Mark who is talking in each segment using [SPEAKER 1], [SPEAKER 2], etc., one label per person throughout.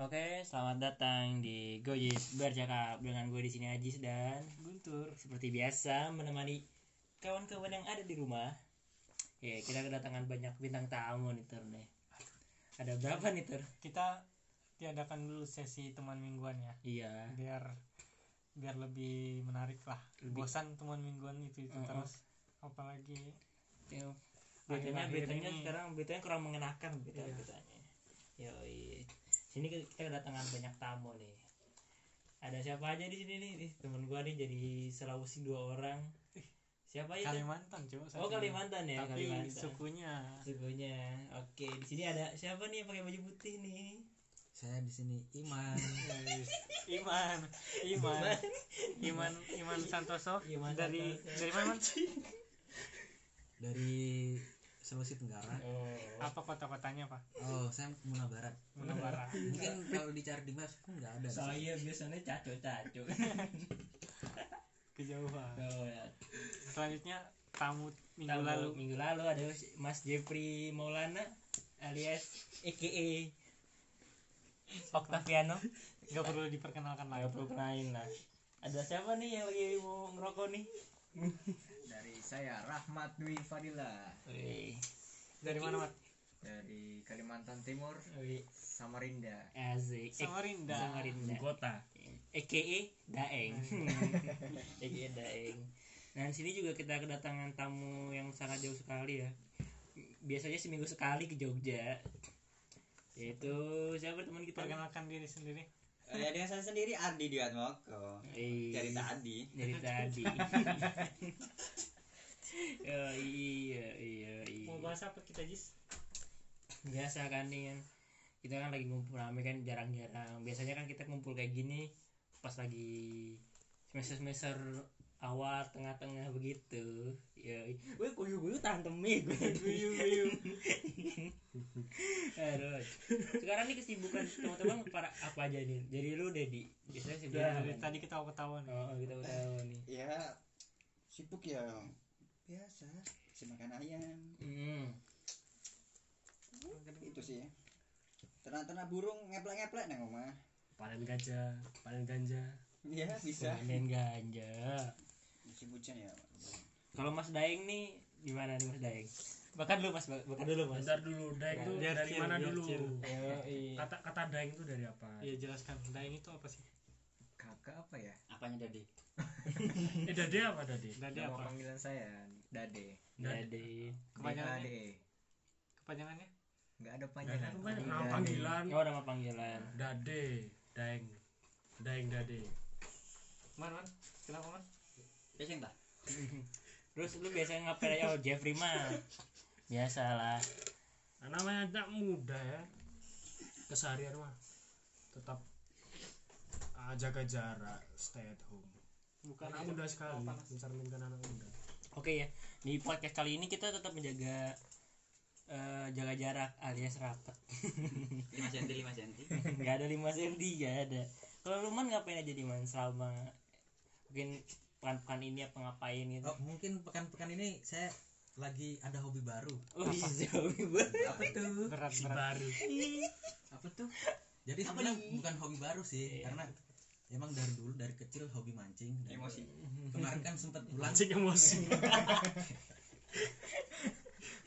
[SPEAKER 1] Oke, selamat datang di Gojis bercakap dengan gue di sini Ajis dan Guntur seperti biasa menemani kawan-kawan yang ada di rumah. Ya, kita kedatangan banyak bintang tamu nih Tur nih. Ada berapa nih Tur?
[SPEAKER 2] kita tiadakan dulu sesi teman mingguan ya
[SPEAKER 1] Iya.
[SPEAKER 2] biar biar lebih menarik lah
[SPEAKER 1] Lebih- Oh,
[SPEAKER 2] bosan teman mingguan itu itu
[SPEAKER 1] Mm-mm.
[SPEAKER 2] terus apalagi
[SPEAKER 1] Yo. Beritanya
[SPEAKER 2] Akhir-akhir
[SPEAKER 1] beritanya
[SPEAKER 2] ini.
[SPEAKER 1] sekarang beritanya kurang mengenakan berita beritanya. Yoi. Sini ke- kita kedatangan banyak tamu nih. Ada siapa aja di sini nih? Ih, Temen gue nih jadi Sulawesi dua orang. Siapa aja? Tur?
[SPEAKER 2] Kalimantan coba
[SPEAKER 1] Eh, Oh
[SPEAKER 2] satunya.
[SPEAKER 1] Kalimantan
[SPEAKER 3] Ah,
[SPEAKER 1] ya,
[SPEAKER 2] tapi
[SPEAKER 1] Kalimantan.
[SPEAKER 2] sukunya
[SPEAKER 1] Sukunya. Oke, di sini ada siapa nih yang pakai baju putih nih?
[SPEAKER 3] saya di sini Iman
[SPEAKER 2] Iman Iman Iman Iman Santoso
[SPEAKER 1] Iman
[SPEAKER 2] dari
[SPEAKER 1] Santoso.
[SPEAKER 2] dari mana Man?
[SPEAKER 3] dari Sulawesi Tenggara.
[SPEAKER 1] Oh.
[SPEAKER 2] apa kota-kotanya pak
[SPEAKER 3] Oh, saya Muna Barat.
[SPEAKER 2] Munawara
[SPEAKER 3] Mungkin kalau dicari di Maps pun nggak ada.
[SPEAKER 1] Saya biasanya caco-caco.
[SPEAKER 2] kejauhan
[SPEAKER 1] oh, ya.
[SPEAKER 2] selanjutnya tamu minggu
[SPEAKER 1] Tamu
[SPEAKER 2] lalu
[SPEAKER 1] minggu lalu ada Mas Jeffrey Maulana alias EKE Octaviano.
[SPEAKER 2] nggak perlu diperkenalkan lagi
[SPEAKER 1] Nggak perlu kenalin lah. Ada siapa nih yang lagi mau ngerokok nih?
[SPEAKER 4] Dari saya Rahmat Dwi Fadila
[SPEAKER 1] Wih.
[SPEAKER 2] dari mana Mat?
[SPEAKER 4] dari Kalimantan Timur,
[SPEAKER 1] Wih.
[SPEAKER 4] Samarinda.
[SPEAKER 1] Asik. Eh,
[SPEAKER 2] Samarinda
[SPEAKER 1] Samarinda.
[SPEAKER 3] Kota.
[SPEAKER 1] EKE Daeng. EKE Daeng. Nah, di sini juga kita kedatangan tamu yang sangat jauh sekali ya. Biasanya seminggu sekali ke Jogja. Yaitu siapa teman kita?
[SPEAKER 2] perkenalkan diri sendiri
[SPEAKER 5] Ya dengan saya sendiri Ardi Diatmoko
[SPEAKER 1] Eh,
[SPEAKER 5] Dari tadi
[SPEAKER 1] Dari tadi. oh, iya, iya, iya.
[SPEAKER 2] mau bahas apa kita Jis?
[SPEAKER 1] biasa kan nih kan kita kan lagi ngumpul rame kan jarang-jarang biasanya kan kita ngumpul kayak gini pas lagi semester semester awal tengah-tengah begitu ya gue kuyu kuyu tahan temi gue kuyu kuyu aduh sekarang nih kesibukan teman-teman para apa aja nih jadi lu Dedi biasanya sibuk
[SPEAKER 2] Ya,
[SPEAKER 1] apa
[SPEAKER 2] dari
[SPEAKER 1] nih?
[SPEAKER 2] tadi kita ketawa nih.
[SPEAKER 1] oh kita tahu nih
[SPEAKER 5] Ya sibuk ya Biasa Si makan ayam
[SPEAKER 1] hmm.
[SPEAKER 5] Itu sih ya Ternak-ternak burung ngeplek-ngeplek nang rumah
[SPEAKER 3] Panen gajah, panen ganja.
[SPEAKER 5] Ya bisa
[SPEAKER 1] panen ganja
[SPEAKER 5] Musim hujan ya Pak.
[SPEAKER 1] kalau Mas Daeng nih gimana nih Mas Daeng bahkan dulu Mas bahkan dulu Mas
[SPEAKER 3] Bentar dulu, Daeng tuh
[SPEAKER 2] Biar
[SPEAKER 3] dari
[SPEAKER 2] chill,
[SPEAKER 3] mana
[SPEAKER 2] biar
[SPEAKER 3] dulu?
[SPEAKER 2] chill.
[SPEAKER 1] Yoi.
[SPEAKER 3] Kata kata Daeng tuh dari apa?
[SPEAKER 2] Iya jelaskan. Daeng itu apa sih?
[SPEAKER 4] Kakak apa ya?
[SPEAKER 5] Apanya tadi?
[SPEAKER 3] Eh, Dade apa Dade?
[SPEAKER 2] Dade
[SPEAKER 4] Nama
[SPEAKER 2] apa?
[SPEAKER 4] panggilan saya Dade.
[SPEAKER 1] Dade.
[SPEAKER 2] Kepanjangannya?
[SPEAKER 4] DADE.
[SPEAKER 2] Kepanjangannya?
[SPEAKER 4] Nggak ada
[SPEAKER 3] Dade
[SPEAKER 4] panjangan.
[SPEAKER 3] itu kan nama panggilan
[SPEAKER 1] Oh, nama panggilan.
[SPEAKER 3] Dade, Daeng. Daeng Dade.
[SPEAKER 2] Man, man. Kenapa man?
[SPEAKER 5] Peseng tak?
[SPEAKER 1] Terus lu biasanya ngapain aja? Oh, Jeffrey mah. Biasalah.
[SPEAKER 3] Nah, namanya anak muda ya. Keseharian mah tetap ah, jaga jarak, stay at home.
[SPEAKER 2] Bukan
[SPEAKER 3] Anak
[SPEAKER 2] itu.
[SPEAKER 3] muda sekali,
[SPEAKER 2] Oh, panas.
[SPEAKER 3] mencerminkan anak muda.
[SPEAKER 1] Oke ya. Di podcast kali ini kita tetap menjaga eh, jaga jarak alias rapat.
[SPEAKER 5] 5 cm 5 cm
[SPEAKER 1] Enggak ada 5 cm, enggak ada. Kalau lu man ngapain aja di man selama mungkin pekan-pekan ini apa ngapain gitu.
[SPEAKER 3] Oh, mungkin pekan-pekan ini saya lagi ada hobi baru.
[SPEAKER 1] Oh, bisa hobi banget.
[SPEAKER 3] Apa tuh?
[SPEAKER 2] Berat
[SPEAKER 3] Hobi
[SPEAKER 2] berat.
[SPEAKER 3] baru. Apa tuh? Jadi sebenarnya bukan hobi baru sih, karena emang dari dulu dari kecil hobi mancing. Dan
[SPEAKER 5] Emosi
[SPEAKER 3] Kemarin kan sempat pulang. Mancing emosi.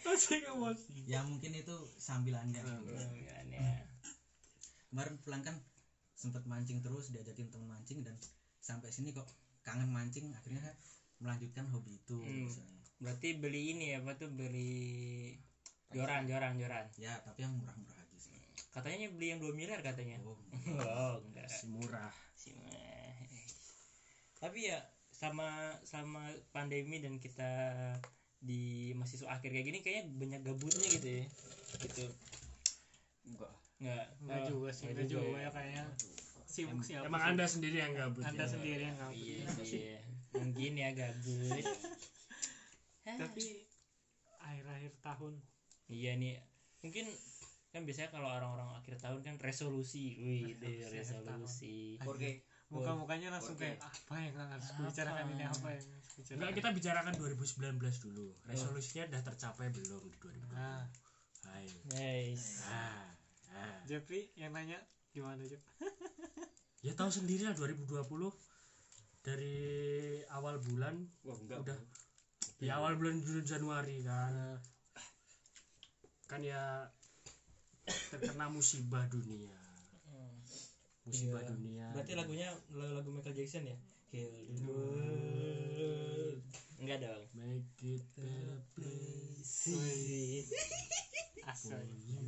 [SPEAKER 2] Masih nggak mau.
[SPEAKER 3] ya mungkin itu sambilannya.
[SPEAKER 1] Panggilannya.
[SPEAKER 3] Kemarin pulang kan sempat mancing terus diajakin teman mancing dan sampai sini kok kangen mancing akhirnya melanjutkan hobi itu.
[SPEAKER 1] Hmm.
[SPEAKER 3] misalnya.
[SPEAKER 1] Berarti beli ini ya, apa tuh beli joran, joran, joran.
[SPEAKER 3] Ya, tapi yang murah-murah aja sih.
[SPEAKER 1] Katanya beli yang 2 miliar katanya.
[SPEAKER 3] Oh,
[SPEAKER 1] Oh, enggak.
[SPEAKER 3] si murah.
[SPEAKER 1] Sih, meh. Tapi ya sama sama pandemi dan kita di mahasiswa akhir kayak gini kayaknya banyak gabutnya gitu ya. Gitu.
[SPEAKER 5] Enggak
[SPEAKER 1] Enggak.
[SPEAKER 2] Nggak
[SPEAKER 1] Oh,
[SPEAKER 2] juga sih. Nggak juga ya kayaknya. Sibuk sih apa sih?
[SPEAKER 3] sendiri yang gabut. ya?
[SPEAKER 2] Anda sendiri yang nggak.
[SPEAKER 1] Iya sih. ya. Mungkin ya gabut. Hah.
[SPEAKER 2] Tapi akhir-akhir tahun
[SPEAKER 1] iya nih. Mungkin kan biasanya kalau orang-orang akhir tahun kan resolusi, wih,
[SPEAKER 2] Nah, Resolusi
[SPEAKER 1] deh,
[SPEAKER 2] akhir
[SPEAKER 1] resolusi.
[SPEAKER 5] Oke
[SPEAKER 2] muka-mukanya langsung
[SPEAKER 5] Oke.
[SPEAKER 2] kayak apa yang harus dibicarakan ini apa yang harus
[SPEAKER 6] Enggak,
[SPEAKER 2] dibicarakan.
[SPEAKER 6] kita bicarakan 2019 dulu. Resolusinya udah tercapai belum di 2020?
[SPEAKER 2] Nah,
[SPEAKER 6] Hai.
[SPEAKER 1] Guys.
[SPEAKER 6] Ah, ah.
[SPEAKER 2] Jeffrey yang nanya gimana Cuk?
[SPEAKER 6] Ya tahu sendiri lah 2020 dari awal bulan
[SPEAKER 1] Wah, enggak.
[SPEAKER 6] Udah. di awal bulan Jun- Januari kan. Kan ya terkena musibah dunia. Musibah
[SPEAKER 7] Iya.
[SPEAKER 6] dunia.
[SPEAKER 7] Berarti lagunya lagu, lagu Michael Jackson ya? Heal the world.
[SPEAKER 1] Enggak dong.
[SPEAKER 6] Make it a place for
[SPEAKER 2] asal
[SPEAKER 6] you.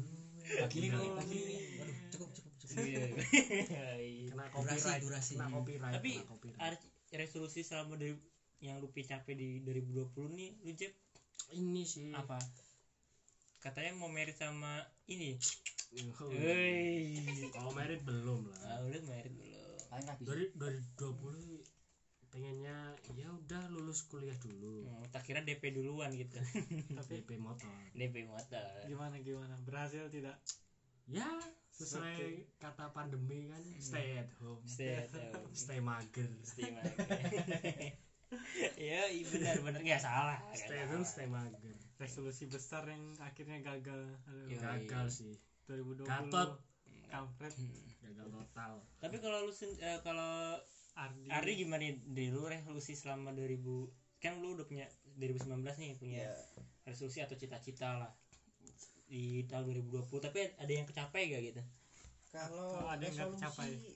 [SPEAKER 7] Pagi
[SPEAKER 6] Enggak.
[SPEAKER 7] ini, pagi ini.
[SPEAKER 3] Aduh, cukup cukup cukup.
[SPEAKER 6] Kena
[SPEAKER 3] Durasi
[SPEAKER 6] copyright,
[SPEAKER 3] durasi.
[SPEAKER 6] kena copyright,
[SPEAKER 1] Tapi
[SPEAKER 6] kena copyright.
[SPEAKER 1] ar- resolusi selama dari yang lu capek di 2020 nih, lu Jep,
[SPEAKER 6] ini sih
[SPEAKER 1] apa? Katanya mau merit sama ini.
[SPEAKER 6] Oh.
[SPEAKER 1] Hei.
[SPEAKER 6] kalau merit belum
[SPEAKER 1] Ah,
[SPEAKER 6] lah
[SPEAKER 1] lu merit belum?
[SPEAKER 5] paling habis
[SPEAKER 6] dari dari 20 pengennya ya udah lulus kuliah dulu
[SPEAKER 1] Hmm, tak kira DP duluan gitu.
[SPEAKER 2] tapi
[SPEAKER 6] DP motor
[SPEAKER 1] DP motor.
[SPEAKER 2] gimana gimana berhasil tidak
[SPEAKER 6] ya sesuai kata pandemi kan stay at home
[SPEAKER 1] Hmm. Stay at home.
[SPEAKER 6] stay mager
[SPEAKER 1] Stay mager. ya, iya benar benar nggak salah. nggak
[SPEAKER 6] stay
[SPEAKER 1] salah.
[SPEAKER 6] at home stay mager
[SPEAKER 2] resolusi besar yang akhirnya gagal Aduh,
[SPEAKER 1] Iya.
[SPEAKER 6] gagal sih
[SPEAKER 2] 2020
[SPEAKER 6] Gatot.
[SPEAKER 2] kampret
[SPEAKER 6] gagal total
[SPEAKER 1] Hmm. Tapi kalau lu sen- eh, kalau
[SPEAKER 2] Ardi
[SPEAKER 1] Ari gimana di lu resolusi selama 2000 kan lu udah punya 2019 nih punya
[SPEAKER 2] Iya.
[SPEAKER 5] ya
[SPEAKER 1] resolusi atau cita-cita lah di tahun 2020 tapi ada yang kecapai gak gitu
[SPEAKER 5] kalau
[SPEAKER 2] Kalau ada yang nggak tercapai.
[SPEAKER 5] resolusi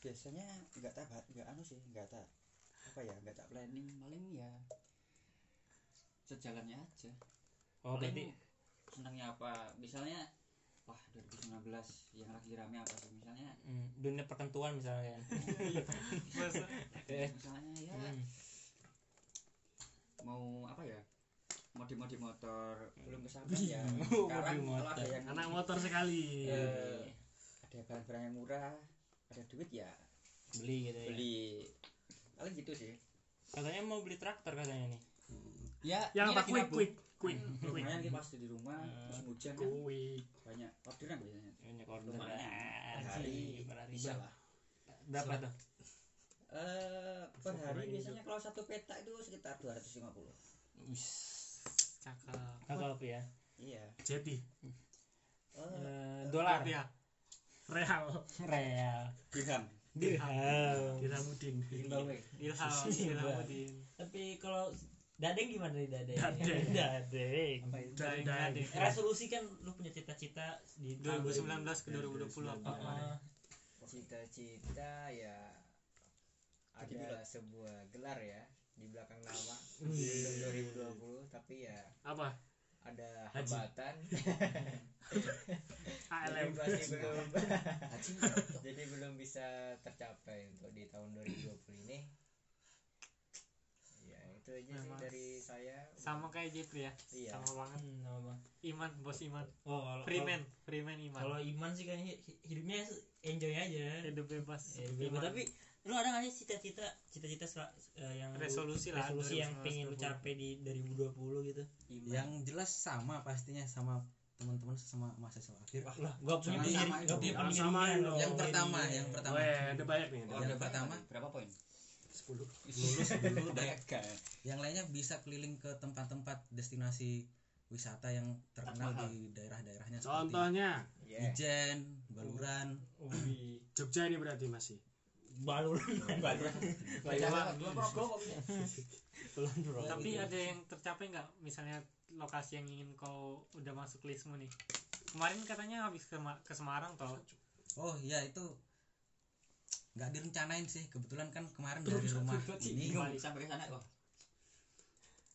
[SPEAKER 5] biasanya nggak tak bah- nggak anu sih nggak tak apa ya nggak tak planning paling ya sejalannya aja
[SPEAKER 1] oh berarti
[SPEAKER 5] Paling senangnya apa misalnya wah 2019 yang lagi rame apa sih misalnya
[SPEAKER 1] mm, dunia perkentuan misalnya
[SPEAKER 2] Masa-
[SPEAKER 1] Eh.
[SPEAKER 5] misalnya ya
[SPEAKER 1] Hmm.
[SPEAKER 5] mau apa ya modi-modi motor belum kesampaian ya sekarang
[SPEAKER 1] Modi
[SPEAKER 5] kalau ada
[SPEAKER 1] motor.
[SPEAKER 5] yang
[SPEAKER 6] anak motor sekali
[SPEAKER 5] eh, ada barang-barang yang murah ada duit ya
[SPEAKER 1] beli gitu
[SPEAKER 5] Iya.
[SPEAKER 1] ya
[SPEAKER 5] beli paling gitu sih
[SPEAKER 1] katanya mau beli traktor katanya nih
[SPEAKER 5] ya
[SPEAKER 6] yang
[SPEAKER 5] ini
[SPEAKER 1] Iya,
[SPEAKER 6] apa
[SPEAKER 5] lagi
[SPEAKER 6] quick
[SPEAKER 5] nabung.
[SPEAKER 6] quick quick
[SPEAKER 1] Hmm,
[SPEAKER 6] quick
[SPEAKER 5] lumayan kita pasti di rumah terus hujan kan
[SPEAKER 6] quick
[SPEAKER 5] banyak orderan biasanya
[SPEAKER 1] banyak order
[SPEAKER 5] Lumayan.
[SPEAKER 1] Ah, hari
[SPEAKER 5] Per hari
[SPEAKER 1] berarti
[SPEAKER 5] bisa lah
[SPEAKER 1] berapa tuh
[SPEAKER 5] eh per
[SPEAKER 6] Bisa
[SPEAKER 5] hari
[SPEAKER 6] kurangin
[SPEAKER 5] biasanya kalau satu peta itu sekitar 250
[SPEAKER 2] cakep
[SPEAKER 1] apa ya
[SPEAKER 5] iya
[SPEAKER 6] jeti
[SPEAKER 5] eh
[SPEAKER 1] Eh, dolar
[SPEAKER 2] ya
[SPEAKER 6] real
[SPEAKER 1] real
[SPEAKER 5] dirham
[SPEAKER 1] dirham
[SPEAKER 6] diramudin
[SPEAKER 1] Iya.
[SPEAKER 5] Zimbabwe
[SPEAKER 2] Ilham Ilhamudin
[SPEAKER 7] Tapi kalau Dadeng gimana nih Dadeng?
[SPEAKER 6] Dadeng.
[SPEAKER 1] dadeng
[SPEAKER 5] apa itu
[SPEAKER 6] dari dari
[SPEAKER 7] Resolusi kan lu punya cita-cita di
[SPEAKER 2] 2019 ke 2020 apa kemarin
[SPEAKER 7] Ah,
[SPEAKER 8] Cita-cita ya
[SPEAKER 5] Ada.
[SPEAKER 8] ada sebuah gelar ya di belakang nama untuk 2020 tapi ya
[SPEAKER 6] apa
[SPEAKER 8] ada
[SPEAKER 6] Haji.
[SPEAKER 8] hambatan jadi
[SPEAKER 2] Ah,
[SPEAKER 6] ALM
[SPEAKER 8] masih belum
[SPEAKER 5] haji
[SPEAKER 3] Gitu.
[SPEAKER 8] jadi belum bisa tercapai untuk di tahun 2020 ini ya itu aja sih
[SPEAKER 2] Memang.
[SPEAKER 8] dari saya
[SPEAKER 2] sama kayak Jepri ya
[SPEAKER 8] iya
[SPEAKER 2] sama banget
[SPEAKER 7] Hmm, apa?
[SPEAKER 2] Iman bos Iman
[SPEAKER 7] Oh, kalau
[SPEAKER 2] Freeman Freeman
[SPEAKER 7] kalau-
[SPEAKER 2] Iman
[SPEAKER 7] Kalau Iman sih kan hi- hi- hidupnya enjoy aja.
[SPEAKER 2] hidup bebas
[SPEAKER 7] Ya, bebas.
[SPEAKER 2] Iman.
[SPEAKER 7] tapi lu ada nggak sih cita-cita cita-cita sel- eh, yang lu-
[SPEAKER 2] resolusi lah
[SPEAKER 7] resolusi yang pengen lu
[SPEAKER 2] 2019.
[SPEAKER 7] capai di 2020 gitu
[SPEAKER 5] yang
[SPEAKER 3] Yang jelas sama pastinya sama teman-teman sama mahasiswa akhir.
[SPEAKER 7] lah gua punya
[SPEAKER 3] Jangan
[SPEAKER 6] Iya,
[SPEAKER 7] pengiring
[SPEAKER 3] samain
[SPEAKER 7] gua
[SPEAKER 3] dong.
[SPEAKER 7] punya
[SPEAKER 6] Jangan
[SPEAKER 7] pengiringan
[SPEAKER 6] samain
[SPEAKER 7] dong.
[SPEAKER 6] dong.
[SPEAKER 3] yang pertama,
[SPEAKER 7] Pengiringan.
[SPEAKER 3] yang pertama.
[SPEAKER 6] Weh, ada banyak nih.
[SPEAKER 3] Oh,
[SPEAKER 6] Ada
[SPEAKER 3] yang pertama
[SPEAKER 5] berapa poin
[SPEAKER 6] 10.
[SPEAKER 3] lulus dulu dan
[SPEAKER 5] Gagal.
[SPEAKER 3] yang lainnya bisa keliling ke tempat-tempat destinasi wisata yang terkenal di daerah-daerahnya seperti
[SPEAKER 6] Contohnya
[SPEAKER 5] Iya.
[SPEAKER 8] ya
[SPEAKER 3] Ijen, Baluran,
[SPEAKER 7] Ubi.
[SPEAKER 6] Jogja ini berarti masih.
[SPEAKER 7] balon balon
[SPEAKER 5] Gagal. Dua program kok bisa.
[SPEAKER 7] balon bro
[SPEAKER 2] tapi ya,
[SPEAKER 3] Gitu.
[SPEAKER 2] ada yang tercapai nggak misalnya lokasi yang ingin kau udah masuk listmu nih kemarin katanya habis ke, Ma- ke Semarang toh
[SPEAKER 3] Oh ya itu nggak direncanain sih kebetulan kan kemarin dari rumah ini
[SPEAKER 5] Bingung, sampai ke sana kok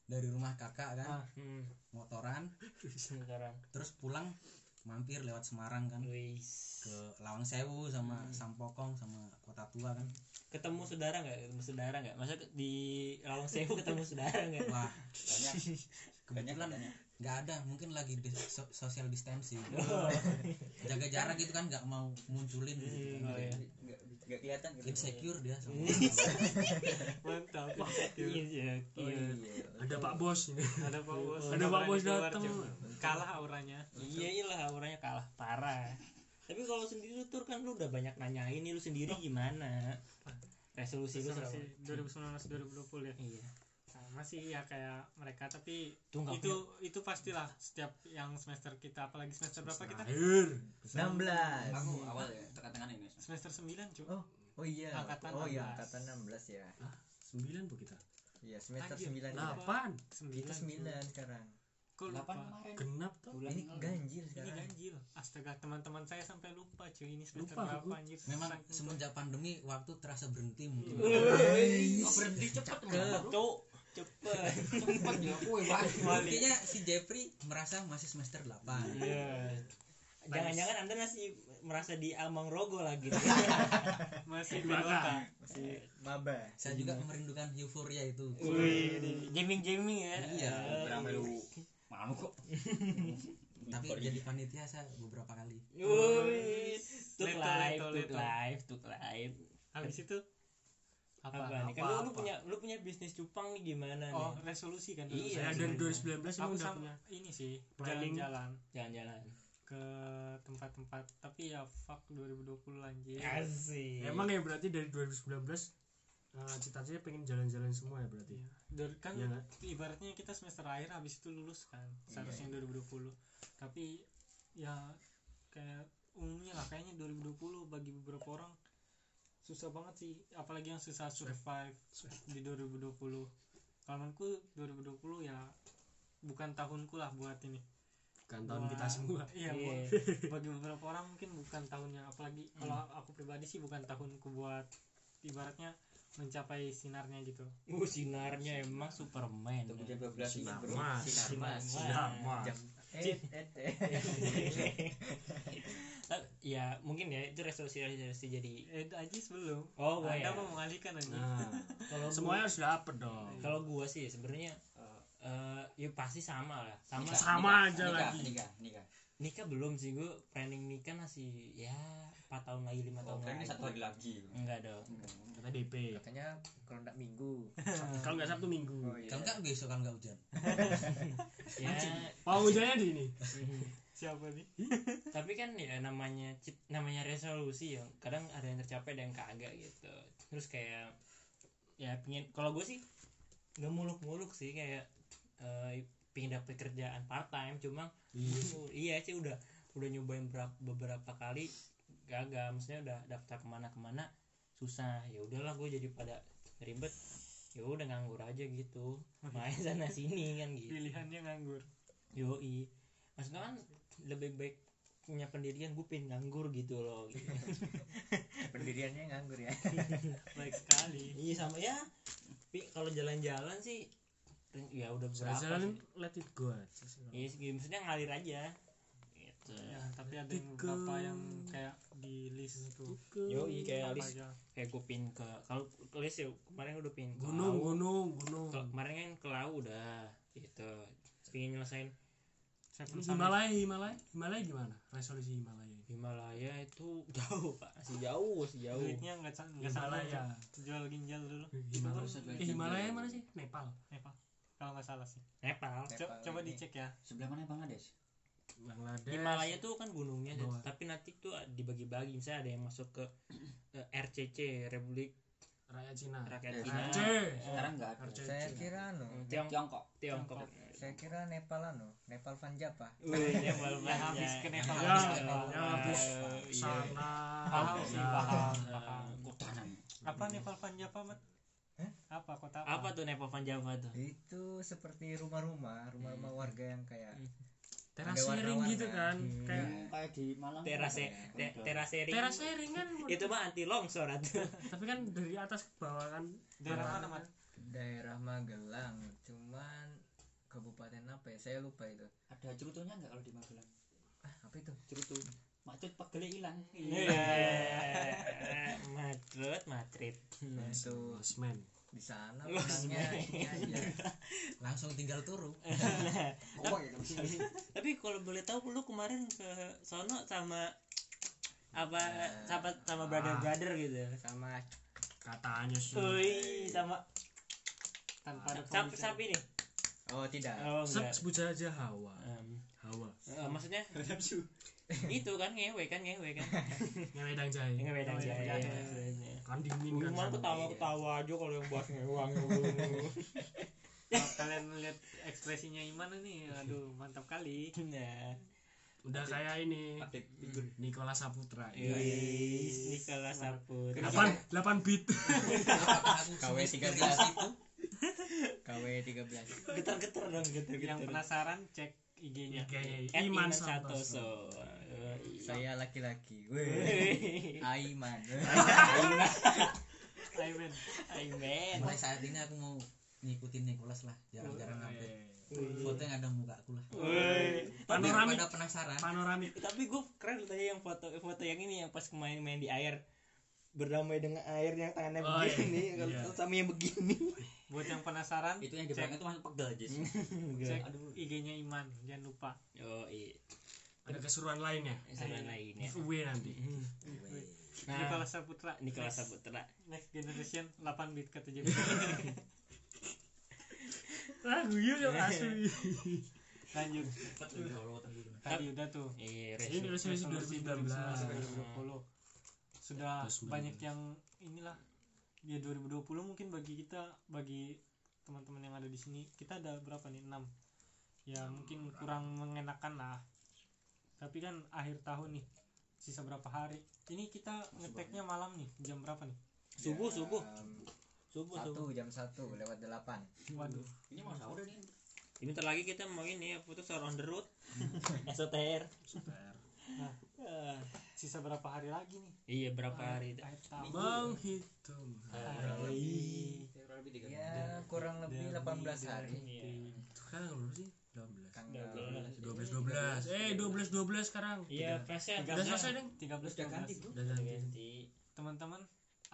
[SPEAKER 3] dari rumah kakak
[SPEAKER 2] Ah.
[SPEAKER 3] kan
[SPEAKER 1] hmm,
[SPEAKER 3] motoran
[SPEAKER 1] sekarang
[SPEAKER 3] terus pulang mampir lewat Semarang kan
[SPEAKER 1] Wis.
[SPEAKER 3] ke Lawang Sewu sama
[SPEAKER 2] Hmm.
[SPEAKER 3] Sampokong sama Kota Tua kan
[SPEAKER 1] ketemu saudara nggak ketemu saudara nggak masa ke- di Lawang Sewu ketemu saudara nggak Oh,
[SPEAKER 3] wah
[SPEAKER 5] banyak
[SPEAKER 3] kebetulan
[SPEAKER 5] banyak.
[SPEAKER 3] nggak ada mungkin lagi di so- social distancing jaga jarak gitu kan nggak mau munculin gitu
[SPEAKER 1] oh
[SPEAKER 3] kan.
[SPEAKER 1] iya.
[SPEAKER 5] nggak nggak kelihatan gitu.
[SPEAKER 3] insecure dia sama
[SPEAKER 2] mantap
[SPEAKER 1] Iya,
[SPEAKER 5] Oh,
[SPEAKER 1] iya.
[SPEAKER 5] iya.
[SPEAKER 6] Ada Pak Bos ini.
[SPEAKER 2] ada pak bos
[SPEAKER 6] Ada
[SPEAKER 2] nggak
[SPEAKER 6] Pak
[SPEAKER 2] berani
[SPEAKER 6] Bos
[SPEAKER 2] keluar,
[SPEAKER 6] datang.
[SPEAKER 2] cuy. kalah auranya
[SPEAKER 1] Iya iyalah orangnya kalah parah. Tapi kalau sendiri lu tur kan lu udah banyak nanyain nih lu sendiri gimana? Resolusi lu
[SPEAKER 2] resolusi
[SPEAKER 1] selama
[SPEAKER 2] 2019 2020 ya
[SPEAKER 1] Iya.
[SPEAKER 2] sama sih ya kayak mereka tapi
[SPEAKER 1] Tuh nggak
[SPEAKER 2] itu itu pastilah
[SPEAKER 1] Nah,
[SPEAKER 2] setiap yang semester kita apalagi semester berapa kita
[SPEAKER 6] Akhir.
[SPEAKER 8] 16
[SPEAKER 5] aku awal ya semester katengan ini Mas.
[SPEAKER 2] semester 9 cuy
[SPEAKER 3] oh iya
[SPEAKER 2] Angkatan
[SPEAKER 3] oh iya
[SPEAKER 2] 16.
[SPEAKER 3] angkatan 16 ya
[SPEAKER 6] Sembilan bu kita.
[SPEAKER 3] iya semester
[SPEAKER 2] Anjir. Nah,
[SPEAKER 3] 9 kita
[SPEAKER 2] apa?
[SPEAKER 6] Delapan.
[SPEAKER 3] kita
[SPEAKER 2] 9
[SPEAKER 3] 9 sekarang
[SPEAKER 2] kok lupa
[SPEAKER 5] Delapan kemarin.
[SPEAKER 6] Genap tuh.
[SPEAKER 5] Bulan
[SPEAKER 3] ini ganjil
[SPEAKER 2] ini
[SPEAKER 6] Iya.
[SPEAKER 3] sekarang
[SPEAKER 2] ganjil astaga teman-teman saya sampai lupa cuy ini semester
[SPEAKER 6] Lupa,
[SPEAKER 2] berapa
[SPEAKER 6] aku.
[SPEAKER 2] anjir
[SPEAKER 9] Memang
[SPEAKER 2] Saking-
[SPEAKER 9] semenjak pandemi waktu terasa berhenti mungkin.
[SPEAKER 2] Iya.
[SPEAKER 5] Oh, berhenti cepet
[SPEAKER 6] Iya.
[SPEAKER 5] Mas.
[SPEAKER 1] Cuk, cepet.
[SPEAKER 5] Cepet ya, woi, wah.
[SPEAKER 9] Buktinya si Jeffrey merasa masih semester 8.
[SPEAKER 1] Jangan-jangan Anda masih merasa di Amang Rogo lagi.
[SPEAKER 2] masih berapa
[SPEAKER 3] masih maba
[SPEAKER 9] Saya juga merindukan euforia itu.
[SPEAKER 1] Jamming-jamming ya.
[SPEAKER 9] Iya,
[SPEAKER 5] Beramai lu. Mau kok.
[SPEAKER 9] Tapi jadi panitia saya beberapa kali.
[SPEAKER 1] Wih, Tuk
[SPEAKER 2] Leto,
[SPEAKER 1] live,
[SPEAKER 2] leto,
[SPEAKER 1] tuk
[SPEAKER 2] leto.
[SPEAKER 1] live, tuk live.
[SPEAKER 2] habis itu apa
[SPEAKER 1] Apa, nih? Kan lu, lu punya lu punya bisnis cupang nih gimana
[SPEAKER 2] oh
[SPEAKER 1] nih?
[SPEAKER 2] resolusi kan
[SPEAKER 1] Iya,
[SPEAKER 6] Saya dari 2019
[SPEAKER 2] aku
[SPEAKER 6] emang udah
[SPEAKER 2] sama
[SPEAKER 6] punya.
[SPEAKER 2] ini sih
[SPEAKER 6] planning.
[SPEAKER 2] jalan-jalan
[SPEAKER 1] Jalan-jalan.
[SPEAKER 2] ke tempat-tempat tapi ya fuck 2020 anjir
[SPEAKER 1] Asik.
[SPEAKER 6] Emang ya berarti dari 2019 eh, cita-citanya pengen jalan-jalan semua ya berarti.
[SPEAKER 2] Dari- kan
[SPEAKER 6] Iya nggak?
[SPEAKER 2] ibaratnya kita semester akhir habis itu lulus kan seharusnya 2020 tapi ya kayak umumnya lah kayaknya 2020 bagi beberapa orang susah banget sih apalagi yang susah survive di 2020 kalau menurutku 2020 ya bukan tahunku lah buat ini
[SPEAKER 6] Bukan tahun
[SPEAKER 2] Buat-
[SPEAKER 6] kita semua.
[SPEAKER 1] Iya.
[SPEAKER 2] iya buat- bagi beberapa orang mungkin bukan tahunnya apalagi kalau aku pribadi sih bukan tahunku buat ibaratnya mencapai sinarnya gitu
[SPEAKER 1] Uh, sinarnya emang Superman.
[SPEAKER 5] Tunggu jam 12 ini, Bro.
[SPEAKER 6] Mas.
[SPEAKER 5] Sinar Mas.
[SPEAKER 6] Sinarmas.
[SPEAKER 3] jam eh eh, eh.
[SPEAKER 1] Eh, ya mungkin ya itu resolusi resolusi jadi
[SPEAKER 2] eh aja sebelum
[SPEAKER 1] oh gua ya
[SPEAKER 2] Anda mau mengalihkan aja
[SPEAKER 6] Nah,
[SPEAKER 1] kalau
[SPEAKER 6] semuanya harus dapet dong.
[SPEAKER 1] gua- kalau gua sih sebenarnya eh ya pasti sama lah sama
[SPEAKER 5] Nikah,
[SPEAKER 6] Sama
[SPEAKER 5] nikah,
[SPEAKER 6] aja
[SPEAKER 5] nikah,
[SPEAKER 6] lagi.
[SPEAKER 5] Nikah, nikah.
[SPEAKER 1] nikah belum sih gua planning nikah masih ya 4 tahun lagi lima
[SPEAKER 5] Oh,
[SPEAKER 1] tahun
[SPEAKER 5] kayaknya
[SPEAKER 1] lagi
[SPEAKER 5] satu hari lagi.
[SPEAKER 1] enggak dong
[SPEAKER 6] Kita DP.
[SPEAKER 3] katanya kalau enggak minggu
[SPEAKER 6] Kalau nggak Sabtu Minggu.
[SPEAKER 3] oh iya
[SPEAKER 9] Kalau nggak besok kan nggak hujan.
[SPEAKER 1] ya
[SPEAKER 6] Mau hujannya di ini.
[SPEAKER 2] siapa nih
[SPEAKER 1] tapi kan ya namanya cit- namanya resolusi ya kadang ada yang tercapai ada yang kagak gitu terus kayak ya pingin kalau gue sih nggak muluk-muluk sih kayak eh pingin dapet kerjaan part time cuma iya sih udah udah nyobain berap- beberapa kali gagal maksudnya udah daftar kemana-kemana susah ya udahlah gue jadi pada ribet ya udah nganggur aja gitu main sana sini kan gitu
[SPEAKER 2] pilihannya nganggur
[SPEAKER 1] Yoi Maksudnya kan lebih baik punya pendirian gue pengen nganggur gitu loh gitu.
[SPEAKER 2] Iya
[SPEAKER 3] pendiriannya nganggur ya
[SPEAKER 2] baik sekali
[SPEAKER 1] Iya sama ya Tapi kalau jalan-jalan sih Ya udah berapa
[SPEAKER 6] Jalan-jalan
[SPEAKER 1] sih?
[SPEAKER 6] let it go aja sih.
[SPEAKER 1] Iya sih, maksudnya ngalir aja gitu.
[SPEAKER 2] ya tapi ada yang beberapa yang kayak di list itu
[SPEAKER 1] Yoi kayak
[SPEAKER 2] apa
[SPEAKER 1] list
[SPEAKER 2] aja
[SPEAKER 1] Kayak gue pin ke Kalau ke list ya kemarin udah pin ke
[SPEAKER 6] Gunung,
[SPEAKER 1] Lawu.
[SPEAKER 6] gunung, gunung.
[SPEAKER 1] Kalau Kemarin kan ke Lawu udah gitu Pengen nyelesain
[SPEAKER 2] Seven
[SPEAKER 6] Terus
[SPEAKER 2] Summit.
[SPEAKER 6] Himalaya, Himalaya, Himalaya gimana? Resolusi Himalaya.
[SPEAKER 1] Himalaya itu jauh pak Masih jauh, masih jauh
[SPEAKER 2] duitnya nggak sa- nggak salah
[SPEAKER 6] Himalaya.
[SPEAKER 2] jual ginjal dulu
[SPEAKER 6] Himalaya. Eh, Himalaya mana sih? Nepal.
[SPEAKER 2] Nepal kalau nggak salah sih
[SPEAKER 1] Nepal
[SPEAKER 2] Co-
[SPEAKER 3] Nepal
[SPEAKER 2] coba
[SPEAKER 3] ini.
[SPEAKER 2] dicek ya
[SPEAKER 5] Sebelah mana Bangladesh?
[SPEAKER 6] Bangladesh.
[SPEAKER 1] Himalaya tuh kan gunungnya
[SPEAKER 6] Bawah.
[SPEAKER 1] tapi nanti tuh dibagi-bagi misalnya ada yang masuk ke eh, RCC Republik
[SPEAKER 6] Rakyat Cina. Oh, iya.
[SPEAKER 1] Rakyat
[SPEAKER 5] Eh,
[SPEAKER 1] Cina
[SPEAKER 6] RC.
[SPEAKER 5] Sekarang enggak ada.
[SPEAKER 6] RC.
[SPEAKER 3] saya kira anu
[SPEAKER 1] eh, Tiong-
[SPEAKER 5] Tiongkok.
[SPEAKER 1] Tiongkok
[SPEAKER 3] saya kira Nepal anu Nepal Van Java
[SPEAKER 1] Wih, Nepal
[SPEAKER 2] ya habis ke Nepal
[SPEAKER 6] Ya,
[SPEAKER 2] habis ke
[SPEAKER 6] ya,
[SPEAKER 2] Nepal.
[SPEAKER 6] ya, habis sana.
[SPEAKER 2] paham sih paham paham
[SPEAKER 5] Kutanan.
[SPEAKER 2] apa Nepal Punjab apa Mat?
[SPEAKER 3] Hah?
[SPEAKER 2] apa kota
[SPEAKER 1] apa tuh Nepal Van Java tuh
[SPEAKER 3] itu seperti rumah-rumah rumah-rumah warga yang kayak
[SPEAKER 6] Terasering
[SPEAKER 3] warna-warna.
[SPEAKER 6] gitu kan. Kayak
[SPEAKER 5] Kayak di Malang.
[SPEAKER 1] terase te- terasering
[SPEAKER 6] terasering kan.
[SPEAKER 1] itu mah anti longsor atuh
[SPEAKER 6] Tapi kan dari atas ke bawah kan.
[SPEAKER 2] daerah mana Mat?
[SPEAKER 3] daerah Magelang cuman kabupaten apa ya saya lupa itu
[SPEAKER 5] Ada cerutunya enggak kalau di Magelang?
[SPEAKER 3] ah apa itu
[SPEAKER 5] Cerutu. Maksud pegel hilang.
[SPEAKER 1] Iya. Madrid Madrid
[SPEAKER 3] Nah,
[SPEAKER 1] Hmm.
[SPEAKER 3] itu
[SPEAKER 6] Losmen.
[SPEAKER 3] di sana
[SPEAKER 1] Los
[SPEAKER 3] orangnya
[SPEAKER 1] Mei.
[SPEAKER 3] ini aja
[SPEAKER 1] Iya.
[SPEAKER 9] Langsung tinggal turu.
[SPEAKER 5] Oh, ya, tapi sini.
[SPEAKER 1] tapi kalau boleh tahu lu kemarin ke sono sama apa
[SPEAKER 2] Eh,
[SPEAKER 1] sama sama brother
[SPEAKER 2] ah,
[SPEAKER 1] brother gitu
[SPEAKER 3] sama
[SPEAKER 6] Katanya sih.
[SPEAKER 1] Wih, sama
[SPEAKER 2] tanpa ada
[SPEAKER 1] sapi Ah, sapi nih
[SPEAKER 3] oh tidak
[SPEAKER 1] oh
[SPEAKER 6] Se-
[SPEAKER 1] enggak
[SPEAKER 6] Sebut saja Hawa.
[SPEAKER 1] Em,
[SPEAKER 6] Hawa.
[SPEAKER 1] Eh, maksudnya itu kan ngewe kan ngewe kan Oh, iya,
[SPEAKER 6] Ngewedang jahe.
[SPEAKER 1] ngewe dan
[SPEAKER 2] Ngewe Iya.
[SPEAKER 1] jahe
[SPEAKER 2] dan
[SPEAKER 6] Kan dingin kan.
[SPEAKER 1] Cuman
[SPEAKER 6] sana.
[SPEAKER 1] ketawa ketawa iya. aja kalau yang bahas ngewang dulu.
[SPEAKER 2] Kalau kalian lihat ekspresinya Iman nih aduh mantap kali
[SPEAKER 1] nah
[SPEAKER 6] udah kayak ini
[SPEAKER 10] Adik figur.
[SPEAKER 6] Nikola Saputra Iya.
[SPEAKER 1] Yoi, Nikola Saputra.
[SPEAKER 6] delapan delapan bit
[SPEAKER 3] KW 13 itu KW 13
[SPEAKER 1] Getar-getar dong, getar-getar.
[SPEAKER 2] yang penasaran cek IG-nya
[SPEAKER 6] kayak
[SPEAKER 1] At Iman
[SPEAKER 6] Iman Santoso
[SPEAKER 1] Santoso. Yoi.
[SPEAKER 3] saya laki-laki Weh. Aiman
[SPEAKER 2] Aiman
[SPEAKER 1] Amen.
[SPEAKER 11] mulai saat ini aku mau ngikutin Nicholas lah
[SPEAKER 6] Iya,
[SPEAKER 11] jarang-jarang update foto yang ada muka aku lah Biar
[SPEAKER 6] Panoramik.
[SPEAKER 11] pada penasaran
[SPEAKER 6] panoramik
[SPEAKER 1] Tapi gue keren tadi yang foto foto yang ini yang pas kemarin main di air berdamai dengan air yang tangannya
[SPEAKER 6] Oh, iya.
[SPEAKER 1] begini kalau
[SPEAKER 6] Iya.
[SPEAKER 1] sama yang begini
[SPEAKER 2] buat yang penasaran
[SPEAKER 10] Itu yang di belakang itu masih pegel jis.
[SPEAKER 2] cek
[SPEAKER 10] Aduh.
[SPEAKER 2] IG-nya Iman jangan lupa
[SPEAKER 1] oh iya
[SPEAKER 6] ada keseruan
[SPEAKER 2] Iya.
[SPEAKER 6] lainnya
[SPEAKER 1] Seruan lainnya
[SPEAKER 6] giveaway nanti
[SPEAKER 1] nah
[SPEAKER 2] Nikola Saputra
[SPEAKER 1] Nikola Saputra
[SPEAKER 2] Next Generation 8 bit kata JP Iya,
[SPEAKER 6] ah guyu dong asli
[SPEAKER 2] lanjut tadi
[SPEAKER 1] Tapi-
[SPEAKER 2] udah tuh
[SPEAKER 1] iya
[SPEAKER 6] ini
[SPEAKER 1] resolusi
[SPEAKER 6] resolusi
[SPEAKER 1] gitu.
[SPEAKER 6] 2019
[SPEAKER 2] 2020 sudah banyak yang inilah ya 2020 mungkin bagi kita bagi teman-teman yang ada di sini kita ada berapa nih 6 ya mungkin kurang mengenakan lah tapi kan akhir tahun nih sisa berapa hari ini kita ngeteknya malam nih jam berapa nih
[SPEAKER 1] subuh subuh subuh
[SPEAKER 3] satu
[SPEAKER 1] subuh
[SPEAKER 3] jam satu lewat delapan
[SPEAKER 2] waduh
[SPEAKER 10] Ini mau sahur ini.
[SPEAKER 1] ini bentar lagi kita mau ini ya putus Sahur on the road SOTR Ah,
[SPEAKER 2] Ya, sisa berapa hari lagi nih
[SPEAKER 1] iya berapa hari Nah,
[SPEAKER 2] akhir tahun
[SPEAKER 6] menghitung
[SPEAKER 2] Hari.
[SPEAKER 5] Iya,
[SPEAKER 3] ya kurang lebih 18 hari
[SPEAKER 1] Iya.
[SPEAKER 6] sekarang berapa sih 12
[SPEAKER 3] Kang
[SPEAKER 1] Udah,
[SPEAKER 3] Daud.
[SPEAKER 1] udah.
[SPEAKER 6] 12 12 eh 12 12 sekarang
[SPEAKER 1] iya
[SPEAKER 6] Udah.
[SPEAKER 1] pasnya
[SPEAKER 6] udah selesai dong
[SPEAKER 2] 13
[SPEAKER 10] Terus udah ganti
[SPEAKER 2] 12.
[SPEAKER 10] bro.
[SPEAKER 6] udah ganti
[SPEAKER 1] ganti
[SPEAKER 2] teman-teman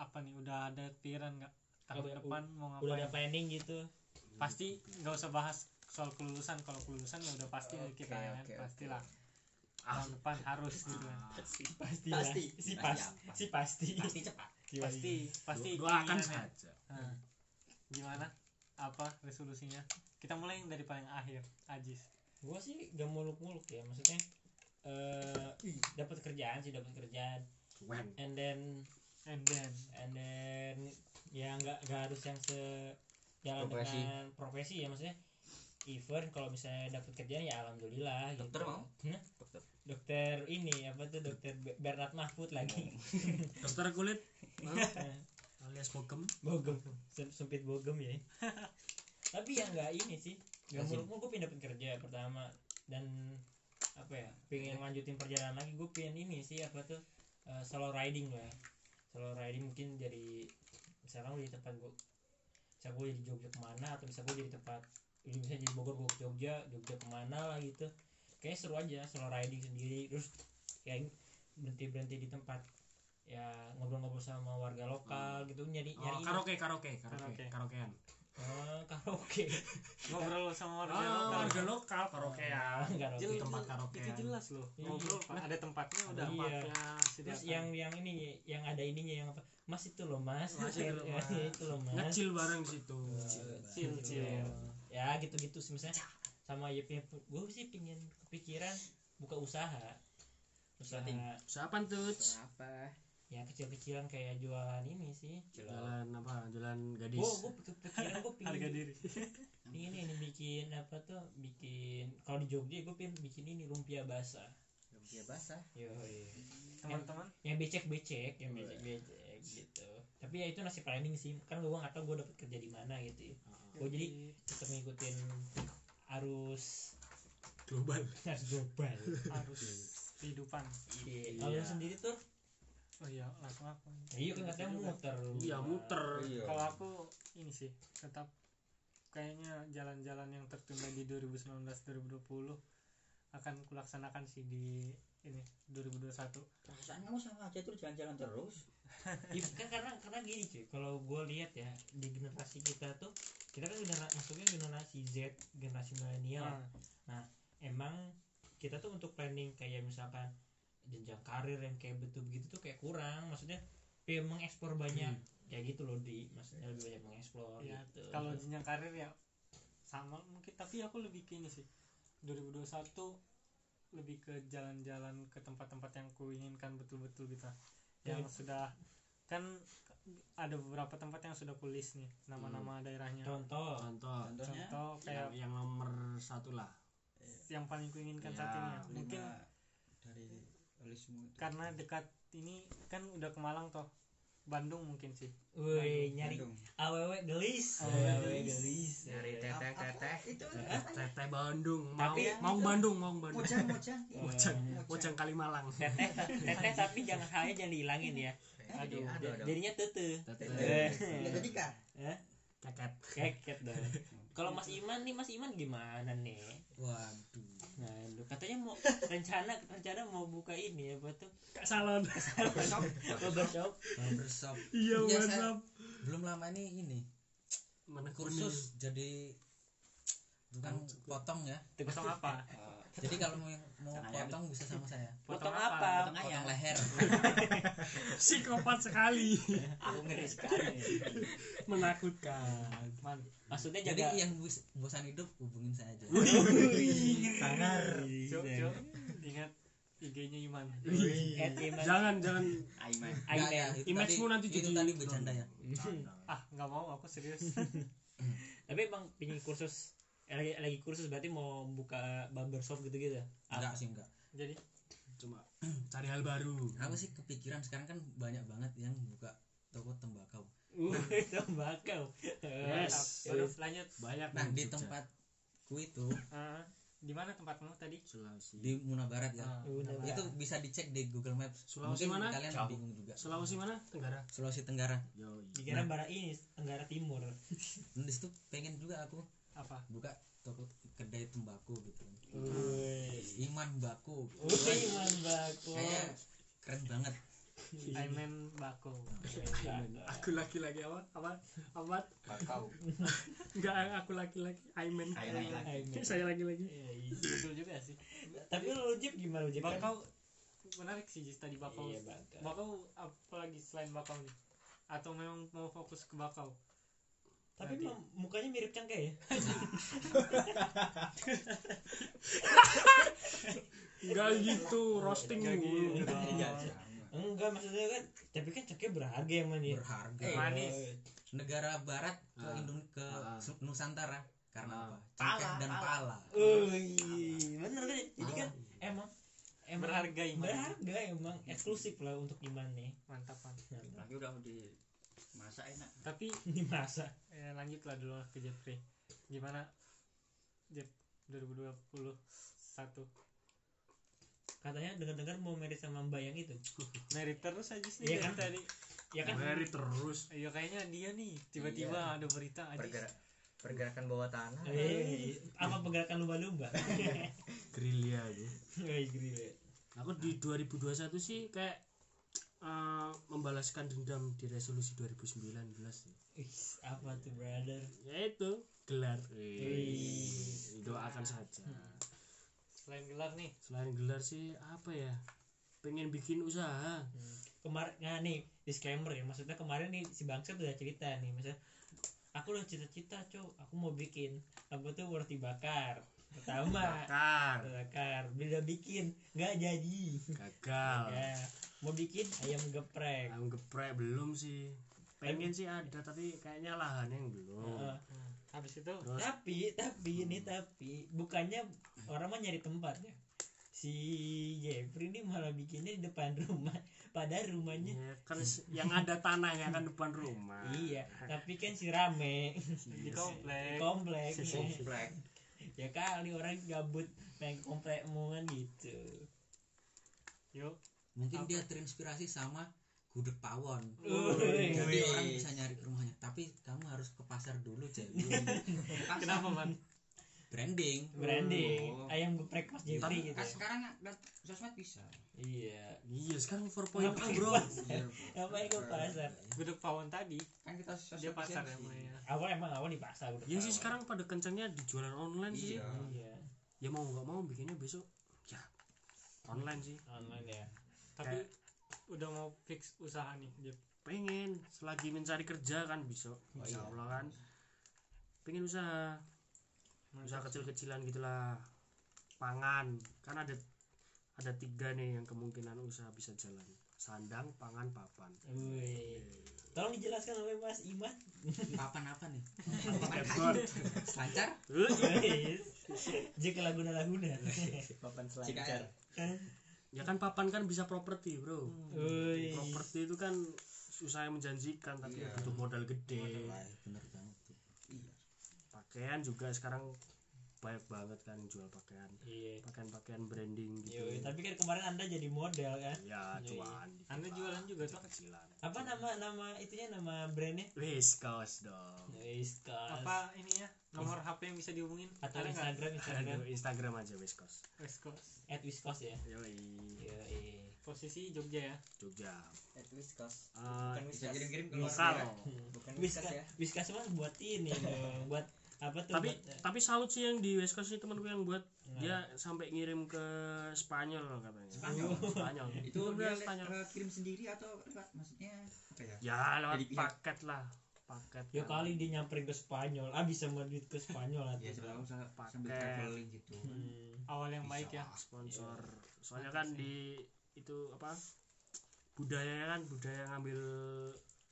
[SPEAKER 2] apa nih udah ada pikiran nggak
[SPEAKER 1] Apa- ya?
[SPEAKER 2] tahun depan mau
[SPEAKER 1] udah
[SPEAKER 2] ngapain
[SPEAKER 1] ada planning gitu
[SPEAKER 2] pasti nggak usah bahas soal kelulusan kalau kelulusan ya udah pasti
[SPEAKER 3] Oke,
[SPEAKER 2] kita ya kan?
[SPEAKER 3] oke,
[SPEAKER 2] pastilah tahun depan harus gitu kan
[SPEAKER 1] si pasti
[SPEAKER 10] Pasti.
[SPEAKER 1] si
[SPEAKER 5] iya.
[SPEAKER 1] pas si pasti
[SPEAKER 10] Pasti cepat.
[SPEAKER 1] Yoi.
[SPEAKER 2] pasti
[SPEAKER 1] iya.
[SPEAKER 2] pasti
[SPEAKER 6] doakan
[SPEAKER 2] keinginannya.
[SPEAKER 6] saja
[SPEAKER 2] Nah, gimana apa resolusinya kita mulai yang dari paling akhir Ajis
[SPEAKER 1] gue sih gak muluk-muluk ya maksudnya eh dapat kerjaan sih dapat kerjaan
[SPEAKER 6] Weng.
[SPEAKER 1] and then
[SPEAKER 2] and then
[SPEAKER 1] and then ya nggak nggak harus yang se jalan
[SPEAKER 3] Profesi.
[SPEAKER 1] dengan profesi ya maksudnya even kalau misalnya dapat kerjaan ya alhamdulillah gitu.
[SPEAKER 10] Dokter mau?
[SPEAKER 1] Hah?
[SPEAKER 10] Dokter.
[SPEAKER 1] dokter ini apa tuh dokter Be- Bernard Mahfud lagi
[SPEAKER 6] dokter kulit alias bogem
[SPEAKER 1] bogem Sem- sempit bogem ya tapi ya nggak ini sih nggak
[SPEAKER 10] Kasih.
[SPEAKER 1] menurutmu gue pindah kerja pertama dan apa ya pengen lanjutin perjalanan lagi gue pengen ini sih apa tuh eh, solo riding lah ya. solo riding mungkin jadi misalnya gue di tempat gue bisa gue jadi Jogja kemana atau bisa gue jadi tempat ini bisa jadi Bogor gue ke Jogja Jogja kemana lah gitu kayaknya seru aja solo riding sendiri terus kayak berhenti berhenti di tempat ya ngobrol-ngobrol sama warga lokal gitu nyari
[SPEAKER 6] oh,
[SPEAKER 1] nyari
[SPEAKER 6] karaoke karaoke karaoke
[SPEAKER 2] Iya, Karaoke.
[SPEAKER 6] karaokean
[SPEAKER 1] Oh, karaoke.
[SPEAKER 2] ngobrol sama warga
[SPEAKER 6] oh
[SPEAKER 2] lokal
[SPEAKER 6] warga lokal karaokean
[SPEAKER 1] Karaoke.
[SPEAKER 5] Iya.
[SPEAKER 2] Jel-
[SPEAKER 6] tempat
[SPEAKER 2] jel-
[SPEAKER 6] karaoke.
[SPEAKER 2] itu jelas loh
[SPEAKER 1] Iya.
[SPEAKER 2] ngobrol Pak. ada tempatnya udah
[SPEAKER 1] Iya.
[SPEAKER 2] tempatnya sudah
[SPEAKER 1] Terus yang yang ini yang ada ininya yang apa? Mas itu loh, Mas.
[SPEAKER 6] Mas itu loh, Mas.
[SPEAKER 1] Ya, itu loh, Mas. Gitu.
[SPEAKER 6] ngecil bareng di situ
[SPEAKER 2] chill chill
[SPEAKER 1] Ya, gitu-gitu sih misalnya sama ya gue sih pingin kepikiran buka usaha. Usaha
[SPEAKER 2] Nah,
[SPEAKER 6] siapa tuh
[SPEAKER 2] Iya.
[SPEAKER 3] apa
[SPEAKER 1] ya kecil-kecilan kayak jualan ini sih.
[SPEAKER 6] jalan apa jalan gadis
[SPEAKER 1] Gue gue kepikiran gue pingin
[SPEAKER 2] harga diri
[SPEAKER 1] pingin ini bikin apa tuh bikin kalau di Jogja gue pengen bikin ini lumpia basah.
[SPEAKER 3] lumpia basah
[SPEAKER 1] Yoi.
[SPEAKER 2] teman-teman
[SPEAKER 1] yang becek-becek yang becek-becek gitu tapi ya itu nasi planning sih kan gue nggak tahu gue dapet kerja di mana gitu ya
[SPEAKER 6] Ah.
[SPEAKER 1] gue jadi tetap ngikutin arus
[SPEAKER 6] global
[SPEAKER 1] arus global
[SPEAKER 2] harus kehidupan
[SPEAKER 1] Iya. kalau lu sendiri tuh
[SPEAKER 2] oh iya langsung aku
[SPEAKER 1] ya, iya kan katanya muter lu.
[SPEAKER 6] iya muter
[SPEAKER 5] Iya.
[SPEAKER 2] kalau aku ini sih tetap kayaknya jalan-jalan yang tertunda di 2019 2020 akan kulaksanakan sih di ini 2021
[SPEAKER 5] Perasaan kamu sama aja tuh jalan-jalan terus.
[SPEAKER 1] Iya, kan karena karena gini cuy kalau gue lihat ya di generasi kita tuh kita kan genera- masuknya generasi Z generasi milenial
[SPEAKER 2] Nah,
[SPEAKER 1] emang kita tuh untuk planning kayak misalkan jenjang karir yang kayak betul begitu tuh kayak kurang maksudnya kayak mengekspor banyak
[SPEAKER 6] Hmm.
[SPEAKER 1] kayak gitu loh di maksudnya lebih banyak mengekspor
[SPEAKER 2] Ya,
[SPEAKER 1] gitu
[SPEAKER 2] kalau jenjang karir ya sama mungkin tapi aku lebih ke ini sih 2021 lebih ke jalan-jalan ke tempat-tempat yang kuinginkan betul-betul gitu yang
[SPEAKER 1] Ya.
[SPEAKER 2] sudah kan ada beberapa tempat yang sudah kulis nih nama-nama daerahnya
[SPEAKER 1] contoh
[SPEAKER 6] contoh
[SPEAKER 5] Contohnya
[SPEAKER 2] contoh kayak
[SPEAKER 6] yang, yang nomor satu lah
[SPEAKER 2] yang paling kuinginkan saat
[SPEAKER 6] Ya,
[SPEAKER 2] ini ya. mungkin
[SPEAKER 5] lima dari listmu itu?
[SPEAKER 1] karena dekat ini kan udah ke Malang toh Bandung mungkin sih
[SPEAKER 12] Woi, nyari
[SPEAKER 5] Bandung.
[SPEAKER 12] aww gelis.
[SPEAKER 1] Awewe
[SPEAKER 12] gelis.
[SPEAKER 6] Dari
[SPEAKER 5] Apa-
[SPEAKER 6] teteh teteh
[SPEAKER 5] apa itu
[SPEAKER 6] teteh teteh Bandung mau
[SPEAKER 2] Tapi- Iya.
[SPEAKER 6] mau Bandung mau Bandung Iya,
[SPEAKER 5] mojang mojang
[SPEAKER 6] Mojang Mojang Kalimalang
[SPEAKER 2] teteh teteh tapi jangan hanya jangan dihilangin ya
[SPEAKER 6] aduh
[SPEAKER 13] aduh, aduh.
[SPEAKER 2] jadinya tete
[SPEAKER 6] teteh
[SPEAKER 5] nggak jadi kah
[SPEAKER 6] keket
[SPEAKER 2] keket dong kalau Mas Iman nih Mas Iman gimana nih
[SPEAKER 3] waduh
[SPEAKER 2] nah lu katanya mau rencana rencana mau buka ini ya apa tuh
[SPEAKER 6] kak salon
[SPEAKER 2] barbershop
[SPEAKER 3] barbershop
[SPEAKER 6] iya
[SPEAKER 3] Iya, saya-
[SPEAKER 6] mantap
[SPEAKER 3] belum lama ini ini
[SPEAKER 6] menekuni
[SPEAKER 3] kursus jadi tukang potong ya
[SPEAKER 1] potong apa
[SPEAKER 3] jadi kalau mau mau
[SPEAKER 5] Tangan ayam.
[SPEAKER 3] potong bisa sama saya
[SPEAKER 2] potong apa
[SPEAKER 5] potong
[SPEAKER 3] potong
[SPEAKER 5] ayam
[SPEAKER 3] leher
[SPEAKER 6] psikopat sekali
[SPEAKER 2] aku ngeri sekali
[SPEAKER 6] menakutkan
[SPEAKER 1] Man,
[SPEAKER 2] maksudnya
[SPEAKER 3] jadi iya,
[SPEAKER 2] jaga
[SPEAKER 3] yang bus- bosan hidup hubungin saya aja
[SPEAKER 12] Sangar.
[SPEAKER 1] cok cok ingat IG-nya Iman
[SPEAKER 2] Ed Iman
[SPEAKER 6] Eh, jangan jangan
[SPEAKER 5] Aiman
[SPEAKER 3] Nggak,
[SPEAKER 2] Aiman
[SPEAKER 3] nggak, itu
[SPEAKER 6] Image-mu
[SPEAKER 3] tadi-
[SPEAKER 6] nanti
[SPEAKER 3] itu
[SPEAKER 6] jadi-
[SPEAKER 3] tadi bercanda ya
[SPEAKER 1] ah nggak mau aku serius
[SPEAKER 2] tapi emang pingin kursus eh, lagi, lagi kursus berarti mau buka barbershop gitu gitu
[SPEAKER 3] enggak sih enggak
[SPEAKER 1] jadi
[SPEAKER 6] cuma cari hal baru
[SPEAKER 3] aku sih kepikiran sekarang kan banyak banget yang buka toko tembakau
[SPEAKER 2] Wih, tembakau
[SPEAKER 6] Yes.
[SPEAKER 1] terus lanjut
[SPEAKER 6] banyak
[SPEAKER 3] nah
[SPEAKER 6] yang
[SPEAKER 3] di
[SPEAKER 6] Jogja.
[SPEAKER 3] tempatku itu
[SPEAKER 1] Ah, di mana tempatmu tadi
[SPEAKER 6] Sulawesi
[SPEAKER 3] di Munabarat ya
[SPEAKER 1] Ah,
[SPEAKER 2] Udah,
[SPEAKER 1] tempat-
[SPEAKER 3] itu bisa dicek di Google Maps
[SPEAKER 6] Sulawesi
[SPEAKER 3] Mungkin
[SPEAKER 6] mana?
[SPEAKER 3] kalian
[SPEAKER 6] Jauh.
[SPEAKER 3] bingung juga
[SPEAKER 6] Sulawesi mana Tenggara
[SPEAKER 3] Sulawesi Tenggara
[SPEAKER 6] yo
[SPEAKER 2] dikira barat ini Tenggara Timur
[SPEAKER 3] dan Nah, di situ pengen juga aku
[SPEAKER 1] apa
[SPEAKER 3] buka toko kedai tembakau gitu kan iman baku gitu.
[SPEAKER 2] Wih, Iman Bako
[SPEAKER 3] kayaknya keren banget
[SPEAKER 1] Aiman Bako
[SPEAKER 6] aku laki-laki apa apa apa
[SPEAKER 13] bakau
[SPEAKER 6] enggak aku laki-laki Aiman
[SPEAKER 2] Aiman.
[SPEAKER 6] Kayak saya lagi-lagi
[SPEAKER 1] Iya, betul juga sih
[SPEAKER 2] tapi lu Jep gimana Jep
[SPEAKER 1] Bakau menarik sih Jis, tadi bakau
[SPEAKER 2] Iya, bakau.
[SPEAKER 1] bakau apalagi selain bakau nih atau memang mau fokus ke bakau
[SPEAKER 2] tapi
[SPEAKER 1] Berarti-
[SPEAKER 2] mem- mukanya mirip cangkai ya
[SPEAKER 6] enggak gitu roasting
[SPEAKER 1] Enggak
[SPEAKER 6] mulu
[SPEAKER 1] gitu.
[SPEAKER 5] Iya, sama.
[SPEAKER 2] enggak maksudnya kan tapi kan cangkai berharga yang mana ya
[SPEAKER 3] berharga
[SPEAKER 2] Eh,
[SPEAKER 1] manis.
[SPEAKER 3] negara barat ke
[SPEAKER 6] Ah.
[SPEAKER 3] Indon- ke
[SPEAKER 6] Ah.
[SPEAKER 3] Su- Nusantara
[SPEAKER 6] Ah.
[SPEAKER 3] karena apa cengkeh dan pala
[SPEAKER 2] Wih, Oh, bener kan jadi kan emang emang
[SPEAKER 1] Ah. berharga iman
[SPEAKER 2] berharga emang eksklusif lah untuk Iman ya. nih
[SPEAKER 1] mantap mantap
[SPEAKER 5] lagi udah di masak enak
[SPEAKER 1] tapi
[SPEAKER 2] ini masa
[SPEAKER 1] eh, lanjutlah dulu ke Jeffrey gimana Jeff 2021
[SPEAKER 2] katanya dengar-dengar mau married sama Mbak yang itu
[SPEAKER 1] merit terus aja sih
[SPEAKER 2] Iya
[SPEAKER 1] dari
[SPEAKER 2] kan?
[SPEAKER 1] tadi
[SPEAKER 2] ya kan
[SPEAKER 6] Mary terus
[SPEAKER 1] Iya kayaknya dia nih tiba-tiba
[SPEAKER 2] Iya.
[SPEAKER 1] ada berita aja
[SPEAKER 13] pergerak pergerakan bawah tanah
[SPEAKER 3] Iya.
[SPEAKER 2] Eh, apa pergerakan lumba-lumba
[SPEAKER 6] gerilya aja
[SPEAKER 2] Wih, gila.
[SPEAKER 6] aku di 2021 sih kayak eh, membalaskan dendam di resolusi 2019 sih.
[SPEAKER 2] Ih, apa tuh brother
[SPEAKER 6] yaitu gelar
[SPEAKER 2] Wih.
[SPEAKER 6] doakan saja
[SPEAKER 1] selain gelar nih
[SPEAKER 6] selain gelar sih apa ya pengen bikin usaha
[SPEAKER 2] kemarin nah nih disclaimer ya maksudnya kemarin nih si bangsa udah cerita nih maksudnya aku udah cita-cita cok aku mau bikin apa tuh roti bakar pertama
[SPEAKER 6] bakar
[SPEAKER 2] roti bakar udah bikin nggak jadi
[SPEAKER 6] gagal
[SPEAKER 1] Ah.
[SPEAKER 2] ya mau bikin ayam geprek
[SPEAKER 6] ayam geprek belum sih pengen sih ada tapi kayaknya lahannya yang belum
[SPEAKER 2] Heeh.
[SPEAKER 1] habis itu
[SPEAKER 6] Hmm. terus Hmm.
[SPEAKER 2] tapi tapi ini tapi bukannya orang mah nyari tempat ya si Jeffrey ini malah bikinnya di depan rumah pada rumahnya
[SPEAKER 6] ya, kan s- yang ada tanahnya kan depan rumah
[SPEAKER 2] iya tapi kan si rame
[SPEAKER 1] di komplek
[SPEAKER 2] komplek
[SPEAKER 13] komplek
[SPEAKER 2] ya kali orang gabut main komplekmu kan gitu
[SPEAKER 1] yuk
[SPEAKER 3] mungkin
[SPEAKER 1] Apa?
[SPEAKER 3] dia terinspirasi sama gudeg pawon
[SPEAKER 2] Wih.
[SPEAKER 3] jadi orang bisa nyari ke rumahnya tapi kamu harus ke pasar dulu jadi
[SPEAKER 1] kenapa man
[SPEAKER 3] branding
[SPEAKER 1] Iya.
[SPEAKER 2] branding
[SPEAKER 5] Oh.
[SPEAKER 2] ayam geprek mas Jeffrey gitu
[SPEAKER 5] kan sekarang ada sosmed bisa
[SPEAKER 2] iya
[SPEAKER 6] iya sekarang 4.0
[SPEAKER 2] Ngapain
[SPEAKER 6] bro
[SPEAKER 2] pasar? ngapain ke pasar
[SPEAKER 1] gudeg pawon tadi
[SPEAKER 5] kan kita sosmed
[SPEAKER 1] dia pasar
[SPEAKER 5] bisa.
[SPEAKER 1] yang mainnya
[SPEAKER 2] awal emang awal di pasar udah
[SPEAKER 6] ya sih
[SPEAKER 2] tahu.
[SPEAKER 6] sekarang pada kencangnya di jualan online sih
[SPEAKER 5] iya
[SPEAKER 1] Hmm,
[SPEAKER 2] iya
[SPEAKER 6] ya mau nggak mau bikinnya besok ya online sih
[SPEAKER 2] online ya
[SPEAKER 1] tapi udah mau fix usaha nih Jeff
[SPEAKER 6] pengen selagi mencari kerja kan bisa insya
[SPEAKER 3] iya.
[SPEAKER 6] Allah kan pengen usaha usaha
[SPEAKER 1] Mantap.
[SPEAKER 6] kecil-kecilan gitulah pangan kan ada ada tiga nih yang kemungkinan usaha bisa jalan sandang pangan papan
[SPEAKER 2] Wih. tolong dijelaskan oleh Mas Iman
[SPEAKER 3] papan apa nih
[SPEAKER 6] Skateboard.
[SPEAKER 3] selancar
[SPEAKER 6] Eh,
[SPEAKER 2] Wis. jika laguna laguna
[SPEAKER 13] papan
[SPEAKER 5] Jika-
[SPEAKER 13] selancar
[SPEAKER 6] ya kan papan kan bisa properti bro
[SPEAKER 2] Hmm.
[SPEAKER 1] Woi.
[SPEAKER 2] Iya.
[SPEAKER 6] properti itu kan susah yang menjanjikan tapi
[SPEAKER 14] Iya.
[SPEAKER 6] butuh modal gede Iya.
[SPEAKER 14] Wah, bener banget tuh.
[SPEAKER 6] pakaian juga sekarang banyak banget kan jual pakaian
[SPEAKER 1] Iya.
[SPEAKER 6] pakaian-pakaian branding gitu
[SPEAKER 1] Yoi, tapi kan kemarin Anda jadi model kan.
[SPEAKER 6] ya
[SPEAKER 1] Iya,
[SPEAKER 6] cuan
[SPEAKER 2] Anda jualan juga, Cok?
[SPEAKER 6] kecilan
[SPEAKER 1] Apa nama nama itunya nama brandnya?
[SPEAKER 6] wis kaos dong
[SPEAKER 1] Wis Apa?
[SPEAKER 2] apa ini ya nomor HP yang bisa dihubungin
[SPEAKER 1] Atau
[SPEAKER 2] Ada nggak?
[SPEAKER 1] Instagram Instagram
[SPEAKER 6] Aduh, Instagram aja wis kaos
[SPEAKER 2] West Coast
[SPEAKER 1] at @wiskos ya.
[SPEAKER 6] yoi
[SPEAKER 1] Yoi.
[SPEAKER 2] posisi Jogja ya
[SPEAKER 6] Jogja
[SPEAKER 5] at least Kan kos
[SPEAKER 6] Eh,
[SPEAKER 5] bukan
[SPEAKER 14] Bisa
[SPEAKER 5] wiskas
[SPEAKER 14] kirim-kirim ke luar
[SPEAKER 6] misal
[SPEAKER 5] bukan
[SPEAKER 1] Wiskas
[SPEAKER 5] wiskas ya
[SPEAKER 1] Wiskas mah buat ini dong, buat apa tuh?
[SPEAKER 6] tapi
[SPEAKER 1] buat, eh,
[SPEAKER 6] tapi salut sih yang di West Coast ini temanku yang buat
[SPEAKER 1] Nah.
[SPEAKER 6] dia sampai ngirim ke Spanyol katanya Oh,
[SPEAKER 14] Spanyol?
[SPEAKER 6] Spanyol
[SPEAKER 14] itu dia
[SPEAKER 6] dia Spanyol
[SPEAKER 14] eh, kirim sendiri atau lewat maksudnya apa ya
[SPEAKER 6] ya lewat
[SPEAKER 14] Jadi pihak.
[SPEAKER 6] paket lah paket
[SPEAKER 1] Ya
[SPEAKER 6] kan.
[SPEAKER 1] kali dia nyamperin ke Spanyol, ah bisa buat duit ke Spanyol atau
[SPEAKER 6] Iya,
[SPEAKER 14] ya sebelum sambil
[SPEAKER 6] Paket.
[SPEAKER 14] sambil traveling gitu
[SPEAKER 1] Hmm.
[SPEAKER 2] awal yang baik ya
[SPEAKER 6] sponsor soalnya kan di itu apa budayanya kan budaya ngambil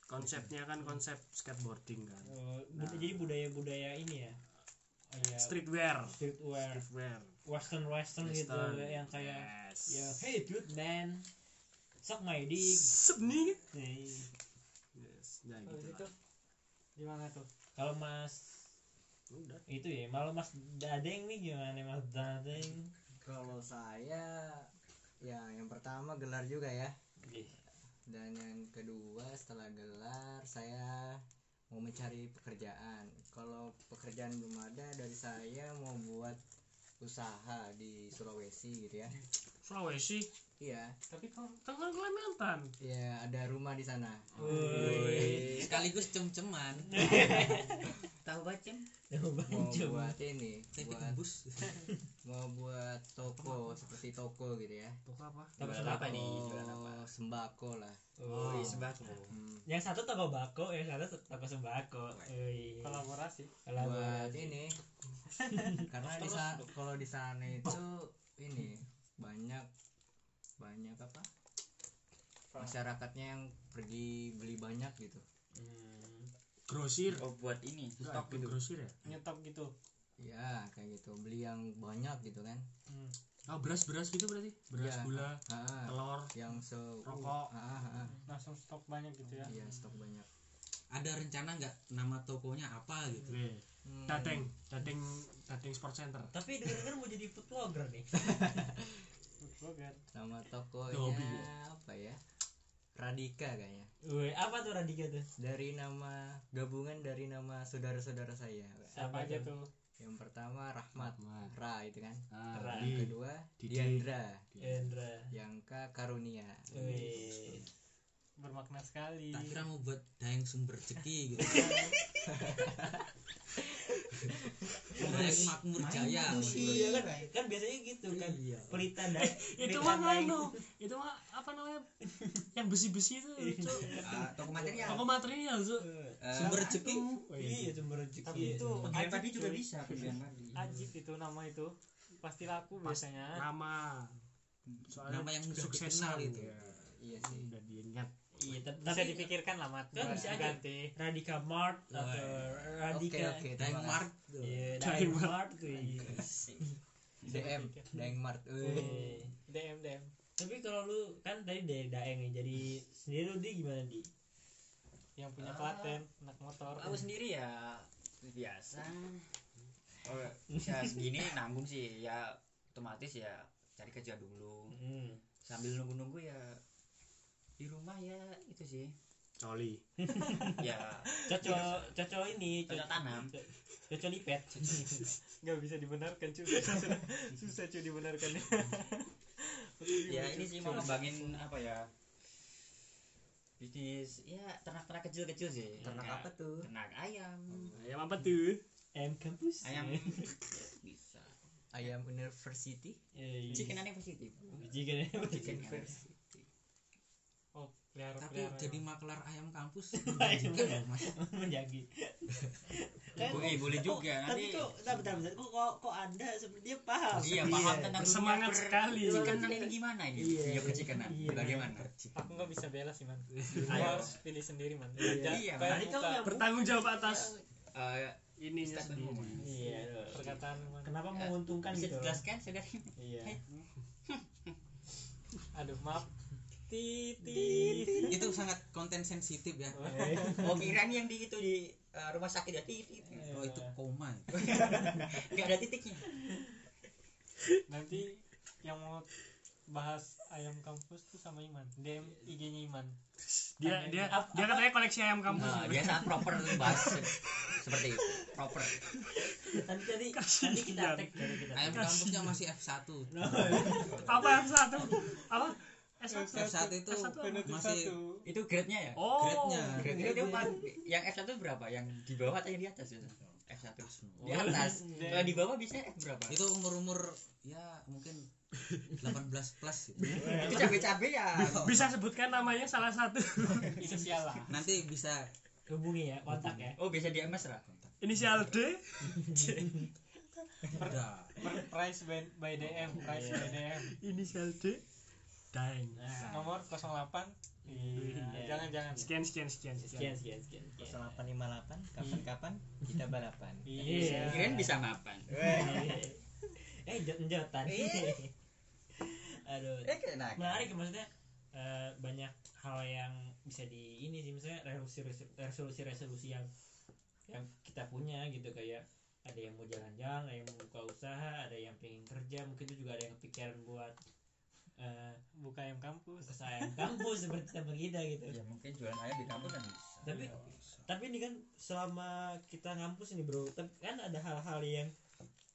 [SPEAKER 6] konsepnya kan konsep skateboarding kan
[SPEAKER 1] Oh, bud-
[SPEAKER 6] Nah.
[SPEAKER 1] jadi budaya-budaya ini ya. Oh,
[SPEAKER 2] iya,
[SPEAKER 1] ya.
[SPEAKER 6] streetwear
[SPEAKER 1] streetwear,
[SPEAKER 6] streetwear
[SPEAKER 1] western western gitu yang kayak
[SPEAKER 6] yes.
[SPEAKER 1] ya hey dude man. Suck my dick.
[SPEAKER 6] Sup, nih.
[SPEAKER 1] Nih.
[SPEAKER 6] yes. ya
[SPEAKER 2] Kalau
[SPEAKER 6] gitu
[SPEAKER 2] gitu
[SPEAKER 6] lah.
[SPEAKER 2] gimana tuh
[SPEAKER 1] Kalau Mas
[SPEAKER 6] udah
[SPEAKER 1] itu ya, malu Mas Dadeng nih gimana Mas Dadeng?
[SPEAKER 3] Kalau saya ya yang pertama gelar juga ya.
[SPEAKER 1] Ih,
[SPEAKER 3] Dan yang kedua setelah gelar saya mau mencari pekerjaan. Kalau pekerjaan belum ada dari saya mau buat usaha di Sulawesi gitu ya.
[SPEAKER 6] Sulawesi
[SPEAKER 3] Iya,
[SPEAKER 2] tapi kok
[SPEAKER 6] kan kan Kalimantan
[SPEAKER 3] iya ada rumah di sana.
[SPEAKER 14] sekaligus cem-ceman tahu bacem
[SPEAKER 3] Mau
[SPEAKER 1] Banjo.
[SPEAKER 3] buat ini,
[SPEAKER 14] tempe
[SPEAKER 3] buat
[SPEAKER 14] gembus
[SPEAKER 3] mau buat toko seperti toko gitu ya.
[SPEAKER 6] Toko apa
[SPEAKER 1] Toko
[SPEAKER 3] Jualan
[SPEAKER 1] apa nih?
[SPEAKER 3] toko
[SPEAKER 1] Jualan apa?
[SPEAKER 3] Sembako lah.
[SPEAKER 1] Oh,
[SPEAKER 3] Hmm.
[SPEAKER 1] Yang satu toko bako, yang satu toko sembako. Wih.
[SPEAKER 2] kolaborasi
[SPEAKER 1] Kalau
[SPEAKER 3] buat ini karena di sa- kalau di sana itu ini banyak banyak apa masyarakatnya yang pergi beli banyak gitu
[SPEAKER 1] Hmm.
[SPEAKER 6] grosir
[SPEAKER 5] oh buat ini stok
[SPEAKER 6] Bukan grosir ya
[SPEAKER 2] nyetop gitu
[SPEAKER 3] ya kayak gitu beli yang banyak gitu kan
[SPEAKER 2] hmm.
[SPEAKER 6] oh beras beras gitu berarti beras
[SPEAKER 3] Iya.
[SPEAKER 6] gula
[SPEAKER 3] Ah,
[SPEAKER 6] telur
[SPEAKER 3] yang se Ah,
[SPEAKER 6] Rokok.
[SPEAKER 3] ah, ah.
[SPEAKER 2] langsung stok banyak gitu ya
[SPEAKER 3] iya stok banyak
[SPEAKER 14] ada rencana nggak nama tokonya apa gitu
[SPEAKER 6] Weh,
[SPEAKER 3] Hmm,
[SPEAKER 6] dateng dateng dateng sport center
[SPEAKER 1] Tapi denger-denger mau jadi food vlogger nih.
[SPEAKER 2] Bogan.
[SPEAKER 3] nama
[SPEAKER 6] Dobi.
[SPEAKER 3] tokonya apa ya Radika kayaknya
[SPEAKER 1] Wih, apa tuh Radika tuh?
[SPEAKER 3] dari nama gabungan dari nama saudara-saudara saya
[SPEAKER 2] siapa aja tuh
[SPEAKER 3] yang pertama Rahmat Ra itu kan
[SPEAKER 6] Ah,
[SPEAKER 1] Ra.
[SPEAKER 3] yang
[SPEAKER 6] di-
[SPEAKER 3] kedua
[SPEAKER 6] Didi.
[SPEAKER 3] Diandra
[SPEAKER 1] Endra.
[SPEAKER 3] yang ke Karunia
[SPEAKER 1] Iya. Wih.
[SPEAKER 2] bermakna sekali
[SPEAKER 14] Ah, tak kira mau buat dayang sumber rezeki gitu dayang makmur jaya gitu.
[SPEAKER 1] Iya kan, kan biasanya gitu kan.
[SPEAKER 14] Iya.
[SPEAKER 1] Pelita dan
[SPEAKER 6] itu mah nganu itu mah apa namanya yang besi besi itu Cuk. Oh,
[SPEAKER 14] Ah, toko material
[SPEAKER 6] toko material tuh
[SPEAKER 3] Eh,
[SPEAKER 14] sumber rezeki
[SPEAKER 6] Oh,
[SPEAKER 1] Iya sumber rezeki.
[SPEAKER 14] tapi itu
[SPEAKER 2] Ajib,
[SPEAKER 14] tadi juga
[SPEAKER 2] cuy.
[SPEAKER 14] bisa pilihan tadi
[SPEAKER 2] ajib itu nama itu pasti laku
[SPEAKER 6] Pas-
[SPEAKER 2] biasanya
[SPEAKER 6] nama soalnya
[SPEAKER 14] nama yang mudah dikenal
[SPEAKER 6] suksesan
[SPEAKER 14] itu
[SPEAKER 6] ya.
[SPEAKER 3] iya sih
[SPEAKER 6] udah diingat
[SPEAKER 1] Iya, tapi
[SPEAKER 2] bisa
[SPEAKER 1] tapi
[SPEAKER 2] dipikirkan lah mat
[SPEAKER 1] Kan
[SPEAKER 2] buat
[SPEAKER 1] bisa aja.
[SPEAKER 2] ganti
[SPEAKER 1] Radika Mart atau
[SPEAKER 3] oke
[SPEAKER 1] Radika.
[SPEAKER 3] oke
[SPEAKER 14] dayang
[SPEAKER 3] terima
[SPEAKER 14] mark
[SPEAKER 1] Iya,
[SPEAKER 6] Daeng
[SPEAKER 1] Daeng Mart tuh. iya.
[SPEAKER 3] kasih. DM Daeng Mart Wih.
[SPEAKER 1] Wih.
[SPEAKER 2] dm dm
[SPEAKER 1] Tapi kalau lu kan tadi dari Daeng ya, jadi sendiri lu di gimana di?
[SPEAKER 2] yang
[SPEAKER 1] Ah.
[SPEAKER 2] punya klaten anak motor
[SPEAKER 5] aku sendiri ya biasa oh, bisa segini nanggung sih ya otomatis ya cari kerja dulu
[SPEAKER 1] Hmm.
[SPEAKER 5] sambil nunggu-nunggu ya di rumah ya itu sih
[SPEAKER 6] coli
[SPEAKER 5] ya
[SPEAKER 1] Cocok cocok Oh, ini,
[SPEAKER 5] Cocok tanam.
[SPEAKER 1] Cocok lipet.
[SPEAKER 2] nggak bisa dibenarkan cuy susah, susah cuy dibenarkannya
[SPEAKER 5] ya ini sih mau ngembangin apa ya bisnis ya ternak-ternak kecil-kecil sih
[SPEAKER 3] ternak apa tuh
[SPEAKER 5] ternak ayam
[SPEAKER 6] ayam apa tuh
[SPEAKER 1] M kampus.
[SPEAKER 5] ayam bisa
[SPEAKER 3] ayam university
[SPEAKER 5] chicken aneh positif
[SPEAKER 1] Chicken
[SPEAKER 5] chicken
[SPEAKER 2] oh pelihara
[SPEAKER 14] tapi
[SPEAKER 2] pelihara
[SPEAKER 14] jadi maklar ayam kampus
[SPEAKER 1] Ayam.
[SPEAKER 14] menjanjikan loh, Mas.
[SPEAKER 1] menjagi.
[SPEAKER 5] boleh
[SPEAKER 3] Oh,
[SPEAKER 5] boleh juga
[SPEAKER 1] Tapi
[SPEAKER 5] nanti
[SPEAKER 1] kok bentar bentar bentar. kok kok, kok Anda sepertinya paham.
[SPEAKER 5] iya paham tentang
[SPEAKER 6] Bersemangat
[SPEAKER 14] Iya.
[SPEAKER 6] sekali.
[SPEAKER 5] chicken ini gimana ini
[SPEAKER 1] Iya.
[SPEAKER 5] iya percikanan
[SPEAKER 1] Iya.
[SPEAKER 5] bagaimana
[SPEAKER 2] aku nggak bisa bela sih man Gua
[SPEAKER 5] Ayo.
[SPEAKER 2] harus pilih sendiri man
[SPEAKER 5] Iya,
[SPEAKER 2] Kayak
[SPEAKER 1] Tadi kamu
[SPEAKER 2] muka
[SPEAKER 1] yang
[SPEAKER 6] bertanggung jawab atas
[SPEAKER 5] Eh,
[SPEAKER 6] ininya
[SPEAKER 5] Statement
[SPEAKER 6] sendiri
[SPEAKER 5] ngomong.
[SPEAKER 1] Iya. loh.
[SPEAKER 2] perkataan man
[SPEAKER 1] gitu?
[SPEAKER 2] Iya.
[SPEAKER 1] Kenapa menguntungkan
[SPEAKER 5] bisa
[SPEAKER 1] gitu?
[SPEAKER 5] dijelaskan saudari
[SPEAKER 1] Iya.
[SPEAKER 2] aduh maaf titit
[SPEAKER 14] itu sangat konten sensitif ya
[SPEAKER 5] oh kirain yang di itu di eh, rumah sakit ya titik
[SPEAKER 14] oh itu koma
[SPEAKER 5] nggak ada titiknya
[SPEAKER 2] nanti yang mau bahas ayam kampus tuh sama Iman DM IG-nya Iman
[SPEAKER 6] dia dia dia katanya koleksi ayam kampus
[SPEAKER 5] nah, dia sangat proper tuh bahas seperti itu proper
[SPEAKER 1] Nanti tadi nanti kita tag dari kita.
[SPEAKER 14] ayam kampusnya masih F1
[SPEAKER 6] apa yang satu apa S1
[SPEAKER 14] F1 itu
[SPEAKER 6] F1 apa?
[SPEAKER 14] masih
[SPEAKER 2] satu
[SPEAKER 5] itu grade-nya ya
[SPEAKER 6] oh
[SPEAKER 14] grade-nya
[SPEAKER 5] grade-nya itu empat- yang F1 berapa yang di bawah atau yang di atas ya F1 di atas kalau di bawah biasanya F berapa
[SPEAKER 14] itu umur-umur ya mungkin 18 plus gitu.
[SPEAKER 5] itu cabe-cabe ya
[SPEAKER 6] bisa sebutkan namanya salah satu
[SPEAKER 2] inisial lah
[SPEAKER 14] nanti bisa
[SPEAKER 1] Hubungi ya, kontak ya.
[SPEAKER 5] oh biasa di MS lah
[SPEAKER 6] inisial D
[SPEAKER 14] udah
[SPEAKER 2] Per- price by, by DM
[SPEAKER 1] Oh,
[SPEAKER 2] price
[SPEAKER 1] iya.
[SPEAKER 2] by DM
[SPEAKER 6] inisial D Daeng
[SPEAKER 2] nomor 08 iya jangan jangan
[SPEAKER 6] sekian sekian sekian sekian
[SPEAKER 1] Sekian sekian sekian. sekian.
[SPEAKER 5] Hmm.
[SPEAKER 3] 0858 kapan-kapan kita balapan
[SPEAKER 2] iya
[SPEAKER 5] kirain bisa mapan
[SPEAKER 1] eh jot-jotan.
[SPEAKER 2] Iya.
[SPEAKER 1] Aduh.
[SPEAKER 5] eh kena
[SPEAKER 1] menarik ya, maksudnya eh, banyak hal yang bisa di ini sih misalnya resolusi resolusi resolusi yang yang kita punya gitu kayak ada yang mau jalan-jalan ada yang mau buka usaha ada yang pengen kerja mungkin itu juga ada yang kepikiran buat eh
[SPEAKER 2] buka ayam kampus
[SPEAKER 1] usaha yang kampus seperti sama kita gitu
[SPEAKER 5] ya mungkin jualan ayam di kampus kan bisa
[SPEAKER 1] tapi
[SPEAKER 2] Iya,
[SPEAKER 1] tapi ini kan selama kita ngampus ini bro tapi kan ada hal-hal yang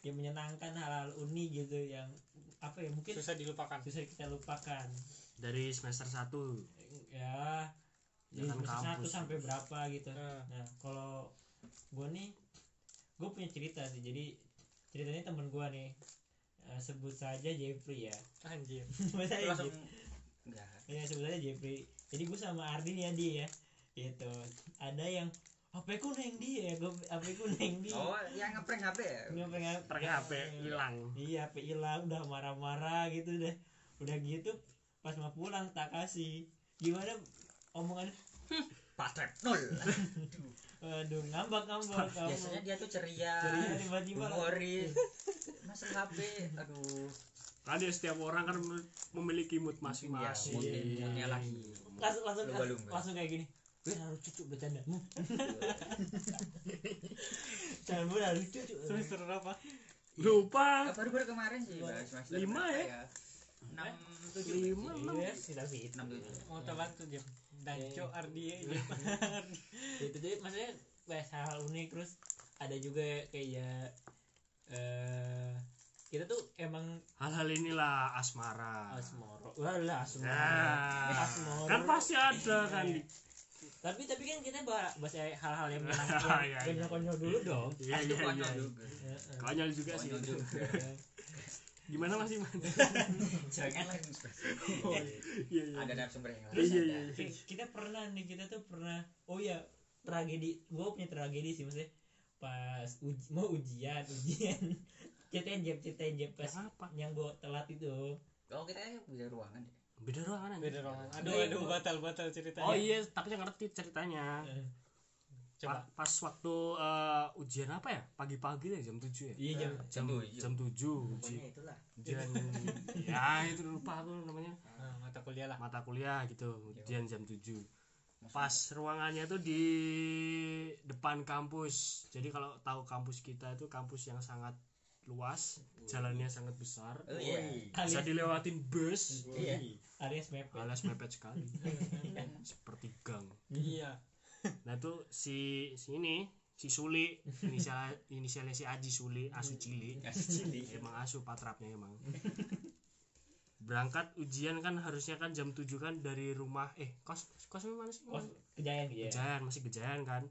[SPEAKER 1] yang menyenangkan hal-hal unik gitu yang apa ya mungkin
[SPEAKER 2] susah dilupakan
[SPEAKER 1] susah kita lupakan
[SPEAKER 6] dari semester 1
[SPEAKER 1] ya dari
[SPEAKER 6] Jangan
[SPEAKER 1] semester satu
[SPEAKER 6] kampus.
[SPEAKER 1] sampai berapa gitu
[SPEAKER 2] Eh,
[SPEAKER 1] nah kalau gue nih gue punya cerita sih jadi ceritanya temen gue nih eh, sebut saja Jeffrey ya
[SPEAKER 2] anjir
[SPEAKER 1] sebut saja
[SPEAKER 5] langsung
[SPEAKER 1] Jeffrey.
[SPEAKER 5] enggak
[SPEAKER 1] ya sebut saja Jeffrey jadi gue sama Ardin ya dia ya gitu ada yang HP ku neng dia gue HP ku neng dia
[SPEAKER 5] oh yang ngeprank HP ya
[SPEAKER 1] Nggak pengen
[SPEAKER 6] pakai HP hilang
[SPEAKER 1] iya HP hilang udah marah-marah gitu deh udah gitu pas mau pulang tak kasih gimana omongannya
[SPEAKER 5] patret nol
[SPEAKER 1] aduh ngambak ngambak
[SPEAKER 2] Oh.
[SPEAKER 5] biasanya dia tuh ceria
[SPEAKER 1] Ceria, tiba-tiba lah.
[SPEAKER 5] humoris masa HP aduh
[SPEAKER 6] kan ya setiap orang kan memiliki mood masing-masing
[SPEAKER 5] Iya, moodnya lagi
[SPEAKER 6] iya,
[SPEAKER 1] langsung langsung
[SPEAKER 5] Lumba-lumba.
[SPEAKER 1] langsung kayak gini "Wih, harus cucu bercanda Hmm. jangan bener harus cucu
[SPEAKER 2] semester berapa
[SPEAKER 6] lupa
[SPEAKER 5] baru baru kemarin sih bahas masalah
[SPEAKER 6] Lima
[SPEAKER 5] berapa
[SPEAKER 6] ya?
[SPEAKER 5] enam tujuh
[SPEAKER 6] lima enam.
[SPEAKER 1] Iya, sih, tapi itu
[SPEAKER 5] enam tujuh
[SPEAKER 2] mau tak bantu jam
[SPEAKER 1] Iya.
[SPEAKER 2] danco Ardi
[SPEAKER 1] itu jadi maksudnya banyak hal unik terus ada juga kayak eh kita tuh emang
[SPEAKER 6] hal-hal inilah asmara
[SPEAKER 1] asmoro walah asmoro
[SPEAKER 6] Nah,
[SPEAKER 1] Asmoro.
[SPEAKER 6] kan pasti ada kan
[SPEAKER 1] tapi tapi kan kita bah- bahas hal-hal yang
[SPEAKER 6] Iya, iya,
[SPEAKER 1] menyenangkan
[SPEAKER 6] iya.
[SPEAKER 1] konyol dulu
[SPEAKER 2] Hmm.
[SPEAKER 1] dong
[SPEAKER 6] Iya,
[SPEAKER 5] itu
[SPEAKER 6] iya, iya.
[SPEAKER 5] konyol juga
[SPEAKER 1] Heeh.
[SPEAKER 6] Konyol juga sih.
[SPEAKER 5] konyol juga
[SPEAKER 6] Gimana Mas Iman?
[SPEAKER 5] jangan langsung
[SPEAKER 6] Iya, iya.
[SPEAKER 5] ada narasumber yang
[SPEAKER 6] Iya,
[SPEAKER 5] lain
[SPEAKER 6] iya,
[SPEAKER 5] ada.
[SPEAKER 6] iya.
[SPEAKER 1] Oke, kita pernah nih kita tuh pernah oh ya tragedi gua punya tragedi sih maksudnya pas uji, mau ujian ujian cetain jeb cetain jeb pas
[SPEAKER 6] Apa?
[SPEAKER 1] yang gua telat itu
[SPEAKER 5] oh kita kan punya ruangan ya
[SPEAKER 6] Beda ruangan aja.
[SPEAKER 2] beda ruangan
[SPEAKER 1] Iya.
[SPEAKER 2] aduh aduh batal batal ceritanya
[SPEAKER 6] Oh iya, tapi yang ngerti ceritanya.
[SPEAKER 1] Eh,
[SPEAKER 6] Pa- pas waktu eh, ujian apa ya? Pagi-pagi ya jam 7 ya?
[SPEAKER 1] iya jam
[SPEAKER 6] Jam jam 7 uji-
[SPEAKER 5] pokoknya itulah
[SPEAKER 6] ujian. ya, itu lupa aku namanya.
[SPEAKER 2] Nah, mata kuliah lah
[SPEAKER 6] Mata kuliah gitu, ujian jam 7. Pas ruangannya tuh di depan kampus. Jadi kalau tahu kampus kita itu kampus yang sangat luas, jalannya sangat besar.
[SPEAKER 5] oh iya
[SPEAKER 6] bisa
[SPEAKER 1] alias
[SPEAKER 6] dilewatin bus
[SPEAKER 5] iya
[SPEAKER 1] alias mepet
[SPEAKER 6] alas mepet sekali seperti gang
[SPEAKER 2] iya
[SPEAKER 6] nah itu si si ini si Suli inisial inisialnya si Aji Suli Asu Cili
[SPEAKER 5] kasih cili
[SPEAKER 6] emang Asu patrapnya emang berangkat ujian kan harusnya kan jam 7 kan dari rumah eh kos kos mana sih
[SPEAKER 1] kos kejayaan gitu ya
[SPEAKER 6] Gejayan masih Gejayan kan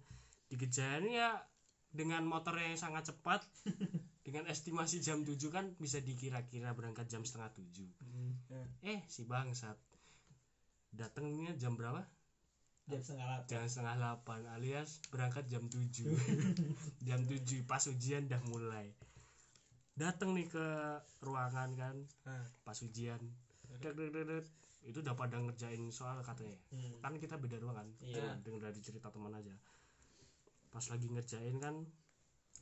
[SPEAKER 6] di Gejayan ya dengan motornya yang sangat cepat dengan estimasi jam 7 kan bisa dikira-kira berangkat jam setengah 7 eh si bangsat datangnya jam berapa
[SPEAKER 1] jam setengah delapan.
[SPEAKER 6] jam setengah 8 alias berangkat jam 7 jam 7 pas ujian dah mulai datang nih ke ruangan kan
[SPEAKER 2] Hmm.
[SPEAKER 6] pas ujian Dek, dek, dek, dek. itu udah pada ngerjain soal katanya
[SPEAKER 1] Hmm.
[SPEAKER 6] kan kita beda ruangan
[SPEAKER 1] Iya.
[SPEAKER 6] Cuma denger dari cerita teman aja pas lagi ngerjain kan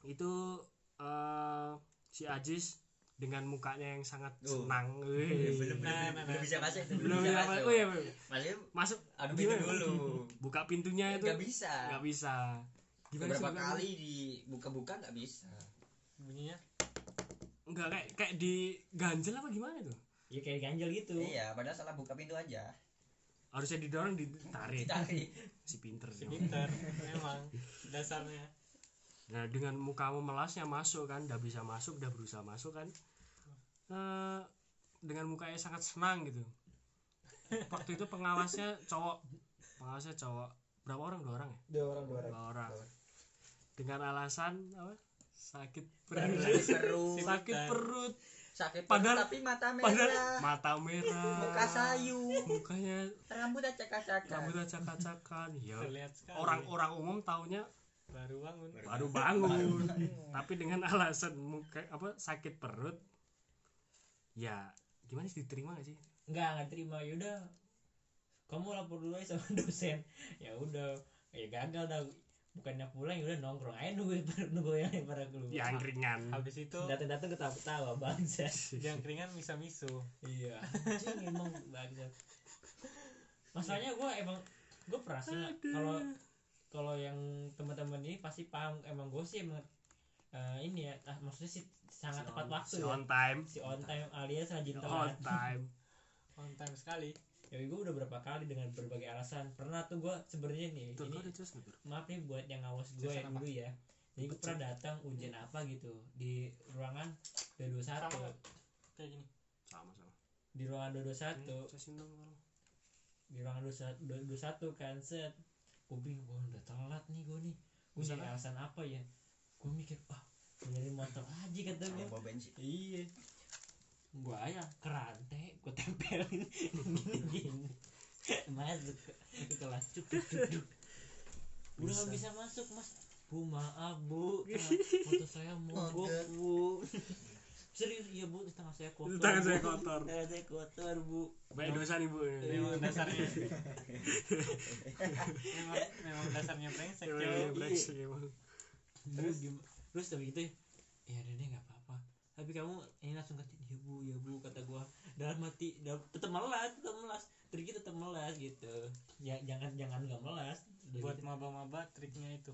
[SPEAKER 6] itu eh, si Ajis dengan mukanya yang sangat
[SPEAKER 5] Oh.
[SPEAKER 6] senang
[SPEAKER 5] belum
[SPEAKER 6] Wih.
[SPEAKER 5] belum
[SPEAKER 2] Nah,
[SPEAKER 5] belum,
[SPEAKER 2] nah,
[SPEAKER 5] belum
[SPEAKER 2] nah.
[SPEAKER 5] bisa masuk itu
[SPEAKER 6] belum
[SPEAKER 5] bisa
[SPEAKER 6] apa
[SPEAKER 5] masuk
[SPEAKER 6] oh iya, Beb.
[SPEAKER 5] masih
[SPEAKER 6] masuk
[SPEAKER 5] adu anu pintu
[SPEAKER 6] Gimana?
[SPEAKER 5] dulu
[SPEAKER 6] buka pintunya itu
[SPEAKER 5] nggak bisa
[SPEAKER 6] nggak bisa Gimana sih
[SPEAKER 5] beberapa
[SPEAKER 6] buka
[SPEAKER 5] kali dibuka-buka nggak bisa
[SPEAKER 2] bunyinya
[SPEAKER 6] pintu? nggak kayak kayak diganjel apa gimana tuh
[SPEAKER 1] ya kayak ganjel gitu
[SPEAKER 5] iya padahal salah buka pintu aja
[SPEAKER 6] harusnya didorong ditarik
[SPEAKER 5] ditarik
[SPEAKER 6] si pinter
[SPEAKER 2] si pinter memang dasarnya
[SPEAKER 6] nah dengan mukamu melasnya masuk kan udah bisa masuk udah berusaha masuk kan Eh, dengan mukanya sangat senang gitu waktu itu pengawasnya cowok pengawasnya cowok berapa orang dua orang ya
[SPEAKER 3] dua orang dua orang
[SPEAKER 6] dua orang dengan alasan apa sakit
[SPEAKER 5] sakit
[SPEAKER 6] perut
[SPEAKER 5] perut
[SPEAKER 6] sakit perut
[SPEAKER 5] sakit perut
[SPEAKER 6] iya. Padahal-
[SPEAKER 5] tapi mata
[SPEAKER 6] padahal
[SPEAKER 5] merah
[SPEAKER 6] mata merah
[SPEAKER 5] muka sayu
[SPEAKER 6] mukanya
[SPEAKER 5] rambut acak-acakan
[SPEAKER 6] rambut acak-acakan ya
[SPEAKER 2] terlihat sekali
[SPEAKER 6] orang-orang umum taunya
[SPEAKER 2] baru bangun
[SPEAKER 6] baru bangun tapi dengan alasan muka apa sakit perut ya gimana sih diterima gak sih
[SPEAKER 1] nggak nggak terima yaudah kamu lapor dulu aja sama dosen ya udah ya gagal dah bukannya pulang yaudah nongkrong aja nunggu nunggu yang lain pada keluar
[SPEAKER 6] Ya, yang ringan
[SPEAKER 2] habis itu
[SPEAKER 1] datang datang ketawa ketawa bangsa
[SPEAKER 2] yang keringan bisa misu
[SPEAKER 1] iya anjing emang bangsa masalahnya gue emang gue perasa kalau kalau yang teman-teman ini pasti paham emang gue sih emang eh, ini ya ah, maksudnya sih sangat tepat waktu
[SPEAKER 6] si
[SPEAKER 1] ya. Gitu kan.
[SPEAKER 6] on time
[SPEAKER 1] si on time alias rajin
[SPEAKER 6] on
[SPEAKER 1] telat
[SPEAKER 6] time
[SPEAKER 2] on time sekali
[SPEAKER 1] ya gue udah berapa kali dengan berbagai alasan pernah tuh gue sebenarnya nih
[SPEAKER 6] Tuh,
[SPEAKER 1] ini
[SPEAKER 6] kok ada jelas nggak, Bro?
[SPEAKER 1] maaf nih buat yang ngawas gue
[SPEAKER 2] Jurusan
[SPEAKER 1] yang dulu ya jadi gue pernah datang ujian apa gitu di ruangan 221
[SPEAKER 2] Sama. kayak gini
[SPEAKER 6] sama sama
[SPEAKER 1] di ruangan 221
[SPEAKER 6] Saya sini dong, tolong.
[SPEAKER 1] di ruangan 21 21 kan set gue bingung gue udah telat nih gue nih gue
[SPEAKER 6] Bisa
[SPEAKER 1] nyari
[SPEAKER 6] kan?
[SPEAKER 1] alasan apa ya gue mikir ah gue nyari motor aja kata gue
[SPEAKER 5] bawa bensin
[SPEAKER 1] iya gue aja kerante gue tempelin gini masuk ke ke kelas cuk cuk cuk cuk. udah nggak bisa Iya. masuk mas bu maaf bu tangan- motor saya mogok bu serius iya bu tangan saya kotor
[SPEAKER 6] tangan saya
[SPEAKER 1] Bu.
[SPEAKER 6] kotor
[SPEAKER 1] tangan saya kotor bu
[SPEAKER 6] baik dosa nih bu
[SPEAKER 2] memang dasarnya memang, memang dasarnya brengsek
[SPEAKER 6] Iya,
[SPEAKER 2] yo.
[SPEAKER 6] brengsek emang.
[SPEAKER 1] terus terus tapi itu ya udah deh nggak apa-apa tapi kamu ini langsung kata ya bu ya bu kata gua dalam mati dalam tetap melas tetap melas triknya tetap melas gitu ya jangan jangan nggak melas Udah
[SPEAKER 2] buat
[SPEAKER 1] gitu.
[SPEAKER 2] maba-maba triknya itu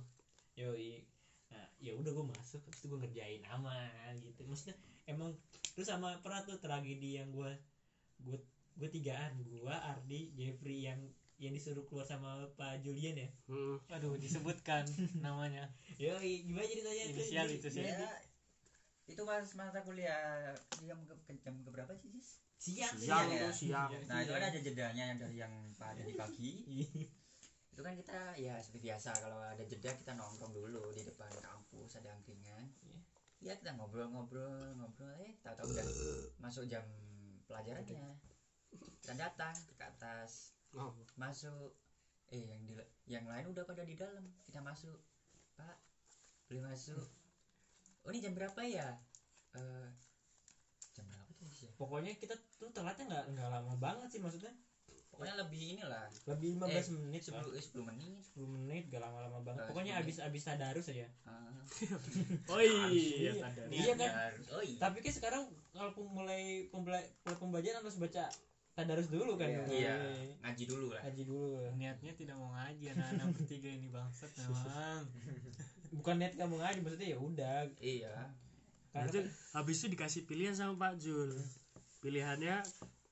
[SPEAKER 1] yoi nah ya udah gue masuk habis itu gue ngerjain aman gitu maksudnya emang terus sama pernah tuh tragedi yang gue gue gue tigaan gue Ardi Jeffrey yang yang disuruh keluar sama Pak Julian ya
[SPEAKER 6] Mm.
[SPEAKER 2] aduh disebutkan namanya
[SPEAKER 1] yoi gimana ceritanya tuh?
[SPEAKER 6] Iya,
[SPEAKER 2] Inisial itu sih.
[SPEAKER 5] ya itu mas mata kuliah jam ke, ke- jam keberapa sih Sis?
[SPEAKER 1] siang
[SPEAKER 6] siang
[SPEAKER 5] Iya,
[SPEAKER 6] tuh
[SPEAKER 5] ya.
[SPEAKER 6] siang
[SPEAKER 2] Iya.
[SPEAKER 5] nah itu kan ada jedanya yang dari yang pagi di pagi itu kan kita ya seperti biasa kalau ada jeda kita nongkrong dulu di depan kampus ada angkringan ya kita ngobrol-ngobrol ngobrol eh tahu-tahu udah masuk jam pelajarannya kita datang ke atas
[SPEAKER 6] Oh,
[SPEAKER 5] masuk eh yang di yang lain udah pada di dalam kita masuk pak boleh masuk oh ini jam berapa ya Eh, jam berapa tuh Sis, ya
[SPEAKER 1] pokoknya kita tuh telatnya nggak nggak lama banget sih maksudnya
[SPEAKER 5] pokoknya lebih inilah
[SPEAKER 1] lebih 15
[SPEAKER 5] Eh,
[SPEAKER 1] menit lah.
[SPEAKER 5] 10 eh, 10 menit
[SPEAKER 1] 10 menit gak lama-lama banget
[SPEAKER 2] Nah,
[SPEAKER 5] Eh,
[SPEAKER 1] pokoknya
[SPEAKER 5] 10
[SPEAKER 1] abis
[SPEAKER 2] ya.
[SPEAKER 1] abis tadarus aja
[SPEAKER 5] Ah,
[SPEAKER 6] oh iya.
[SPEAKER 1] iya kan
[SPEAKER 5] ya, harus- oh iya
[SPEAKER 1] tapi kan sekarang kalau pem- mulai pembela- mulai pembelajaran harus baca tadarus dulu kan
[SPEAKER 3] Iya.
[SPEAKER 5] Iya, ngaji dulu lah
[SPEAKER 1] ngaji dulu
[SPEAKER 2] niatnya tidak mau ngaji anak-anak bertiga ini bangsat memang
[SPEAKER 1] bukan niat kamu ngaji maksudnya ya udah
[SPEAKER 5] iya
[SPEAKER 1] karena kan
[SPEAKER 6] Berarti habis itu dikasih pilihan sama Pak Jul. Pilihannya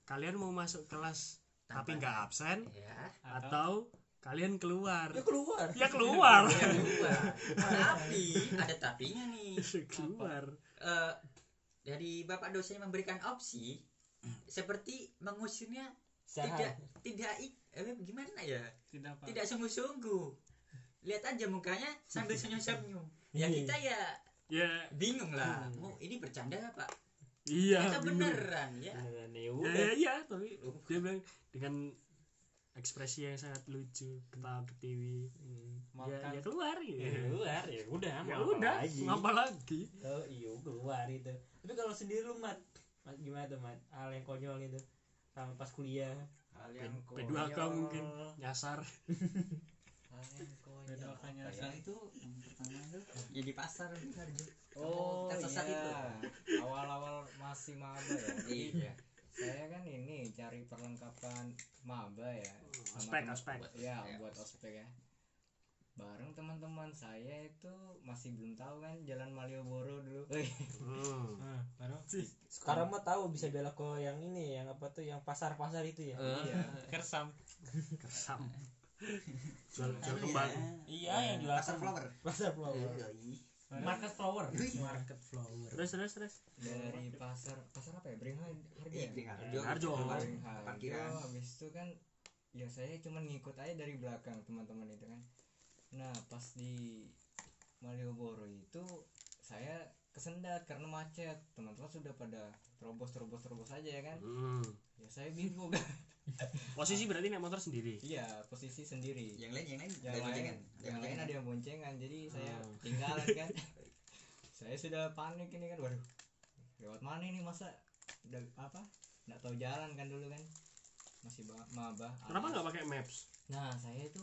[SPEAKER 6] kalian mau masuk kelas tapi
[SPEAKER 5] Tanpa-
[SPEAKER 6] nggak absen
[SPEAKER 5] ya
[SPEAKER 6] atau kalian keluar.
[SPEAKER 1] ya keluar
[SPEAKER 6] Ya keluar.
[SPEAKER 5] Ya, kedua. tapi ada tapinya nih
[SPEAKER 6] keluar.
[SPEAKER 5] Eh, dari bapak dosen memberikan opsi seperti mengusirnya
[SPEAKER 1] Sehat.
[SPEAKER 5] tidak tidak ik- eh, gimana ya
[SPEAKER 2] tidak apa
[SPEAKER 5] tidak sungguh-sungguh lihat aja mukanya sambil senyum-senyum ya kita ya
[SPEAKER 6] Ya,
[SPEAKER 5] bingung lah mau ini bercanda apa
[SPEAKER 6] iya.
[SPEAKER 5] atau
[SPEAKER 6] bener.
[SPEAKER 5] beneran ya
[SPEAKER 1] Beneran, ya
[SPEAKER 6] Ya,
[SPEAKER 1] udah
[SPEAKER 6] ya, ya, tapi dia bilang dengan ekspresi yang sangat lucu ketawa ke TV ya,
[SPEAKER 2] makan
[SPEAKER 6] ya
[SPEAKER 5] Iya,
[SPEAKER 6] keluar
[SPEAKER 1] Ya
[SPEAKER 6] ya,
[SPEAKER 1] keluar ya udah
[SPEAKER 6] ya
[SPEAKER 1] mau apa
[SPEAKER 6] udah
[SPEAKER 1] lagi
[SPEAKER 6] ngapa lagi
[SPEAKER 1] oh iya keluar itu tapi kalau sendiri lu mat Mat, gimana tuh mat hal yang konyol gitu sama pas kuliah
[SPEAKER 3] hal
[SPEAKER 5] iya.
[SPEAKER 6] P- P2K mungkin nyasar
[SPEAKER 3] hal yang konyol
[SPEAKER 2] ada
[SPEAKER 3] Ya,
[SPEAKER 2] nerkanya
[SPEAKER 5] apa ya?
[SPEAKER 2] sih.
[SPEAKER 3] itu pertama itu ya di pasar
[SPEAKER 14] gitu,
[SPEAKER 3] di harga
[SPEAKER 5] Oh,
[SPEAKER 3] Kan sesat
[SPEAKER 5] iya.
[SPEAKER 3] itu. awal-awal masih maba ya jadi
[SPEAKER 5] iya
[SPEAKER 3] saya kan ini cari perlengkapan maba ya sama
[SPEAKER 6] Ospek,
[SPEAKER 3] teman-
[SPEAKER 6] ospek.
[SPEAKER 3] ya
[SPEAKER 5] Ya,
[SPEAKER 3] buat ospek ya bareng teman-teman saya itu masih belum tahu kan jalan Malioboro dulu
[SPEAKER 6] Hmm.
[SPEAKER 2] Nah, baru
[SPEAKER 1] sekarang mah tahu bisa belok ke yang ini yang apa tuh yang pasar pasar itu ya
[SPEAKER 3] iya
[SPEAKER 2] kersam
[SPEAKER 6] Kesam. jual jual kembang.
[SPEAKER 1] iya yang jual
[SPEAKER 14] pasar flower Eh,
[SPEAKER 1] pasar flower market flower
[SPEAKER 2] market flower
[SPEAKER 6] Terus terus terus.
[SPEAKER 3] dari pasar pasar apa ya Beringharjo
[SPEAKER 14] iya
[SPEAKER 3] ya?
[SPEAKER 14] Bringarjo.
[SPEAKER 6] Bringarjo.
[SPEAKER 3] Beringharjo,
[SPEAKER 14] Parkiran.
[SPEAKER 3] Iya, habis itu kan ya saya cuman ngikut aja dari belakang teman-teman itu kan nah pas di Malioboro itu saya kesendat karena macet teman-teman sudah pada terobos terobos terobos aja ya kan
[SPEAKER 6] Hmm.
[SPEAKER 3] ya saya bingung
[SPEAKER 6] Posisi berarti naik motor sendiri.
[SPEAKER 3] iya posisi sendiri
[SPEAKER 14] yang lain yang lain ada
[SPEAKER 3] yang lain
[SPEAKER 14] boncengan. Ada
[SPEAKER 3] yang lain
[SPEAKER 14] boncengan.
[SPEAKER 3] ada yang boncengan jadi saya
[SPEAKER 6] Hmm.
[SPEAKER 3] tinggalan kan saya sudah panik ini kan waduh lewat mana ini masa udah apa nggak tahu jalan kan dulu kan masih ba- maba
[SPEAKER 6] Kenapa
[SPEAKER 3] alas.
[SPEAKER 6] nggak pakai maps?
[SPEAKER 3] nah saya itu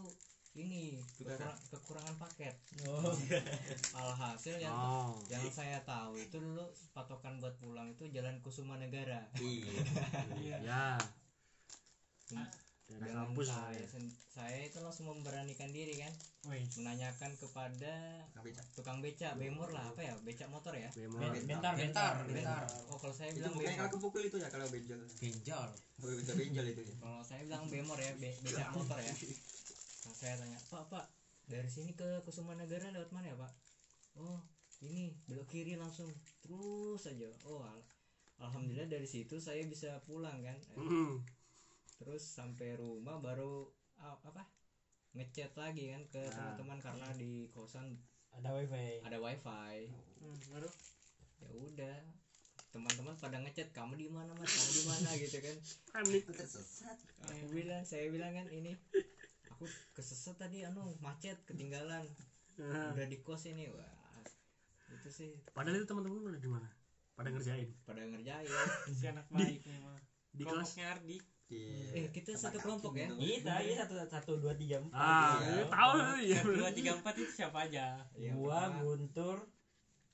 [SPEAKER 3] ini
[SPEAKER 14] Tukaran.
[SPEAKER 3] kekurang- kekurangan paket
[SPEAKER 1] oh
[SPEAKER 3] alhasil yang
[SPEAKER 6] Oh.
[SPEAKER 3] yang saya tahu itu dulu patokan buat pulang itu jalan Kusuma Negara
[SPEAKER 14] iya
[SPEAKER 6] Ya.
[SPEAKER 3] Ah,
[SPEAKER 6] Daerah
[SPEAKER 3] Dengan
[SPEAKER 6] kampus.
[SPEAKER 3] saya, sen- saya itu langsung memberanikan diri kan menanyakan kepada
[SPEAKER 14] Tukang becak.
[SPEAKER 3] tukang becak bemor lah apa ya becak motor ya
[SPEAKER 6] Bemol.
[SPEAKER 1] bentar bentar bentar
[SPEAKER 3] oh kalau saya
[SPEAKER 14] itu
[SPEAKER 3] bilang
[SPEAKER 14] bukannya kalau
[SPEAKER 3] bemor
[SPEAKER 14] kepukul itu ya kalau benjol
[SPEAKER 3] benjol
[SPEAKER 14] kalau bisa benjol itu ya
[SPEAKER 3] kalau saya bilang bemor ya be- becak motor ya Nah, saya tanya pak pak dari sini ke Kusuma Negara lewat mana ya pak oh ini belok kiri langsung terus aja oh al- alhamdulillah dari situ saya bisa pulang kan
[SPEAKER 6] Hmm.
[SPEAKER 3] terus sampai rumah baru ah, apa ngechat lagi kan ke
[SPEAKER 6] Nah.
[SPEAKER 3] teman-teman karena di kosan
[SPEAKER 1] ada wifi
[SPEAKER 3] ada wifi
[SPEAKER 2] baru
[SPEAKER 3] ya udah teman-teman pada ngechat kamu di mana mas kamu di mana gitu kan
[SPEAKER 6] Panik.
[SPEAKER 14] tersesat
[SPEAKER 3] aku bilang saya bilang kan ini aku kesesat tadi anu macet ketinggalan
[SPEAKER 6] Nah,
[SPEAKER 3] udah di kos ini wah itu sih
[SPEAKER 6] Padahal itu teman-teman udah di mana? Pada ngerjain
[SPEAKER 3] pada ngerjain
[SPEAKER 2] si anak baik memang
[SPEAKER 6] di kelas.
[SPEAKER 2] Ardi
[SPEAKER 14] di
[SPEAKER 3] eh kita
[SPEAKER 14] tempat
[SPEAKER 3] satu kelompok ya
[SPEAKER 14] kampung itu.
[SPEAKER 1] kita iya satu satu dua tiga empat
[SPEAKER 6] Ah,
[SPEAKER 14] Iya.
[SPEAKER 6] tahu ya.
[SPEAKER 2] Satu, dua tiga empat itu siapa aja
[SPEAKER 3] Iya,
[SPEAKER 1] gua
[SPEAKER 3] pertama
[SPEAKER 1] Guntur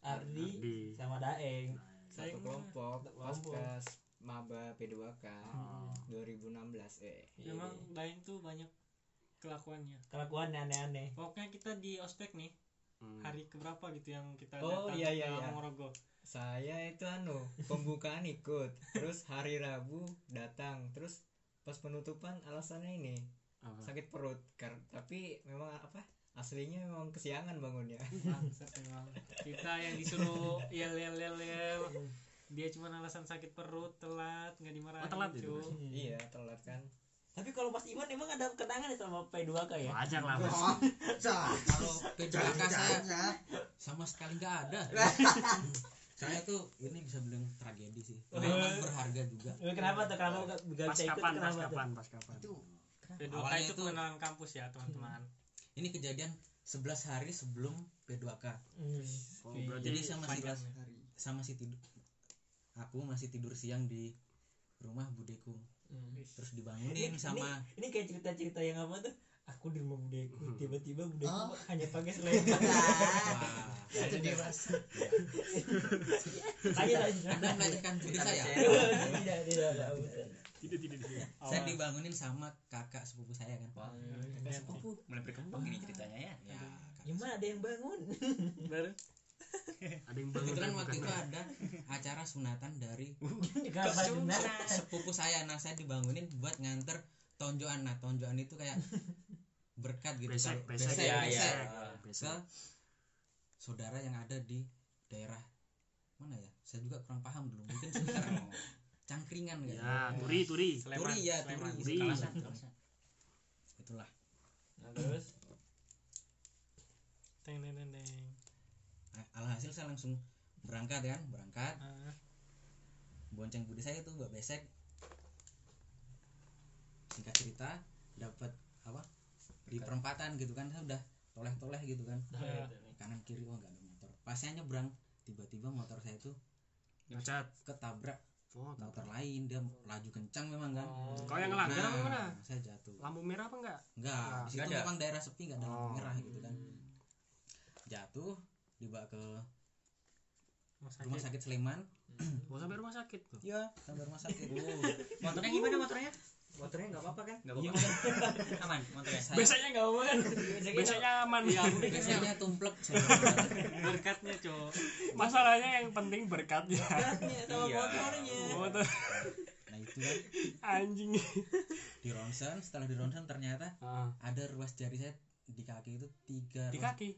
[SPEAKER 1] Ardi
[SPEAKER 6] Di
[SPEAKER 1] sama Daeng
[SPEAKER 2] Saya
[SPEAKER 3] satu
[SPEAKER 2] kenal.
[SPEAKER 3] kelompok
[SPEAKER 1] Satu
[SPEAKER 3] pas
[SPEAKER 1] kelompok.
[SPEAKER 3] pas maba P2K Ah.
[SPEAKER 6] Oh.
[SPEAKER 3] 2016 eh
[SPEAKER 1] Iya,
[SPEAKER 2] memang lain tuh banyak kelakuannya
[SPEAKER 1] kelakuan aneh-aneh
[SPEAKER 2] pokoknya kita di ospek nih
[SPEAKER 6] Hmm.
[SPEAKER 2] hari keberapa gitu yang kita
[SPEAKER 3] Oh,
[SPEAKER 2] datang
[SPEAKER 3] iya, iya,
[SPEAKER 2] ke
[SPEAKER 3] iya.
[SPEAKER 2] Ponorogo
[SPEAKER 3] saya itu anu pembukaan ikut terus hari Rabu datang terus pas penutupan alasannya ini
[SPEAKER 6] Apa?
[SPEAKER 3] sakit perut Kar- tapi memang apa aslinya memang kesiangan bangunnya
[SPEAKER 2] Bangsat memang. kita yang disuruh yel yel yel yel dia cuma alasan sakit perut telat nggak dimarahin
[SPEAKER 6] Oh, telat
[SPEAKER 2] cu.
[SPEAKER 6] itu, Mas?
[SPEAKER 3] iya telat kan
[SPEAKER 1] tapi kalau Mas Iman emang ada kenangan ya sama P2K ya
[SPEAKER 6] Pajak lah. Mas.
[SPEAKER 14] Oh, cah.
[SPEAKER 15] kalau PJK saya
[SPEAKER 14] Cah.
[SPEAKER 15] sama sekali nggak ada saya tuh ini bisa bilang tragedi sih pengalaman berharga juga
[SPEAKER 1] Eh, kenapa tuh kenapa nggak- nggak
[SPEAKER 6] Pas
[SPEAKER 1] bisa ikut
[SPEAKER 6] kapan? Pas
[SPEAKER 1] kenapa tuh
[SPEAKER 6] kapan? Pas kapan?
[SPEAKER 14] Itu
[SPEAKER 2] P2K
[SPEAKER 15] Awalnya
[SPEAKER 2] itu
[SPEAKER 15] itu-
[SPEAKER 2] pengenalan kampus ya teman-teman
[SPEAKER 15] ini kejadian 11 hari sebelum P2K
[SPEAKER 1] Hmm.
[SPEAKER 6] Oh, berarti
[SPEAKER 15] jadi saya masih
[SPEAKER 6] panjang.
[SPEAKER 14] hari
[SPEAKER 15] saya masih tidur aku masih tidur siang di rumah budeku
[SPEAKER 1] Hmm.
[SPEAKER 15] terus dibangunin
[SPEAKER 1] Ini-
[SPEAKER 15] sama
[SPEAKER 1] ini kayak cerita-cerita yang apa tuh aku di rumah budeku
[SPEAKER 6] Hmm.
[SPEAKER 1] tiba-tiba budeku
[SPEAKER 15] Oh.
[SPEAKER 1] hanya pakai selendang
[SPEAKER 15] wah
[SPEAKER 14] itu dewasa
[SPEAKER 1] ayo lanjut
[SPEAKER 15] anda melecehkan diri saya
[SPEAKER 1] tidak tidak tidak bukan.
[SPEAKER 6] Tidak tidak tidak.
[SPEAKER 15] saya dibangunin sama kakak sepupu saya kan pak sepupu Oh,
[SPEAKER 14] mulai berkembang ini ceritanya ya
[SPEAKER 15] ya kakak
[SPEAKER 1] gimana ada yang bangun
[SPEAKER 2] baru
[SPEAKER 6] Ada yang bangun.
[SPEAKER 15] kebetulan
[SPEAKER 6] bukan? kan?
[SPEAKER 15] waktu itu ada acara sunatan dari
[SPEAKER 1] kapan gimana
[SPEAKER 15] sepupu saya nah saya dibangunin buat nganter tonjoan nah tonjoan itu kayak berkat gitu
[SPEAKER 6] Besek,
[SPEAKER 15] Kalau-
[SPEAKER 3] Iya,
[SPEAKER 6] besek,
[SPEAKER 15] besek,
[SPEAKER 6] ya,
[SPEAKER 15] besek.
[SPEAKER 6] ya.
[SPEAKER 15] ke
[SPEAKER 6] Besok.
[SPEAKER 15] saudara yang ada di daerah mana ya saya juga kurang paham dulu mungkin sekitar cangkringan gitu
[SPEAKER 6] Ya, turi turi.
[SPEAKER 15] turi ya
[SPEAKER 3] Iya,
[SPEAKER 15] turi
[SPEAKER 2] Sleman.
[SPEAKER 6] Turi.
[SPEAKER 15] Sekalasan, sekalasan. itulah
[SPEAKER 1] Nah, terus
[SPEAKER 2] Teng, teng, teng, teng.
[SPEAKER 15] Nah, alhasil saya langsung berangkat kan berangkat
[SPEAKER 2] Ah,
[SPEAKER 15] bonceng budi saya tuh mbak besek singkat cerita dapat apa di perempatan gitu kan saya udah toleh-toleh gitu kan
[SPEAKER 2] ah.
[SPEAKER 15] kanan kiri oh nggak ada motor pas saya nyebrang tiba-tiba motor saya itu
[SPEAKER 6] Ngecat.
[SPEAKER 15] ketabrak
[SPEAKER 6] Wow, tak-
[SPEAKER 3] motor lain dia laju kencang memang kan
[SPEAKER 6] Kau yang ngelanggar apa gimana?
[SPEAKER 3] saya jatuh
[SPEAKER 6] Lampu merah apa enggak?
[SPEAKER 3] enggak
[SPEAKER 6] Ah,
[SPEAKER 3] di situ
[SPEAKER 16] enggak ada.
[SPEAKER 3] memang daerah sepi enggak ada lampu
[SPEAKER 6] Oh.
[SPEAKER 3] merah gitu kan jatuh dibawa ke rumah sakit Sleman
[SPEAKER 6] Mau Oh, sampai rumah sakit tuh. Oh.
[SPEAKER 3] ya sampai rumah sakit
[SPEAKER 16] motornya gimana motornya
[SPEAKER 5] motornya nggak apa-apa kan
[SPEAKER 16] nggak apa-apa aman motornya
[SPEAKER 3] saya
[SPEAKER 2] Biasanya nggak apa kan?
[SPEAKER 6] Biasanya aman.
[SPEAKER 3] biasanya tumplek saya bilang.
[SPEAKER 2] Berkatnya cowok.
[SPEAKER 6] Masalahnya yang penting berkatnya.
[SPEAKER 16] iya
[SPEAKER 6] Motor
[SPEAKER 3] nah itu kan
[SPEAKER 6] anjing.
[SPEAKER 3] di ronsen setelah di ronsen ternyata
[SPEAKER 6] Ah,
[SPEAKER 3] ada ruas jari saya di kaki itu tiga
[SPEAKER 6] Di
[SPEAKER 3] ruas,
[SPEAKER 6] kaki.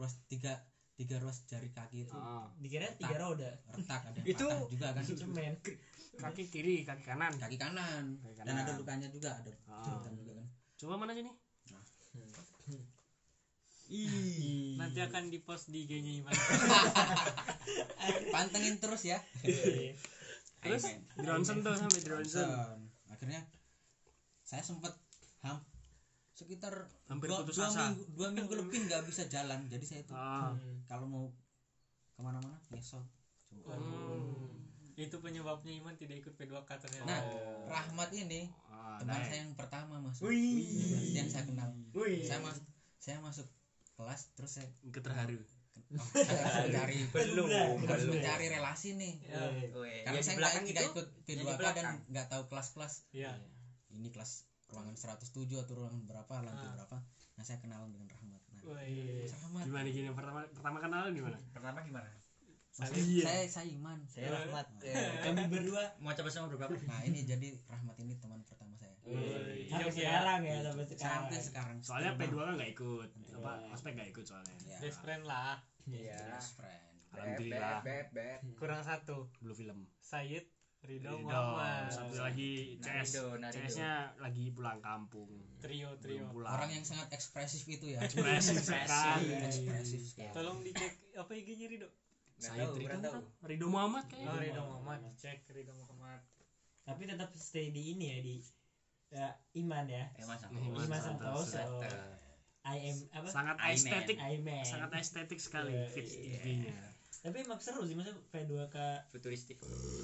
[SPEAKER 3] ruas tiga tiga ruas jari kaki itu
[SPEAKER 6] Ah,
[SPEAKER 1] dikira tiga roda
[SPEAKER 3] retak ada yang
[SPEAKER 16] Itu-
[SPEAKER 3] patah juga kan
[SPEAKER 1] cemen
[SPEAKER 6] Kaki kiri, kaki kanan.
[SPEAKER 3] kaki kanan dan
[SPEAKER 6] Kaki kanan.
[SPEAKER 3] ada lukanya juga ada
[SPEAKER 6] Nah. Ah.
[SPEAKER 3] jahitan juga kan Nah.
[SPEAKER 6] Coba mana sini?
[SPEAKER 2] Nanti akan dipost di IG-nya Iman.
[SPEAKER 3] pantengin terus ya
[SPEAKER 6] Terus di Ronsen tuh sampai di Ronsen.
[SPEAKER 3] Johnson. akhirnya saya sempat ham sekitar
[SPEAKER 6] Hampir
[SPEAKER 3] dua,
[SPEAKER 6] putus
[SPEAKER 3] dua
[SPEAKER 6] asa.
[SPEAKER 3] minggu dua minggu lebih nggak bisa jalan jadi saya itu
[SPEAKER 6] Ah.
[SPEAKER 1] Hmm.
[SPEAKER 3] kalau mau kemana-mana ngesot Coba.
[SPEAKER 2] Hmm. Itu penyebabnya Iman tidak ikut P2K ternyata.
[SPEAKER 3] nah Rahmat ini
[SPEAKER 6] Ah,
[SPEAKER 3] teman
[SPEAKER 6] naik.
[SPEAKER 3] saya yang pertama masuk yang saya kenal saya masuk saya masuk kelas terus saya
[SPEAKER 6] Ikut terharu.
[SPEAKER 3] oh, saya harus mencari
[SPEAKER 16] belum
[SPEAKER 2] Iya.
[SPEAKER 3] harus
[SPEAKER 16] belum
[SPEAKER 3] mencari relasi nih
[SPEAKER 1] Iya.
[SPEAKER 5] Oh, iya.
[SPEAKER 16] Weh, Iya, yang
[SPEAKER 3] karena
[SPEAKER 16] di
[SPEAKER 3] saya nggak
[SPEAKER 16] belakang
[SPEAKER 3] tidak
[SPEAKER 16] itu
[SPEAKER 3] ikut P2K
[SPEAKER 16] yang di
[SPEAKER 3] dan
[SPEAKER 16] belakang.
[SPEAKER 3] nggak tahu kelas-kelas
[SPEAKER 2] Iya.
[SPEAKER 3] ini kelas ruangan 107 atau ruangan berapa lantai berapa nah saya kenalan dengan Rahmat nah
[SPEAKER 1] Iya.
[SPEAKER 2] Woi.
[SPEAKER 3] Rahmat
[SPEAKER 6] Gimana gini pertama pertama kenalan gimana?
[SPEAKER 16] pertama gimana
[SPEAKER 3] Mas,
[SPEAKER 6] Iya.
[SPEAKER 3] saya saya iman
[SPEAKER 5] saya rahmat
[SPEAKER 16] kami berdua mau coba sama berapa
[SPEAKER 3] nah ini jadi Rahmat ini teman pertama saya
[SPEAKER 1] sampai sekarang ya sampai sekarang
[SPEAKER 3] sampai sekarang
[SPEAKER 6] Soalnya
[SPEAKER 3] Sekarang
[SPEAKER 6] P2 kan nggak ikut. Apa ospek nggak ikut soalnya.
[SPEAKER 3] ya
[SPEAKER 2] Best friend lah.
[SPEAKER 16] iya
[SPEAKER 3] best friend
[SPEAKER 6] Alhamdulillah
[SPEAKER 5] bet bet
[SPEAKER 2] Kurang satu.
[SPEAKER 6] belum film.
[SPEAKER 2] Sayid Ridho
[SPEAKER 6] Ridho,
[SPEAKER 2] Muhammad.
[SPEAKER 6] satu lagi CS.
[SPEAKER 5] Narido,
[SPEAKER 3] nah.
[SPEAKER 5] Narido.
[SPEAKER 6] CS-nya lagi pulang kampung.
[SPEAKER 2] Trio
[SPEAKER 6] Belum
[SPEAKER 2] trio.
[SPEAKER 6] pulang.
[SPEAKER 3] Iya. orang yang sangat ekspresif itu ya
[SPEAKER 6] ekspresif sekali.
[SPEAKER 3] ekspresif Iya. sekali.
[SPEAKER 2] Tolong dicek apa IG-nya Ridho.
[SPEAKER 5] Iya. Nggak
[SPEAKER 6] Saya
[SPEAKER 5] tahu,
[SPEAKER 6] Ridho
[SPEAKER 5] kurang tahu.
[SPEAKER 6] kan? Ridho Muhammad
[SPEAKER 2] Oh,
[SPEAKER 6] kayaknya.
[SPEAKER 2] Ridho Muhammad. Cek Ridho Muhammad.
[SPEAKER 1] Iya. tapi tetap stay di ini ya di ya, iman ya
[SPEAKER 3] Eh,
[SPEAKER 16] emang sama
[SPEAKER 5] Iya,
[SPEAKER 6] Iman
[SPEAKER 1] Iman
[SPEAKER 6] Santoso.
[SPEAKER 1] Santoso
[SPEAKER 3] Iya.
[SPEAKER 1] I am apa
[SPEAKER 6] Sangat
[SPEAKER 16] Iman.
[SPEAKER 6] estetik,
[SPEAKER 1] Iman
[SPEAKER 6] sangat estetik sekali
[SPEAKER 1] Iya,
[SPEAKER 6] fit
[SPEAKER 1] iya.
[SPEAKER 6] IG-nya.
[SPEAKER 1] tapi emang seru sih masa P2K
[SPEAKER 16] futuristik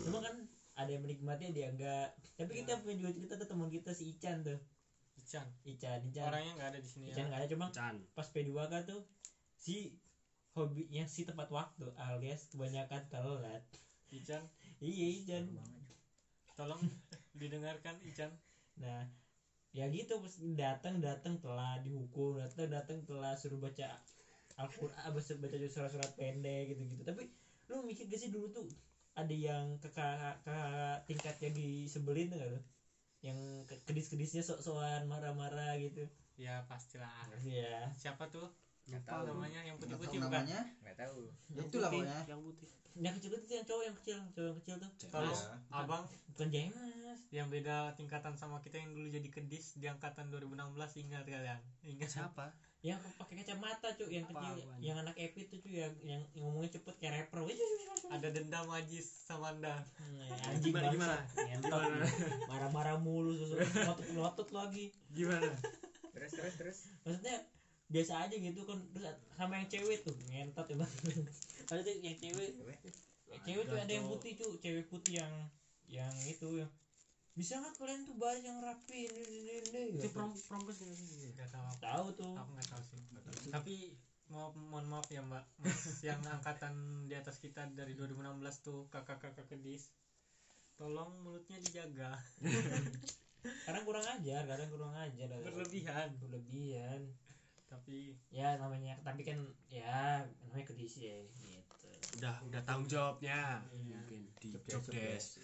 [SPEAKER 1] cuma kan ada yang menikmatinya dia enggak tapi kita punya juga cerita tuh teman kita si Ican tuh
[SPEAKER 2] Nah. Ican.
[SPEAKER 1] Ican Ican
[SPEAKER 2] Orangnya nggak ada di sini
[SPEAKER 1] Ican
[SPEAKER 2] ya.
[SPEAKER 1] nggak ada cuma
[SPEAKER 6] Can.
[SPEAKER 1] pas P2K tuh si hobinya si tepat waktu alias kebanyakan telat
[SPEAKER 2] Ican.
[SPEAKER 1] iya Ican
[SPEAKER 2] Tolong didengarkan Ican.
[SPEAKER 1] nah ya gitu pas datang datang telah dihukum datang datang telah suruh baca Al-Qur'an apa, suruh baca surat-surat pendek gitu-gitu tapi lu mikir gak sih dulu tuh ada yang kakak kakak tingkatnya disebelin tuh nggak lu? yang ke- kedis-kedisnya sok-sokan marah-marah gitu
[SPEAKER 2] Ya pastilah.
[SPEAKER 1] ya
[SPEAKER 2] Siapa tuh?
[SPEAKER 5] nggak
[SPEAKER 2] Apa
[SPEAKER 5] tahu
[SPEAKER 2] namanya yang
[SPEAKER 3] Nggak
[SPEAKER 2] putih-putih
[SPEAKER 3] tahu
[SPEAKER 2] bukan?
[SPEAKER 3] namanya
[SPEAKER 5] nggak tahu
[SPEAKER 3] ya itulah pokoknya
[SPEAKER 6] yang putih.
[SPEAKER 1] yang kecil itu yang cowok yang kecil cowok yang kecil tuh
[SPEAKER 2] Tolong abang
[SPEAKER 1] bukan jemas
[SPEAKER 2] yang beda tingkatan sama kita yang dulu jadi kedis di angkatan 2016 ingat kalian ingat
[SPEAKER 6] Siapa?
[SPEAKER 1] yang pakai kacamata cuy yang
[SPEAKER 6] Apa
[SPEAKER 1] kecil
[SPEAKER 6] apaan?
[SPEAKER 1] yang anak epic tuh cuy yang, yang yang ngomongnya cepet kayak rapper
[SPEAKER 2] ada dendam Ajis sama anda
[SPEAKER 1] Nah, anjing
[SPEAKER 6] Gimana, gimana?
[SPEAKER 1] bangsa. ngentot
[SPEAKER 6] Gimana?
[SPEAKER 1] marah-marah mulu susu ngotot ngotot lagi
[SPEAKER 6] Gimana?
[SPEAKER 5] terus terus terus
[SPEAKER 1] maksudnya biasa aja gitu kan terus sama yang cewek tuh ngentot ya bang ada tuh yang cewek yang cewek tuh ada yang putih tuh cewek putih yang yang itu yang bisa nggak kalian tuh baris yang rapi ini ini ini
[SPEAKER 6] Itu
[SPEAKER 1] gitu.
[SPEAKER 6] prom promkes nggak sih? Iya.
[SPEAKER 2] nggak tahu apa
[SPEAKER 1] tahu tuh
[SPEAKER 2] aku nggak tahu sih tapi mau mohon maaf ya mbak Mas yang angkatan di atas kita dari 2016 tuh kakak-kakak kedis tolong mulutnya dijaga
[SPEAKER 1] kadang kurang ajar kadang kurang ajar
[SPEAKER 2] berlebihan
[SPEAKER 1] berlebihan
[SPEAKER 2] tapi
[SPEAKER 1] ya namanya tapi kan ya namanya kedisi ya gitu
[SPEAKER 6] Udah, udah tanggung jawabnya.
[SPEAKER 1] Iya.
[SPEAKER 6] Mungkin di job desk.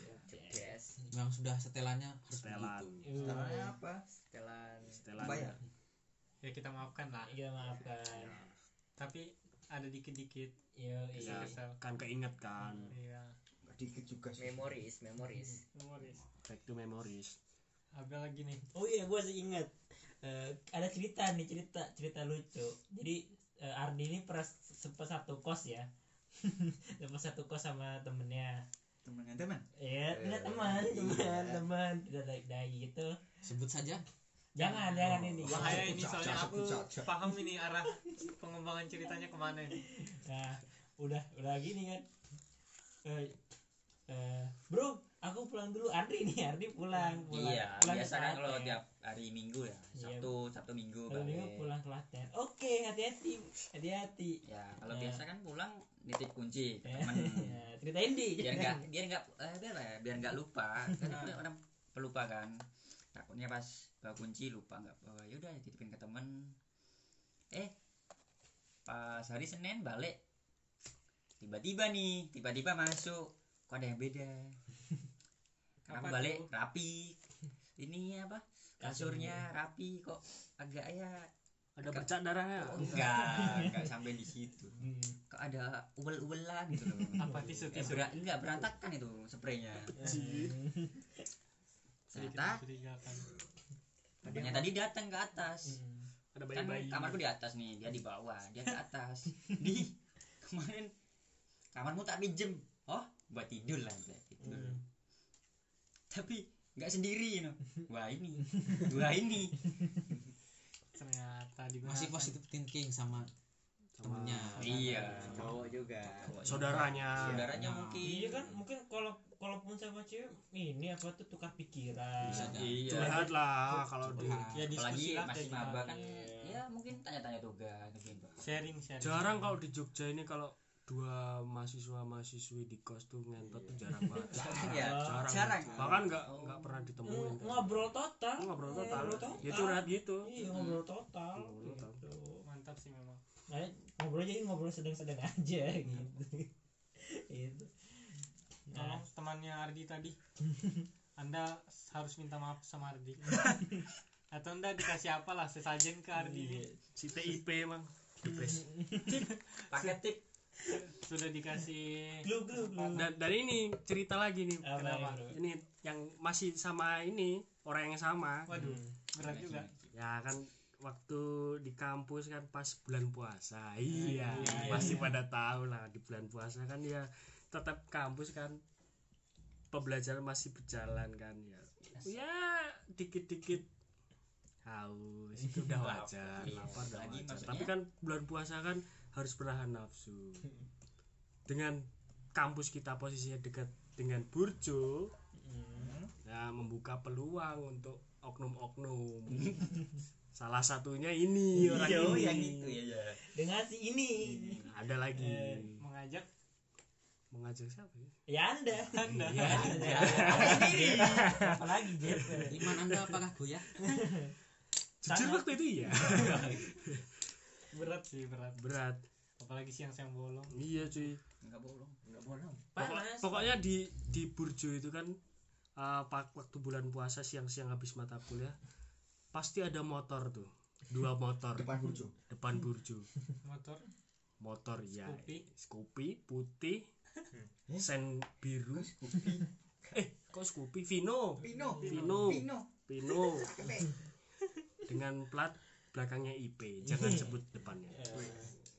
[SPEAKER 5] yes
[SPEAKER 3] memang sudah setelannya harus
[SPEAKER 5] gitu.
[SPEAKER 6] Setelan.
[SPEAKER 3] begitu
[SPEAKER 5] setelannya apa setelan
[SPEAKER 6] Setelan.
[SPEAKER 5] Bayar.
[SPEAKER 2] ya kita maafkan lah
[SPEAKER 1] Iya maafkan.
[SPEAKER 2] tapi ada dikit-dikit
[SPEAKER 1] Yo,
[SPEAKER 6] Iya.
[SPEAKER 1] iya.
[SPEAKER 2] kesel
[SPEAKER 6] Kan keinget kan.
[SPEAKER 2] iya
[SPEAKER 5] memoris memoris
[SPEAKER 2] humoris
[SPEAKER 6] Back to memories.
[SPEAKER 2] ada lagi nih
[SPEAKER 1] Oh iya, gue masih ingat. Eh, ada cerita nih cerita cerita lucu. Jadi eh, Ardi ini pernah sempat satu kos ya. sempat satu kos sama temennya.
[SPEAKER 16] teman teman
[SPEAKER 3] Iya,
[SPEAKER 1] Ya, enggak teman, teman, teman. Tidak baik dai gitu.
[SPEAKER 3] sebut saja Oh.
[SPEAKER 1] Jangan, jangan ini. jangan.
[SPEAKER 2] bahaya ini soalnya aku paham ini arah pengembangan ceritanya kemana ini
[SPEAKER 1] Nah, udah udah gini kan. Eh, eh, bro, aku pulang dulu Andri nih Andri pulang pulang
[SPEAKER 5] iya
[SPEAKER 1] pulang ke
[SPEAKER 5] biasa kan kalau
[SPEAKER 1] Klaten.
[SPEAKER 5] tiap hari minggu ya
[SPEAKER 1] Iya.
[SPEAKER 5] sabtu sabtu minggu
[SPEAKER 1] Kalau minggu
[SPEAKER 5] balik.
[SPEAKER 1] pulang Klaten oke hati-hati hati-hati
[SPEAKER 5] ya kalau
[SPEAKER 1] Nah.
[SPEAKER 5] biasa kan pulang nitip kunci ke
[SPEAKER 1] Ya,
[SPEAKER 5] temen
[SPEAKER 1] ceritain di
[SPEAKER 5] biar nggak biar nggak eh, biar apa ya, biar nggak lupa kan itu orang pelupa kan takutnya pas bawa kunci lupa nggak bawa yaudah titipin ke temen eh pas hari senin balik tiba-tiba nih tiba-tiba masuk kok ada yang beda kenapa
[SPEAKER 2] Apa
[SPEAKER 5] balik
[SPEAKER 2] tuh?
[SPEAKER 5] rapi ini apa kasurnya rapi kok agak ya
[SPEAKER 6] ada bercak darahnya
[SPEAKER 5] kok enggak enggak sampai di situ Ya
[SPEAKER 2] Hmm.
[SPEAKER 5] kok ada uwel-uwelan gitu loh
[SPEAKER 2] apatis
[SPEAKER 5] Eh,
[SPEAKER 2] itu
[SPEAKER 5] sudah enggak berantakan itu spraynya. Ternyata
[SPEAKER 2] mencurigakan
[SPEAKER 5] temennya tadi datang ke atas.
[SPEAKER 2] Hmm.
[SPEAKER 5] Kan
[SPEAKER 6] ada Hmm, bayi-bayi
[SPEAKER 5] kamarku di atas nih, dia di bawah, dia ke atas. Di kemarin kamarmu tak pinjem. Oh, buat tidur lah, buat tidur.
[SPEAKER 2] Hmm.
[SPEAKER 5] Tapi nggak sendiri, you know. Wah ini, wah ini.
[SPEAKER 2] ternyata di
[SPEAKER 15] masih positive thinking sama
[SPEAKER 6] sama
[SPEAKER 15] temennya
[SPEAKER 5] iya.
[SPEAKER 3] cowok juga
[SPEAKER 6] saudaranya
[SPEAKER 5] Saudaranya
[SPEAKER 15] Nah.
[SPEAKER 5] mungkin.
[SPEAKER 1] iya kan mungkin kalau kalaupun sama cewek ini apa tuh tukar pikiran Hmm,
[SPEAKER 15] Bisa jadi.
[SPEAKER 5] Iya.
[SPEAKER 6] curhat lah kalau di
[SPEAKER 15] Curhat.
[SPEAKER 2] ya
[SPEAKER 5] Apalagi
[SPEAKER 2] diskusi lah
[SPEAKER 5] masih
[SPEAKER 2] kayak
[SPEAKER 5] maba kan,
[SPEAKER 1] Iya.
[SPEAKER 5] ya mungkin tanya-tanya tugas, mungkin Pak.
[SPEAKER 2] sharing sharing
[SPEAKER 6] jarang kalau di Jogja ini kalau dua mahasiswa mahasiswi di kos tuh ngentot tuh jarang banget
[SPEAKER 5] Jarang ya?
[SPEAKER 6] jarang,
[SPEAKER 5] Jarang.
[SPEAKER 6] bahkan nggak
[SPEAKER 5] Oh.
[SPEAKER 6] nggak pernah ditemuin
[SPEAKER 1] Ng- ngobrol total
[SPEAKER 6] Oh, ngobrol
[SPEAKER 2] Eh,
[SPEAKER 6] total
[SPEAKER 1] Ngobrol
[SPEAKER 6] ya curhat gitu
[SPEAKER 1] iya ngobrol total
[SPEAKER 6] Ngobrol total.
[SPEAKER 1] gitu.
[SPEAKER 2] mantap sih memang
[SPEAKER 1] Nah, ngobrol jadi ngobrol sedang-sedang aja gitu itu Ya.
[SPEAKER 2] tolong temannya Ardi tadi anda harus minta maaf sama Ardi atau anda dikasih apalah sesajen ke Ardi
[SPEAKER 1] Iya.
[SPEAKER 2] ini
[SPEAKER 6] si TIP emang the best.
[SPEAKER 5] Pakai tip
[SPEAKER 2] sudah dikasih
[SPEAKER 1] glu glu glu
[SPEAKER 6] dan dan ini cerita lagi nih
[SPEAKER 1] Apa
[SPEAKER 2] Kenapa?
[SPEAKER 1] itu?
[SPEAKER 6] ini yang masih sama ini orang yang sama
[SPEAKER 2] waduh berat juga
[SPEAKER 6] ya kan waktu di kampus kan pas bulan puasa iya
[SPEAKER 2] iya, iya.
[SPEAKER 6] pasti pada tahu lah di bulan puasa kan ya tetap kampus kan pembelajaran masih berjalan kan ya ya dikit-dikit haus itu udah
[SPEAKER 5] Lapar,
[SPEAKER 6] wajar
[SPEAKER 5] iya.
[SPEAKER 6] lapar udah
[SPEAKER 5] Lagi
[SPEAKER 6] wajar
[SPEAKER 5] maksudnya-
[SPEAKER 6] tapi kan bulan puasa kan harus menahan nafsu dengan kampus kita posisinya dekat dengan burjo
[SPEAKER 5] Hmm.
[SPEAKER 6] Nah, membuka peluang untuk oknum-oknum. Salah satunya ini orang
[SPEAKER 5] Iya,
[SPEAKER 6] ini.
[SPEAKER 5] yang itu ya. Eh. ya.
[SPEAKER 1] dengan si ini
[SPEAKER 6] Ada lagi
[SPEAKER 2] Iya. mengajak
[SPEAKER 6] mengajak siapa ya?
[SPEAKER 1] ya anda anda anda apalagi Jeff
[SPEAKER 15] iman anda apakah goyah
[SPEAKER 6] Jujur
[SPEAKER 1] Sangat.
[SPEAKER 6] waktu itu iya.
[SPEAKER 2] berat sih berat
[SPEAKER 6] Berat.
[SPEAKER 2] apalagi siang-siang bolong
[SPEAKER 6] Iya cuy.
[SPEAKER 5] Enggak bolong.
[SPEAKER 3] nggak bolong
[SPEAKER 6] Pokok-
[SPEAKER 1] Panas.
[SPEAKER 6] pokoknya di di Burjo itu kan eh, pak- waktu bulan puasa siang-siang habis mata kuliah pasti ada motor tuh. Dua motor
[SPEAKER 15] depan burjo
[SPEAKER 6] depan Burjo.
[SPEAKER 2] motor
[SPEAKER 6] Motor ya.
[SPEAKER 2] Scoopy.
[SPEAKER 6] Scoopy putih. Sen biru. Eh, kok Scoopy? Vino.
[SPEAKER 3] Pino
[SPEAKER 6] Vino.
[SPEAKER 3] Pino
[SPEAKER 6] Pino dengan plat belakangnya IP jangan sebut depannya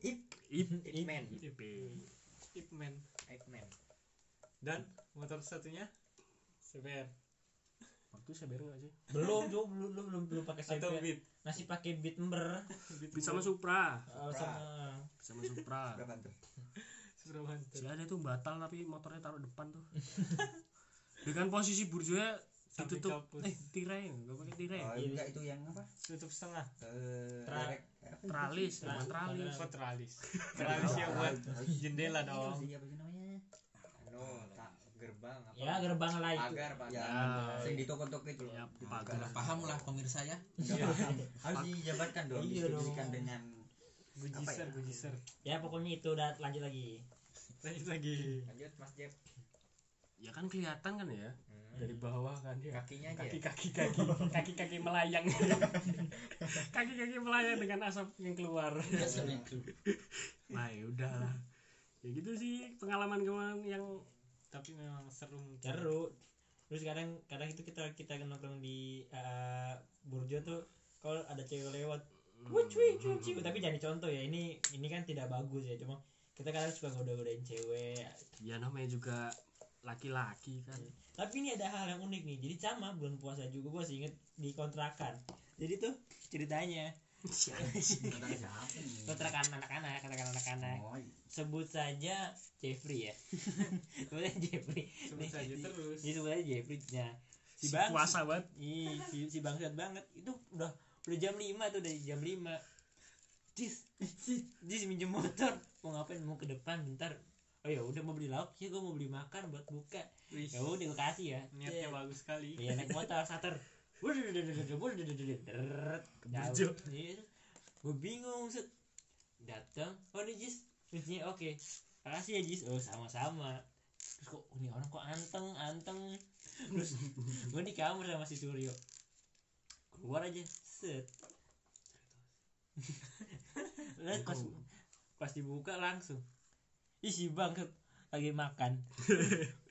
[SPEAKER 3] Ip
[SPEAKER 6] IP
[SPEAKER 3] Ipman
[SPEAKER 6] IP
[SPEAKER 2] Ipman
[SPEAKER 3] Ipman
[SPEAKER 2] dan motor satunya seber
[SPEAKER 6] waktu saya bareng gak sih
[SPEAKER 1] belum Jo, belum belum belum belum pakai
[SPEAKER 2] atau
[SPEAKER 1] sepe
[SPEAKER 2] beat
[SPEAKER 1] masih pakai beat ember
[SPEAKER 6] bisa sama Supra
[SPEAKER 1] Eh, sama
[SPEAKER 6] sama Supra
[SPEAKER 3] berapa tuh
[SPEAKER 2] Surawan
[SPEAKER 6] si ada tuh batal tapi motornya taruh depan tuh dengan posisi burjunya
[SPEAKER 2] Sampai
[SPEAKER 6] ditutup
[SPEAKER 2] kapus.
[SPEAKER 6] eh tirai gak pakai tirai
[SPEAKER 16] iya.
[SPEAKER 3] oh enggak itu yang apa
[SPEAKER 2] tutup setengah
[SPEAKER 3] eh
[SPEAKER 1] Tra-
[SPEAKER 3] derek. Apa?
[SPEAKER 6] tralis
[SPEAKER 1] Tra-
[SPEAKER 6] bukan tralis
[SPEAKER 2] Kok teralis teralis ya buat jendela
[SPEAKER 1] ya?
[SPEAKER 2] dong
[SPEAKER 5] Iya, apa sih namanya?
[SPEAKER 3] anu tak gerbang apa
[SPEAKER 1] ya gerbang lain
[SPEAKER 3] pagar pak
[SPEAKER 5] Ya,
[SPEAKER 6] Nah,
[SPEAKER 3] sing ditokok-tokok itu
[SPEAKER 6] ya
[SPEAKER 3] loh
[SPEAKER 6] pagar
[SPEAKER 15] paham lah pemirsa ya
[SPEAKER 3] Nggak paham. harus dijabarkan dong
[SPEAKER 1] Iya dong.
[SPEAKER 3] distribusikan dengan apa
[SPEAKER 2] gujiser
[SPEAKER 3] ya?
[SPEAKER 2] gujiser
[SPEAKER 1] ya pokoknya itu udah lanjut lagi
[SPEAKER 2] lanjut lagi
[SPEAKER 3] lanjut mas Jeff
[SPEAKER 6] ya kan kelihatan kan ya
[SPEAKER 3] Hmm.
[SPEAKER 6] dari bawah kan ya
[SPEAKER 3] kakinya aja ya?
[SPEAKER 6] kaki-kaki kaki kaki-kaki melayang kaki-kaki melayang dengan asap yang keluar nah ya udahlah ya gitu sih pengalaman kemarin yang
[SPEAKER 2] tapi memang seru mungkin.
[SPEAKER 1] seru terus kadang kadang itu kita kita nongkrong di eh, Burjo tuh kalau ada cewek lewat "Wuh, cuy cuy
[SPEAKER 2] Hmm.
[SPEAKER 1] cuy tapi jangan dicontoh ya ini ini kan tidak bagus ya cuma kita kadang suka goda-godain cewek
[SPEAKER 6] ya namanya juga laki-laki kan
[SPEAKER 3] Iya.
[SPEAKER 1] tapi ini ada hal yang unik nih jadi sama bulan puasa juga gue sih inget di kontrakan jadi tuh ceritanya
[SPEAKER 17] Kontrakan siapa nih?
[SPEAKER 1] kontrakan anak-anak kontrakan anak-anak
[SPEAKER 17] Oh,
[SPEAKER 5] iya.
[SPEAKER 1] sebut saja Jeffrey ya sebut saja Jeffrey
[SPEAKER 2] sebut saja
[SPEAKER 3] Iya.
[SPEAKER 2] terus
[SPEAKER 1] jadi sebut saja Jeffrey nah si,
[SPEAKER 6] si
[SPEAKER 1] bang
[SPEAKER 6] puasa banget
[SPEAKER 1] Ih, si, si bangsat banget itu udah udah jam 5 tuh udah jam 5 Jis, Jis minjem motor mau ngapain mau ke depan bentar oh ya udah mau beli lauk ya gue mau beli makan buat buka
[SPEAKER 2] Wih,
[SPEAKER 1] ya udah gue kasih ya
[SPEAKER 2] niatnya bagus sekali
[SPEAKER 1] Iya naik motor starter.
[SPEAKER 6] Kebujuk.
[SPEAKER 1] Gue Iya. bingung set. Datang, oh ini Jis, kuncinya oke. Makasih ya Jis. Oh sama-sama. Terus kok ini orang kok anteng anteng. Terus gue di kamar sama si Suryo. Keluar aja set. Lihat pas pas dibuka langsung. Ih si bangset lagi makan.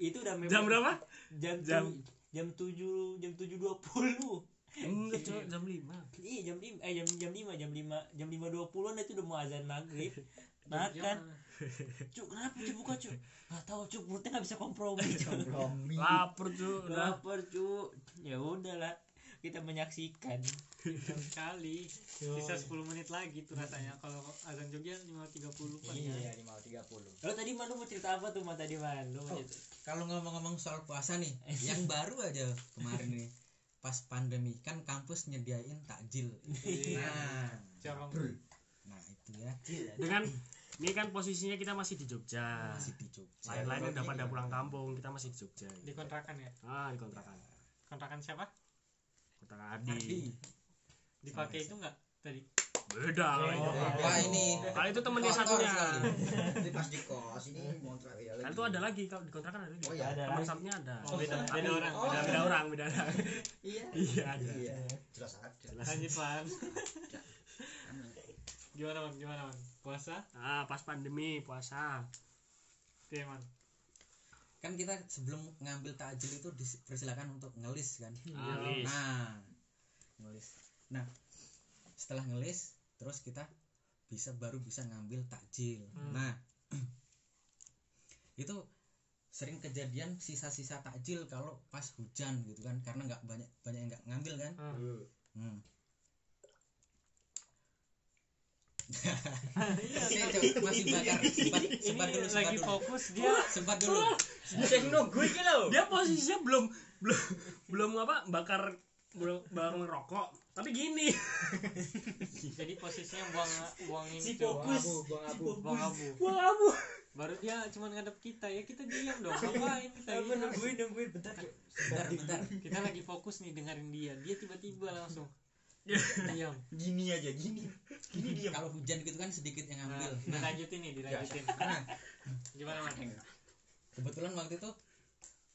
[SPEAKER 1] Itu udah
[SPEAKER 6] jam berapa
[SPEAKER 1] jam jam
[SPEAKER 6] Jam-
[SPEAKER 1] jam tujuh jam tujuh dua puluh
[SPEAKER 6] enggak cok jam lima
[SPEAKER 1] iya jam lima eh jam jam lima jam lima jam lima dua puluh itu udah mau azan maghrib makan cuk kenapa cuk buka cuk nggak tahu cuk mulutnya nggak bisa kompromi cuk
[SPEAKER 6] lapar cok udah
[SPEAKER 1] lapar cuk ya udahlah kita menyaksikan
[SPEAKER 2] jam sekali
[SPEAKER 1] Yo.
[SPEAKER 2] bisa 10 menit lagi tuh rasanya Nah, kalau azan Jogja 5.30 kan ya
[SPEAKER 18] Iya, 5.30.
[SPEAKER 1] lo tadi mana mau cerita apa tuh mata di mana lu mau
[SPEAKER 5] Oh.
[SPEAKER 1] cerita
[SPEAKER 5] kalau ngomong-ngomong soal puasa nih yang baru aja kemarin nih pas pandemi kan kampus nyediain takjil
[SPEAKER 6] Iya.
[SPEAKER 5] nah
[SPEAKER 2] corong
[SPEAKER 5] nah itu ya
[SPEAKER 6] dengan ini kan posisinya kita masih di
[SPEAKER 3] Ah,
[SPEAKER 6] Jogja
[SPEAKER 5] masih di Jogja
[SPEAKER 3] iya,
[SPEAKER 6] lain-lain udah pada pulang kampung kita masih di Jogja
[SPEAKER 2] di kontrakan ya
[SPEAKER 6] ah di kontrakan
[SPEAKER 2] kontrakan siapa
[SPEAKER 6] kontrakan Adi
[SPEAKER 2] dipakai itu enggak tadi Oh,
[SPEAKER 6] beda
[SPEAKER 3] Iya.
[SPEAKER 6] kalau itu
[SPEAKER 5] wah ini
[SPEAKER 6] kalau itu temennya
[SPEAKER 5] kotor
[SPEAKER 6] satunya
[SPEAKER 5] sekali.
[SPEAKER 3] Ini pas di kos ini kontrak ya
[SPEAKER 6] kan itu ada lagi kalau di kontrakan ada
[SPEAKER 3] Oh
[SPEAKER 6] juga
[SPEAKER 3] iya ada.
[SPEAKER 6] teman sapnya ada
[SPEAKER 2] oh, beda beda orang
[SPEAKER 3] Oh.
[SPEAKER 6] beda,
[SPEAKER 2] beda,
[SPEAKER 6] beda orang beda orang
[SPEAKER 3] Iya.
[SPEAKER 6] iya ada
[SPEAKER 3] Iya. Jelas aja.
[SPEAKER 2] lanjut Wan gimana man gimana man puasa
[SPEAKER 6] ah pas pandemi puasa
[SPEAKER 2] Oke man
[SPEAKER 5] kan kita sebelum ngambil takjil itu dipersilakan untuk ngelis kan
[SPEAKER 2] iya.
[SPEAKER 1] Ah,
[SPEAKER 6] Ngelis.
[SPEAKER 5] nah ngelis nah setelah ngelis terus kita bisa baru bisa ngambil takjil nah itu sering kejadian sisa-sisa takjil kalau pas hujan gitu kan karena nggak banyak banyak yang nggak ngambil kan hmm. Saya coba- masih bakar sempat, sempat
[SPEAKER 2] ini
[SPEAKER 5] dulu sempat
[SPEAKER 2] lagi
[SPEAKER 5] dulu Oh,
[SPEAKER 2] fokus dia
[SPEAKER 5] sempat dulu
[SPEAKER 6] dia posisinya belum belum belum apa bakar belum bakar rokok tapi gini
[SPEAKER 2] jadi posisinya buang buang ini tuh,
[SPEAKER 1] fokus
[SPEAKER 2] buang abu
[SPEAKER 1] wah kamu
[SPEAKER 2] baru dia cuma ngadep kita ya kita diam dong ngapain kita
[SPEAKER 1] Apa
[SPEAKER 2] diam
[SPEAKER 1] nungguin nungguin bentar Cuk.
[SPEAKER 5] bentar bentar
[SPEAKER 2] kita lagi fokus nih dengerin dia dia tiba-tiba langsung diam
[SPEAKER 3] Gini aja gini. Gini dia.
[SPEAKER 5] kalau hujan gitu kan sedikit yang
[SPEAKER 2] Nah,
[SPEAKER 5] ngambil nah
[SPEAKER 2] dilanjutin nih, dilanjutin. Nah, Gimana mas?
[SPEAKER 5] kebetulan waktu itu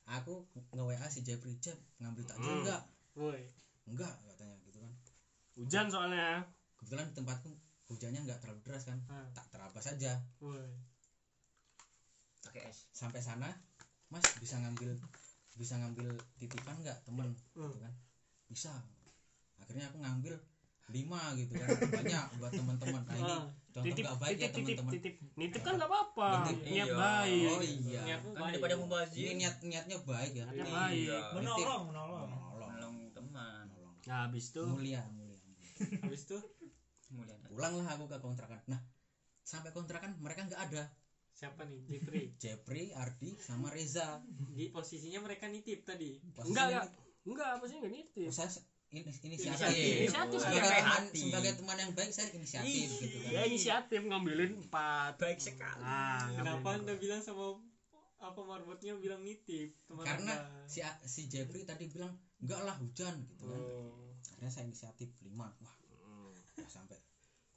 [SPEAKER 5] aku nge WA si Jeffrey Jeb ngambil takjil enggak
[SPEAKER 2] Woi,
[SPEAKER 5] enggak katanya gitu kan
[SPEAKER 6] hujan soalnya
[SPEAKER 5] kebetulan di tempatku hujannya enggak terlalu deras kan
[SPEAKER 2] Hmm.
[SPEAKER 5] tak terabas aja
[SPEAKER 2] woi.
[SPEAKER 17] pakai es.
[SPEAKER 5] sampai sana mas bisa ngambil bisa ngambil titipan enggak temen gitu kan bisa akhirnya aku ngambil lima gitu kan banyak buat teman-teman nah ini
[SPEAKER 2] Ah,
[SPEAKER 5] contoh
[SPEAKER 6] titip
[SPEAKER 5] nggak baik ya
[SPEAKER 6] titip titip
[SPEAKER 5] teman-teman
[SPEAKER 6] titip nitip kan nggak apa-apa
[SPEAKER 5] Nitip,
[SPEAKER 6] niat
[SPEAKER 17] iya.
[SPEAKER 6] baik
[SPEAKER 5] oh iya
[SPEAKER 2] niatmu
[SPEAKER 17] Kan
[SPEAKER 2] baik.
[SPEAKER 17] daripada
[SPEAKER 5] ini
[SPEAKER 17] mubazir.
[SPEAKER 5] niat niatnya baik ya
[SPEAKER 6] niatnya
[SPEAKER 1] iya.
[SPEAKER 5] Nitip.
[SPEAKER 2] Iya.
[SPEAKER 6] baik
[SPEAKER 19] menolong menolong
[SPEAKER 5] menolong
[SPEAKER 17] Menolong teman.
[SPEAKER 5] menolong
[SPEAKER 6] nah habis itu
[SPEAKER 5] mulia mulia
[SPEAKER 2] Habis itu
[SPEAKER 17] Mulia.
[SPEAKER 5] pulanglah aku ke kontrakan nah sampai kontrakan mereka nggak ada
[SPEAKER 2] siapa nih? Jeffrey.
[SPEAKER 5] Jeffrey Ardi sama Reza
[SPEAKER 2] Di posisinya mereka nitip tadi.
[SPEAKER 5] Posisinya
[SPEAKER 6] enggak enggak
[SPEAKER 5] ini-
[SPEAKER 6] enggak apa sih enggak nitip
[SPEAKER 5] saya se- ini inisiatif
[SPEAKER 17] Inisiatif.
[SPEAKER 6] Inisiatif,
[SPEAKER 5] sebagai
[SPEAKER 17] Sampai
[SPEAKER 5] teman
[SPEAKER 17] hati.
[SPEAKER 5] sebagai teman yang baik saya inisiatif gitu kan
[SPEAKER 6] dia inisiatif ngambilin empat
[SPEAKER 17] Baik sekali.
[SPEAKER 6] ah
[SPEAKER 2] Kenapa anda
[SPEAKER 6] ngambilin empat.
[SPEAKER 2] bilang sama apa marbotnya bilang nitip teman
[SPEAKER 5] karena
[SPEAKER 2] Anda?
[SPEAKER 5] si A- si Jeffrey tadi bilang enggak lah hujan gitu kan akhirnya saya inisiatif lima wah udah sampai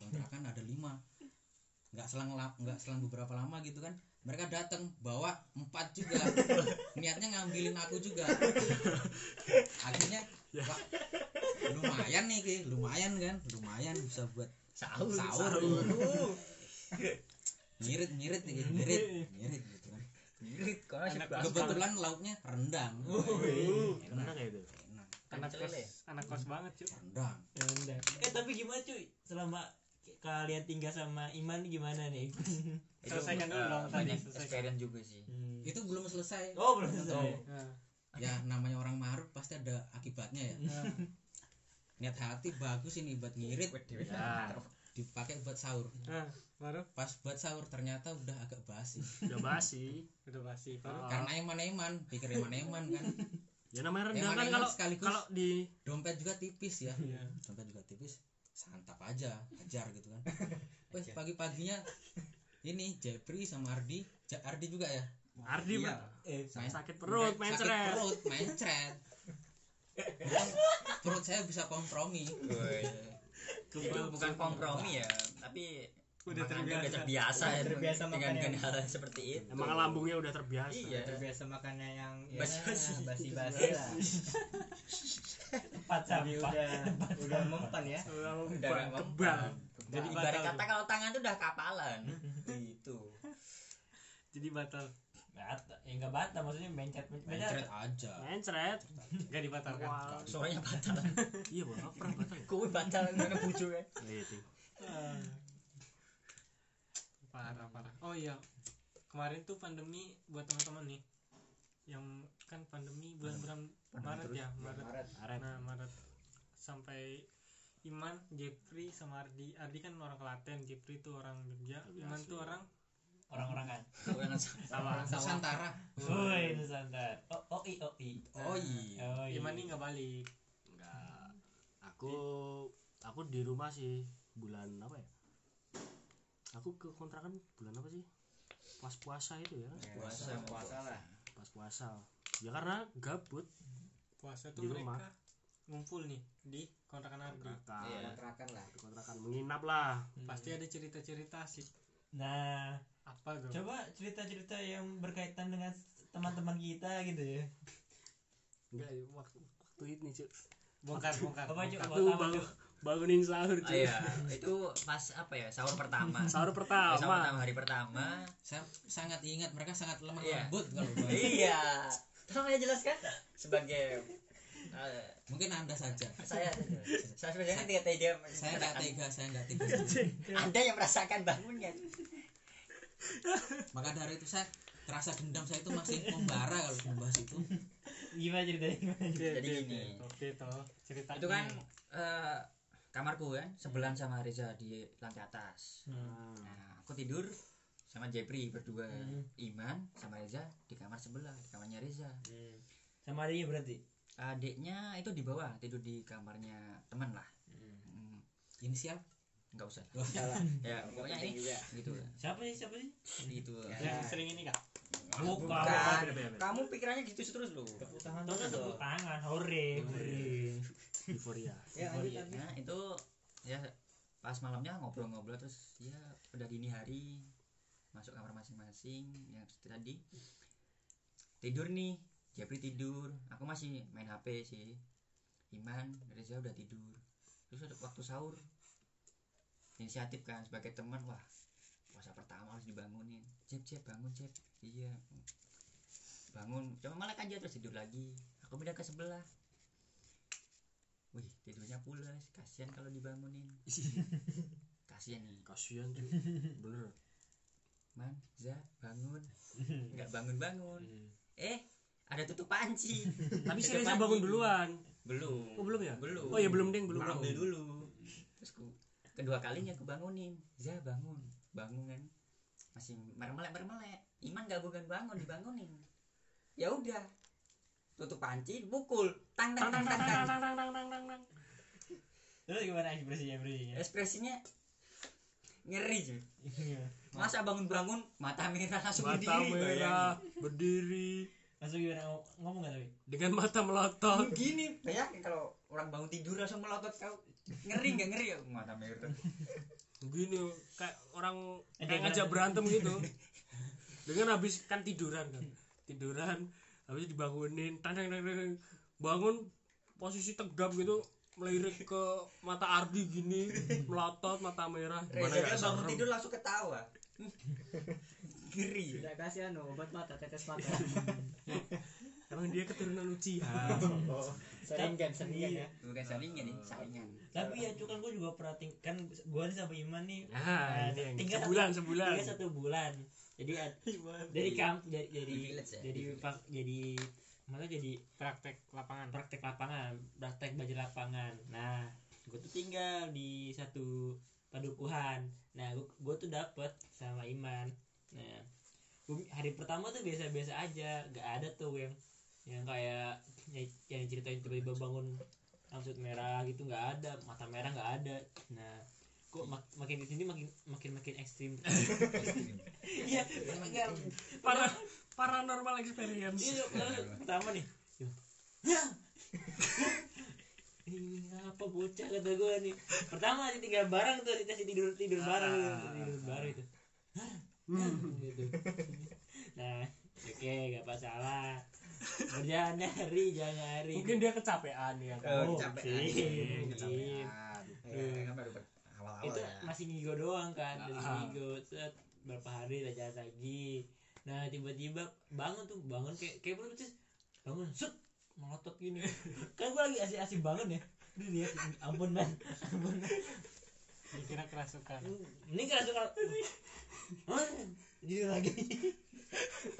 [SPEAKER 5] kontrakan ada lima nggak selang la- nggak selang beberapa lama gitu kan mereka datang bawa empat juga niatnya ngambilin aku juga akhirnya wah, lumayan nih Ki. lumayan kan lumayan bisa buat sahur sahur ngirit ngirit nih Ki. ngirit ngirit gitu kan
[SPEAKER 17] Ngirit kok sih
[SPEAKER 5] kebetulan lauknya rendang
[SPEAKER 6] enak kayak
[SPEAKER 3] Iya.
[SPEAKER 6] itu
[SPEAKER 5] enak
[SPEAKER 2] anak kos,
[SPEAKER 17] Cele.
[SPEAKER 2] anak kos banget cuy.
[SPEAKER 5] rendang
[SPEAKER 1] eh tapi gimana cuy selama kalian tinggal sama Iman gimana nih
[SPEAKER 17] Itu,
[SPEAKER 2] Selesaikan dulu
[SPEAKER 17] eh,
[SPEAKER 2] dong, tanya
[SPEAKER 17] Banyak
[SPEAKER 2] selesaikan.
[SPEAKER 17] experience juga sih.
[SPEAKER 5] itu belum selesai
[SPEAKER 1] oh belum selesai
[SPEAKER 2] Nah,
[SPEAKER 5] ya namanya orang maruk pasti ada akibatnya ya
[SPEAKER 2] nah.
[SPEAKER 14] niat hati bagus ini buat ngirit
[SPEAKER 6] Ya,
[SPEAKER 14] dipakai buat sahur
[SPEAKER 2] nah baru
[SPEAKER 14] pas buat sahur ternyata udah agak basi
[SPEAKER 6] udah basi.
[SPEAKER 2] udah pasti baru
[SPEAKER 6] Ah.
[SPEAKER 14] karena eman-eman pikir eman-eman kan
[SPEAKER 6] Ya namanya rendah kan
[SPEAKER 14] Eman-eman
[SPEAKER 6] kalau
[SPEAKER 14] sekaligus.
[SPEAKER 6] kalau di
[SPEAKER 14] dompet juga tipis ya
[SPEAKER 2] Iya.
[SPEAKER 14] dompet juga tipis santap aja ajar gitu kan wes pagi-paginya ini Jepri sama Ardi Ja- Ardi juga ya
[SPEAKER 6] Ardi
[SPEAKER 14] Iya.
[SPEAKER 6] Pak.
[SPEAKER 14] eh, main-
[SPEAKER 6] sakit
[SPEAKER 14] sakit
[SPEAKER 6] perut, mencret.
[SPEAKER 14] perut mencret perut saya bisa kompromi
[SPEAKER 5] itu bukan kompromi ya tapi
[SPEAKER 2] Udah
[SPEAKER 5] emang
[SPEAKER 2] terbiasa.
[SPEAKER 5] Anda udah terbiasa ya
[SPEAKER 3] Terbiasa
[SPEAKER 5] dengan
[SPEAKER 3] makan
[SPEAKER 5] dengan hal seperti itu
[SPEAKER 6] Emang lambungnya udah terbiasa.
[SPEAKER 5] iya
[SPEAKER 3] terbiasa makannya yang ya,
[SPEAKER 5] Basi-basi.
[SPEAKER 3] basi-basi lah
[SPEAKER 1] Tempat
[SPEAKER 3] tapi
[SPEAKER 1] sampah.
[SPEAKER 3] udah udah mempan ya
[SPEAKER 5] udah
[SPEAKER 6] Udah
[SPEAKER 5] nggak
[SPEAKER 6] kebal.
[SPEAKER 5] mempan.
[SPEAKER 2] Jadi
[SPEAKER 5] ibarat
[SPEAKER 2] batal
[SPEAKER 5] kata kalau tangan tuh udah kapalan gitu
[SPEAKER 2] jadi batal
[SPEAKER 1] Bata, ya enggak bata maksudnya mencet mencet.
[SPEAKER 14] mencret aja
[SPEAKER 6] Mencret.
[SPEAKER 2] nggak dibatalkan
[SPEAKER 6] Wah.
[SPEAKER 5] sorenya batal
[SPEAKER 6] Iya, Bang. Pernah batal.
[SPEAKER 5] kowe batal mana bujo ya
[SPEAKER 6] Iya, itu.
[SPEAKER 2] Ah. parah parah oh iya kemarin tuh pandemi buat teman-teman nih yang kan pandemi bulan bulan Maret ya Maret
[SPEAKER 6] Karet.
[SPEAKER 2] Nah Maret sampai Iman, Jeffrey sama Ardi. Ardi kan orang Klaten, Jeffrey tuh orang Jogja,
[SPEAKER 6] Tapi
[SPEAKER 2] Iman
[SPEAKER 6] asli.
[SPEAKER 2] tuh orang
[SPEAKER 1] Iya, Orang-orang kan.
[SPEAKER 2] sama.
[SPEAKER 14] Nusantara
[SPEAKER 1] Woi, Nusantara. Oh, oi, oi.
[SPEAKER 14] oh iya
[SPEAKER 1] Oi.
[SPEAKER 2] Iman ini nggak balik.
[SPEAKER 6] Enggak. Aku aku di rumah sih bulan apa ya? Aku ke kontrakan bulan apa sih? Pas puasa itu ya. kan?
[SPEAKER 5] puasa puasa lah
[SPEAKER 6] Pas puasa. Ya karena gabut
[SPEAKER 2] Puasa tuh
[SPEAKER 6] Di rumah.
[SPEAKER 2] mereka ngumpul nih di kontrakan Ardi.
[SPEAKER 5] Iya.
[SPEAKER 6] kontrakan.
[SPEAKER 3] kontrakan lah
[SPEAKER 6] Kontrakan menginap lah.
[SPEAKER 2] Pasti ada cerita-cerita sih.
[SPEAKER 1] Nah,
[SPEAKER 2] Apa tuh?
[SPEAKER 1] coba cerita-cerita yang berkaitan dengan teman-teman kita gitu ya.
[SPEAKER 6] Enggak, ya, waktu waktu ini, Cuk.
[SPEAKER 2] Bongkar, bongkar.
[SPEAKER 1] Apa
[SPEAKER 2] bongkar.
[SPEAKER 1] Cuk?
[SPEAKER 6] Waktu
[SPEAKER 1] Apa,
[SPEAKER 6] bangun,
[SPEAKER 1] Cuk?
[SPEAKER 6] bangunin sahur,
[SPEAKER 5] Ah,
[SPEAKER 6] Cuk.
[SPEAKER 5] iya itu pas apa ya sahur pertama
[SPEAKER 6] Sahur
[SPEAKER 5] Eh, sahur pertama
[SPEAKER 6] pertama. Kan?
[SPEAKER 5] hari pertama
[SPEAKER 14] saya sangat ingat mereka sangat lemah
[SPEAKER 5] Iya.
[SPEAKER 14] lembut kalau bahas.
[SPEAKER 5] iya sama ya jelas kan sebagai eh,
[SPEAKER 14] mungkin anda saja
[SPEAKER 5] saya saya sebenarnya tidak tega
[SPEAKER 14] saya nggak tega saya nggak tega
[SPEAKER 5] anda yang merasakan bangunnya
[SPEAKER 14] maka dari itu saya terasa dendam saya itu masih membara kalau membahas itu
[SPEAKER 1] Gimana ceritanya? Gimana?
[SPEAKER 2] Oke,
[SPEAKER 5] Jadi
[SPEAKER 2] oke,
[SPEAKER 5] gini.
[SPEAKER 2] oke. Oke, toh. Cerita
[SPEAKER 5] itu kan
[SPEAKER 14] Hmm.
[SPEAKER 5] eh, kamarku kan sebelah sama Reza di lantai atas
[SPEAKER 2] Hmm.
[SPEAKER 5] nah aku tidur sama Jepri berdua Iman sama Reza di kamar sebelah di kamarnya Reza
[SPEAKER 1] Sama dia berarti.
[SPEAKER 5] adiknya itu di bawah tidur di kamarnya teman lah Hmm,
[SPEAKER 14] inisial
[SPEAKER 5] nggak usah
[SPEAKER 14] Wah,
[SPEAKER 5] ya pokoknya ini gitu
[SPEAKER 1] Siapa sih? Siapa sih?
[SPEAKER 5] gitu
[SPEAKER 2] yang sering ini kak.
[SPEAKER 5] bukan kamu pikirannya gitu terus loh
[SPEAKER 1] Tangan tuh tepuk tangan. Hore.
[SPEAKER 6] Euforia.
[SPEAKER 5] ya,
[SPEAKER 3] Iya,
[SPEAKER 5] Nah, itu ya pas malamnya ngobrol-ngobrol terus ya udah dini hari masuk kamar masing-masing yang tadi tidur nih Jeffrey tidur aku masih main HP sih Iman Reza udah tidur terus ada waktu sahur inisiatif kan sebagai teman wah puasa pertama harus dibangunin Jep Jep bangun Jep iya bangun cuma malah aja terus tidur lagi aku pindah ke sebelah Wih, tidurnya pulas, kasihan kalau dibangunin. kasihan nih,
[SPEAKER 6] Kasihan, Cuk. Bener.
[SPEAKER 5] Man, Za, bangun. Enggak bangun-bangun.
[SPEAKER 6] Hmm.
[SPEAKER 5] Eh, ada tutup panci.
[SPEAKER 6] Tapi si
[SPEAKER 5] Tutup
[SPEAKER 6] Reza
[SPEAKER 5] panci.
[SPEAKER 6] bangun duluan.
[SPEAKER 5] Belum.
[SPEAKER 6] Oh, belum ya?
[SPEAKER 5] Belum.
[SPEAKER 6] Oh ya belum, Ding, belum.
[SPEAKER 5] Aku ambil dulu. Terus ku, kedua kalinya aku bangunin. Za, bangun. Bangunan masih mermelek-mermelek. Iman gak bukan bangun, dibangunin. Ya udah. Tutup panci, pukul. Tang tang tang tang. tang.
[SPEAKER 6] Tang, tang, tang, tang, tang, tang.
[SPEAKER 1] Terus gimana ekspresinya ekspresinya?
[SPEAKER 5] Ekspresinya ngeri, cuy. masa bangun-bangun mata merah langsung
[SPEAKER 6] Iya. Mata
[SPEAKER 5] berdiri
[SPEAKER 6] merah, berdiri
[SPEAKER 1] Langsung gimana Ngom- ngomong nggak tapi?
[SPEAKER 6] dengan mata melotot.
[SPEAKER 5] bayangin. gini bayangin kalau orang bangun tidur langsung melotot kau ngeri nggak ngeri ya mata merah
[SPEAKER 6] Gini kayak orang
[SPEAKER 1] Ajak
[SPEAKER 6] kayak ngajak berantem gitu. Dengan habis kan tiduran kan. Tiduran habis dibangunin tang tang tang tang, tang. Bangun posisi tegap gitu melirik ke mata Ardi gini melotot mata merah
[SPEAKER 1] Eh,
[SPEAKER 5] Reza
[SPEAKER 6] Gimana ya? nggak
[SPEAKER 5] bangun
[SPEAKER 6] serem?
[SPEAKER 5] tidur langsung ketawa ngeri
[SPEAKER 3] tidak kasih anu obat mata tetes mata
[SPEAKER 6] emang dia keturunan Uchiha
[SPEAKER 3] seringan seringan ya
[SPEAKER 5] bukan salingan nih salingan
[SPEAKER 1] Tapi ya cuy kan gue juga perhatiin kan gue nih sama Iman nih
[SPEAKER 6] nah, ini yang
[SPEAKER 1] Tinggal-
[SPEAKER 6] sebulan sebulan
[SPEAKER 1] dia satu bulan. Jadi ad- dari kamp dari dari
[SPEAKER 5] Di village ya?
[SPEAKER 1] jadi pak jadi malah jadi
[SPEAKER 2] praktek lapangan
[SPEAKER 1] praktek lapangan praktek belajar lapangan nah gue tuh tinggal di satu padukuhan nah gue tuh dapet sama Iman nah gua- hari pertama tuh biasa-biasa aja gak ada tuh yang yang kayak yang, yang ceritain tiba-tiba bangun langsung merah gitu nggak ada mata merah nggak ada nah kok mak- makin di sini makin makin makin ekstrim iya nggak
[SPEAKER 6] Para, paranormal experience
[SPEAKER 1] Iya, lalu pertama nih. Yo. Ya. Ini apa bocah kata gue nih. Pertama aja tinggal bareng tuh dikasih tidur tidur bareng gitu, tidur bareng itu. gitu. Nah, oke gak masalah. Kerjaan hari jangan hari.
[SPEAKER 6] mungkin dia kecapean ya
[SPEAKER 2] Eh.
[SPEAKER 6] kan?
[SPEAKER 20] Oh, kecapean.
[SPEAKER 1] sih.
[SPEAKER 20] Kecapean. Ya, kan baru ber- awal-awal
[SPEAKER 1] itu
[SPEAKER 20] ya.
[SPEAKER 1] masih ngigo doang kan dari
[SPEAKER 6] Ah.
[SPEAKER 1] ngigo set berapa hari lah jalan lagi nah tiba-tiba bangun tuh bangun kayak kayak perut terus bangun set melotot gini kan gue lagi asik-asik bangun ya Duh, lihat ampun man ampun man
[SPEAKER 2] dikira kerasukan
[SPEAKER 1] ini kerasukan Hah? jujur lagi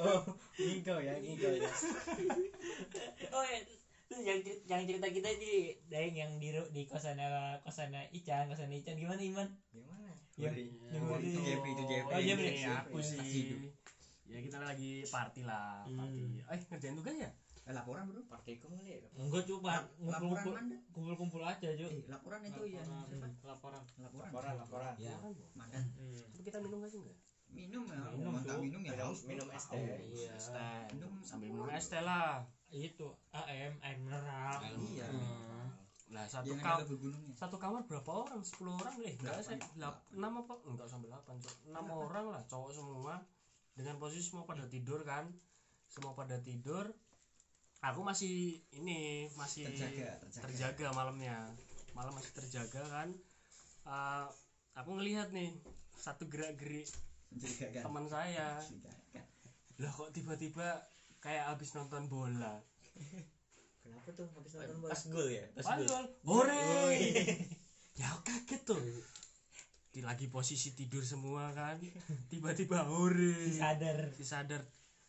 [SPEAKER 3] oh ngigo ya ngigo ya
[SPEAKER 1] oh ya terus yang cerita, yang cerita kita jadi Daeng yang di ru- di kosannya kosannya Ican kosannya Ican gimana Iman
[SPEAKER 3] gimana
[SPEAKER 1] yang
[SPEAKER 20] Jadi,
[SPEAKER 2] Iya,
[SPEAKER 1] yang
[SPEAKER 20] oh, itu
[SPEAKER 1] di-
[SPEAKER 20] Jeffrey, itu Jeffrey.
[SPEAKER 1] Oh, Jeffrey.
[SPEAKER 20] Jeffrey.
[SPEAKER 6] Iya, aku
[SPEAKER 20] Saksi
[SPEAKER 6] sih
[SPEAKER 20] hidup.
[SPEAKER 6] ya kita lagi party lah party eh ngerjain tugas ya
[SPEAKER 20] Eh, laporan bro
[SPEAKER 3] praktikum kali ya
[SPEAKER 1] enggak cuma
[SPEAKER 20] laporan
[SPEAKER 1] ngumpul-ngumpul
[SPEAKER 20] mana
[SPEAKER 1] kumpul-kumpul aja Jo
[SPEAKER 20] Eh, laporan itu ya siapa?
[SPEAKER 2] laporan
[SPEAKER 20] laporan
[SPEAKER 3] laporan laporan
[SPEAKER 5] ya
[SPEAKER 20] makan
[SPEAKER 1] Hmm.
[SPEAKER 6] tapi kita minum gak sih enggak
[SPEAKER 20] minum ya minum
[SPEAKER 3] Minum, Bro.
[SPEAKER 20] minum ya
[SPEAKER 3] Minum-
[SPEAKER 20] haus, Bro.
[SPEAKER 3] minum es
[SPEAKER 20] Haus.
[SPEAKER 3] teh.
[SPEAKER 1] Iya.
[SPEAKER 6] es teh
[SPEAKER 20] Minum
[SPEAKER 6] sambil
[SPEAKER 20] apa?
[SPEAKER 6] minum es teh lah
[SPEAKER 1] itu AM air mineral Hmm.
[SPEAKER 20] Iya.
[SPEAKER 6] lah Nah,
[SPEAKER 1] Iya,
[SPEAKER 6] satu
[SPEAKER 20] Jangan
[SPEAKER 6] kam
[SPEAKER 20] ada bergunungnya.
[SPEAKER 6] satu kamar berapa orang 10 orang deh enggak
[SPEAKER 20] Delapan.
[SPEAKER 6] saya delap- enam apa enggak sampai 8 enam orang lah cowok semua dengan posisi semua pada tidur kan semua pada tidur aku masih ini masih
[SPEAKER 20] Terjaga, terjaga.
[SPEAKER 6] terjaga malamnya malam masih terjaga kan Eh, aku ngelihat nih satu gerak gerik
[SPEAKER 20] Mencurigakan.
[SPEAKER 6] teman saya
[SPEAKER 20] Mencurigakan.
[SPEAKER 6] lah kok tiba-tiba kayak habis nonton bola
[SPEAKER 3] kenapa tuh habis nonton bola
[SPEAKER 20] Pas gol ya. Pas gol.
[SPEAKER 6] Panjol, hore. ya aku kaget tuh. Di lagi posisi tidur semua kan, tiba-tiba hore.
[SPEAKER 1] sadar
[SPEAKER 6] Si sadar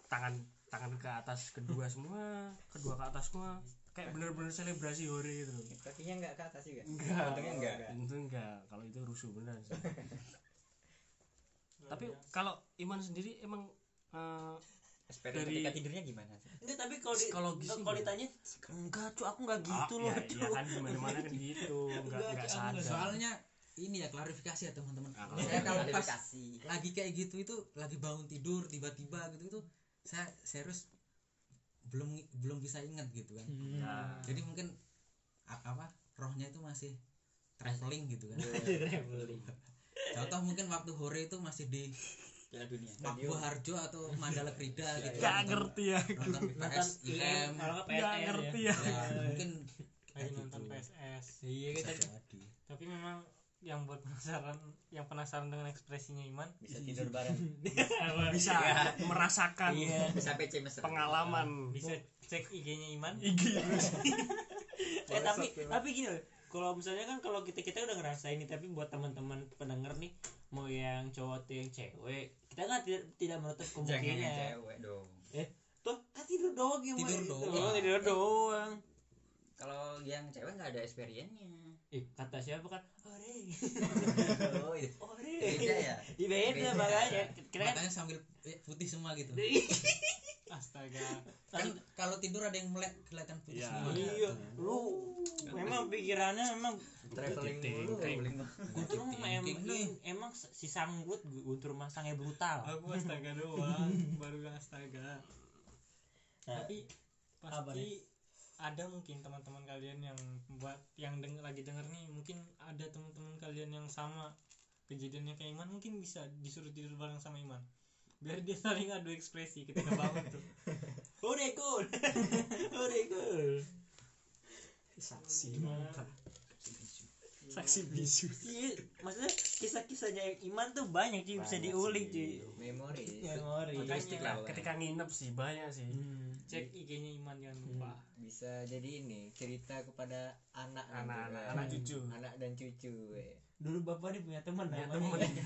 [SPEAKER 6] tangan tangan ke atas kedua semua, kedua ke atas semua. Kayak bener-bener selebrasi hore gitu.
[SPEAKER 3] kakinya nggak ke atas sih nggak
[SPEAKER 6] Enggak.
[SPEAKER 3] Untungnya enggak.
[SPEAKER 6] Itu enggak. Kalau itu rusuh beneran sih. Tapi kalau Iman sendiri emang eh,
[SPEAKER 20] Eksperimen
[SPEAKER 6] Dari-
[SPEAKER 20] ketika tidurnya gimana?
[SPEAKER 1] enggak tapi kalau di,
[SPEAKER 6] Psikologis sih
[SPEAKER 1] kalau
[SPEAKER 6] enggak.
[SPEAKER 1] ditanya enggak cu aku enggak gitu
[SPEAKER 6] ah,
[SPEAKER 1] loh
[SPEAKER 6] ya, ya kan gimana-mana kan gitu, enggak
[SPEAKER 1] Enggak,
[SPEAKER 6] enggak
[SPEAKER 1] Cak, enggak.
[SPEAKER 6] sadar.
[SPEAKER 5] soalnya ini ya klarifikasi ya teman-teman
[SPEAKER 6] Nah, kalau
[SPEAKER 5] saya kalau pas
[SPEAKER 20] Ah, Klarifikasi.
[SPEAKER 5] lagi kayak gitu itu lagi bangun tidur tiba-tiba gitu itu saya serius belum belum bisa ingat gitu kan
[SPEAKER 6] Ya.
[SPEAKER 1] Iya.
[SPEAKER 5] jadi mungkin a- apa rohnya itu masih traveling gitu kan contoh mungkin waktu hore itu masih di
[SPEAKER 20] Piala dunia.
[SPEAKER 5] Papua Harjo atau Mandala Krida gitu
[SPEAKER 6] Enggak
[SPEAKER 5] nonton-
[SPEAKER 6] ngerti ya.
[SPEAKER 5] nonton
[SPEAKER 1] nonton
[SPEAKER 5] PPS
[SPEAKER 1] IM
[SPEAKER 5] IM
[SPEAKER 1] kalau nggak
[SPEAKER 6] Enggak
[SPEAKER 1] PSR
[SPEAKER 6] ngerti
[SPEAKER 1] ya
[SPEAKER 6] ya.
[SPEAKER 5] ya mungkin
[SPEAKER 2] lagi
[SPEAKER 5] kayak
[SPEAKER 2] nonton
[SPEAKER 5] gitu.
[SPEAKER 2] PSS
[SPEAKER 1] iya
[SPEAKER 5] Bisa
[SPEAKER 1] kita
[SPEAKER 5] jadi.
[SPEAKER 2] tapi memang yang buat penasaran yang penasaran dengan ekspresinya Iman
[SPEAKER 20] Bisa tidur bareng.
[SPEAKER 6] bisa merasakan
[SPEAKER 20] Bisa PC
[SPEAKER 1] Iya.
[SPEAKER 20] mesra.
[SPEAKER 6] pengalaman
[SPEAKER 2] bisa cek IG-nya Iman
[SPEAKER 1] eh tapi Iya. tapi gini loh kalau misalnya kan kalau kita kita udah ngerasain nih tapi buat teman-teman pendengar nih mau yang cowok atau yang cewek kita kan tidak tidak menutup
[SPEAKER 20] Jangan yang
[SPEAKER 1] kemungkinan
[SPEAKER 20] cewek dong.
[SPEAKER 1] tuh kan tidur doang ya
[SPEAKER 5] Tidur
[SPEAKER 1] Mak.
[SPEAKER 5] doang.
[SPEAKER 1] Oh, tidur doang
[SPEAKER 20] Kalau yang cewek nggak ada experience-nya.
[SPEAKER 1] Ih, kata siapa kan ore
[SPEAKER 20] Oh, iya.
[SPEAKER 1] ore
[SPEAKER 5] Eh,
[SPEAKER 20] Beda ya.
[SPEAKER 1] Iya, beda
[SPEAKER 20] Beda.
[SPEAKER 1] makanya kita kan
[SPEAKER 5] matanya sambil eh, putih semua gitu
[SPEAKER 2] astaga
[SPEAKER 5] kan kalau tidur ada yang melek kelihatan putih
[SPEAKER 6] Iya.
[SPEAKER 5] semua
[SPEAKER 1] Iya, lu memang pikirannya memang
[SPEAKER 20] Traveling
[SPEAKER 6] Ting,
[SPEAKER 20] dulu.
[SPEAKER 6] ting.
[SPEAKER 20] traveling.
[SPEAKER 1] Guntur mah em-
[SPEAKER 5] thinking nih.
[SPEAKER 1] emang si sanggut Guntur mah sange brutal.
[SPEAKER 2] aku astaga doang baru astaga
[SPEAKER 1] Nah,
[SPEAKER 2] tapi
[SPEAKER 1] apa nih?
[SPEAKER 2] pasti ada mungkin teman-teman kalian yang buat yang denger lagi denger nih mungkin ada teman-teman kalian yang sama kejadiannya kayak Iman mungkin bisa disuruh tidur bareng sama Iman biar dia saling adu ekspresi ketika bangun tuh
[SPEAKER 1] Udah cool. Udah cool.
[SPEAKER 6] saksi saksi bisu
[SPEAKER 1] Iya, maksudnya kisah-kisahnya yang Iman tuh banyak cuy bisa diulik cuy.
[SPEAKER 3] iya. memori
[SPEAKER 5] Iya,
[SPEAKER 1] Memori.
[SPEAKER 6] ketika ketika nginep sih banyak sih
[SPEAKER 2] cek IG-nya Iman jangan lupa
[SPEAKER 3] bisa jadi ini cerita kepada anak nanti,
[SPEAKER 6] anak-anak
[SPEAKER 3] kan?
[SPEAKER 6] anak cucu
[SPEAKER 3] anak dan cucu eh.
[SPEAKER 1] Dulu Bapak nih punya teman
[SPEAKER 6] Punya
[SPEAKER 1] namanya.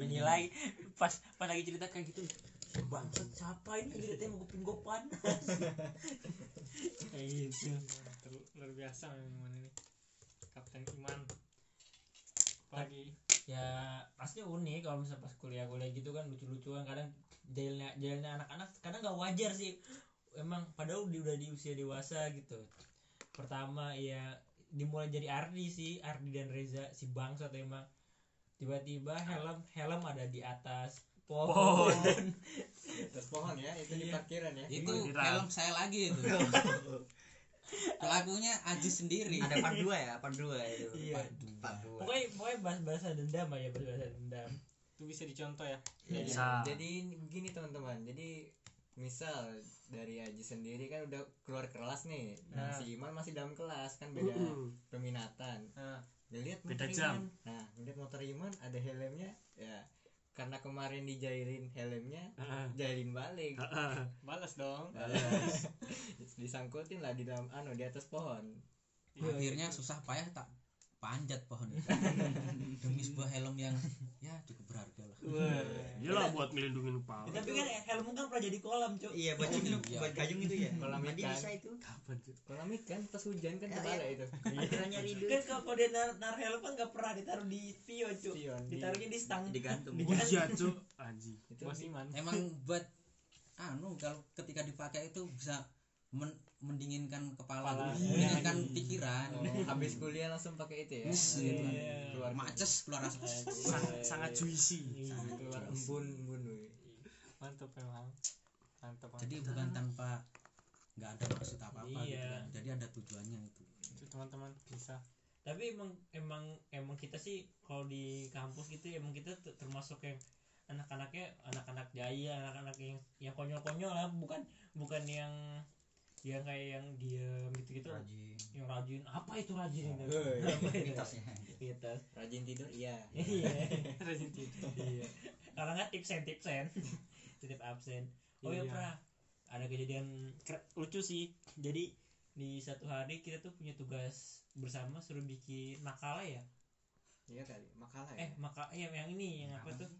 [SPEAKER 1] Ini lagi pas pas lagi cerita kayak gitu.
[SPEAKER 15] bangsat siapa ini lihatnya mau kuping gue panas
[SPEAKER 2] kayak gitu Ter- luar biasa memang Iman ini Kapten Iman pagi
[SPEAKER 1] ya pasti unik kalau misalnya pas kuliah kuliah gitu kan lucu-lucuan kadang jalannya jalannya anak-anak kadang nggak wajar sih emang padahal di- udah di usia dewasa gitu pertama ya dimulai jadi Ardi sih Ardi dan Reza si bangsat emang tiba-tiba helm helm ada di atas pohon
[SPEAKER 3] Terus pohon ya, itu di
[SPEAKER 1] Iya.
[SPEAKER 3] parkiran ya.
[SPEAKER 15] itu
[SPEAKER 6] Gimana kita?
[SPEAKER 15] film saya lagi itu pelakunya Aji sendiri
[SPEAKER 5] ada part 2 ya part 2 itu
[SPEAKER 1] Iya.
[SPEAKER 5] part, part 2
[SPEAKER 1] pokoknya pokoknya bahas bahasa dendam aja bahas bahasa dendam
[SPEAKER 2] itu bisa dicontoh ya
[SPEAKER 3] Iya.
[SPEAKER 6] Bisa.
[SPEAKER 3] Jadi gini teman-teman, jadi misal dari Aji sendiri kan udah keluar kelas nih,
[SPEAKER 2] Nah.
[SPEAKER 3] nah.
[SPEAKER 6] Ah.
[SPEAKER 3] si Iman masih dalam kelas kan beda peminatan.
[SPEAKER 2] nah,
[SPEAKER 3] Dilihat
[SPEAKER 6] Ah. Beda
[SPEAKER 3] motor
[SPEAKER 6] jam.
[SPEAKER 3] Iman. Nah, dilihat motor Iman ada helmnya, ya karena kemarin dijailin helmnya,
[SPEAKER 6] Heeh.
[SPEAKER 3] jailin balik, Nah,
[SPEAKER 6] Heeh.
[SPEAKER 2] balas dong
[SPEAKER 3] disangkutin lah di dalam anu di atas pohon.
[SPEAKER 15] akhirnya susah payah tak panjat pohon itu demi sebuah helm yang ya cukup berharga lah
[SPEAKER 6] Iyalah buat melindungi kepala.
[SPEAKER 1] tapi kan helm kan pernah jadi kolam cuy
[SPEAKER 5] iya buat itu
[SPEAKER 15] Iya.
[SPEAKER 5] buat gayung itu ya
[SPEAKER 3] Kolam
[SPEAKER 5] mandi
[SPEAKER 3] ikan.
[SPEAKER 5] bisa itu
[SPEAKER 6] Kapan tuh?
[SPEAKER 3] Kalau kan pas hujan kan
[SPEAKER 5] Ya,
[SPEAKER 3] kepala
[SPEAKER 5] ya.
[SPEAKER 3] itu.
[SPEAKER 5] akhirnya rindu
[SPEAKER 1] kan kalau kalau dia nar, nar helm kan nggak pernah ditaruh di spion cuy
[SPEAKER 3] Spion, di-
[SPEAKER 1] ditaruhnya di stang
[SPEAKER 5] digantung
[SPEAKER 1] Di-
[SPEAKER 6] Iya, Cuk. Anjing.
[SPEAKER 3] Itu
[SPEAKER 2] Bos Iman
[SPEAKER 15] emang buat anu kalau ketika dipakai itu bisa men- mendinginkan kepala,
[SPEAKER 3] Kepala.
[SPEAKER 15] mendinginkan pikiran
[SPEAKER 3] Oh, habis kuliah langsung pakai itu ya.
[SPEAKER 15] Yes, gitu.
[SPEAKER 3] Keluar
[SPEAKER 6] Iya.
[SPEAKER 15] macet keluar asap
[SPEAKER 6] Sangat,
[SPEAKER 3] Iya,
[SPEAKER 6] sangat juicy.
[SPEAKER 3] keluar embun embun weh.
[SPEAKER 2] mantap memang mantap
[SPEAKER 15] jadi
[SPEAKER 2] mantap
[SPEAKER 15] bukan tanpa nggak ada maksud apa apa gitu
[SPEAKER 1] Iya.
[SPEAKER 15] kan jadi ada tujuannya itu
[SPEAKER 2] itu teman-teman bisa
[SPEAKER 1] tapi emang emang emang kita sih kalau di kampus gitu emang kita ter- termasuk yang anak-anaknya anak-anak jaya anak-anak yang yang konyol-konyol lah bukan bukan yang yang kayak yang diam gitu-gitu
[SPEAKER 5] rajin
[SPEAKER 1] yang rajin apa itu rajin gitu
[SPEAKER 3] Hei.
[SPEAKER 1] apa itu
[SPEAKER 5] mitasnya
[SPEAKER 1] Mitos.
[SPEAKER 3] Rajin tidur iya.
[SPEAKER 1] iya
[SPEAKER 2] rajin tidur
[SPEAKER 1] iya kalau nggak tipsen tipsen titip absen oh ya
[SPEAKER 2] Iya.
[SPEAKER 1] pernah ada kejadian kre- lucu sih jadi di satu hari kita tuh punya tugas bersama suruh bikin makalah ya
[SPEAKER 3] Iya kali, makalah ya.
[SPEAKER 1] eh maka eh, yang ini yang apa
[SPEAKER 5] Apa
[SPEAKER 1] tuh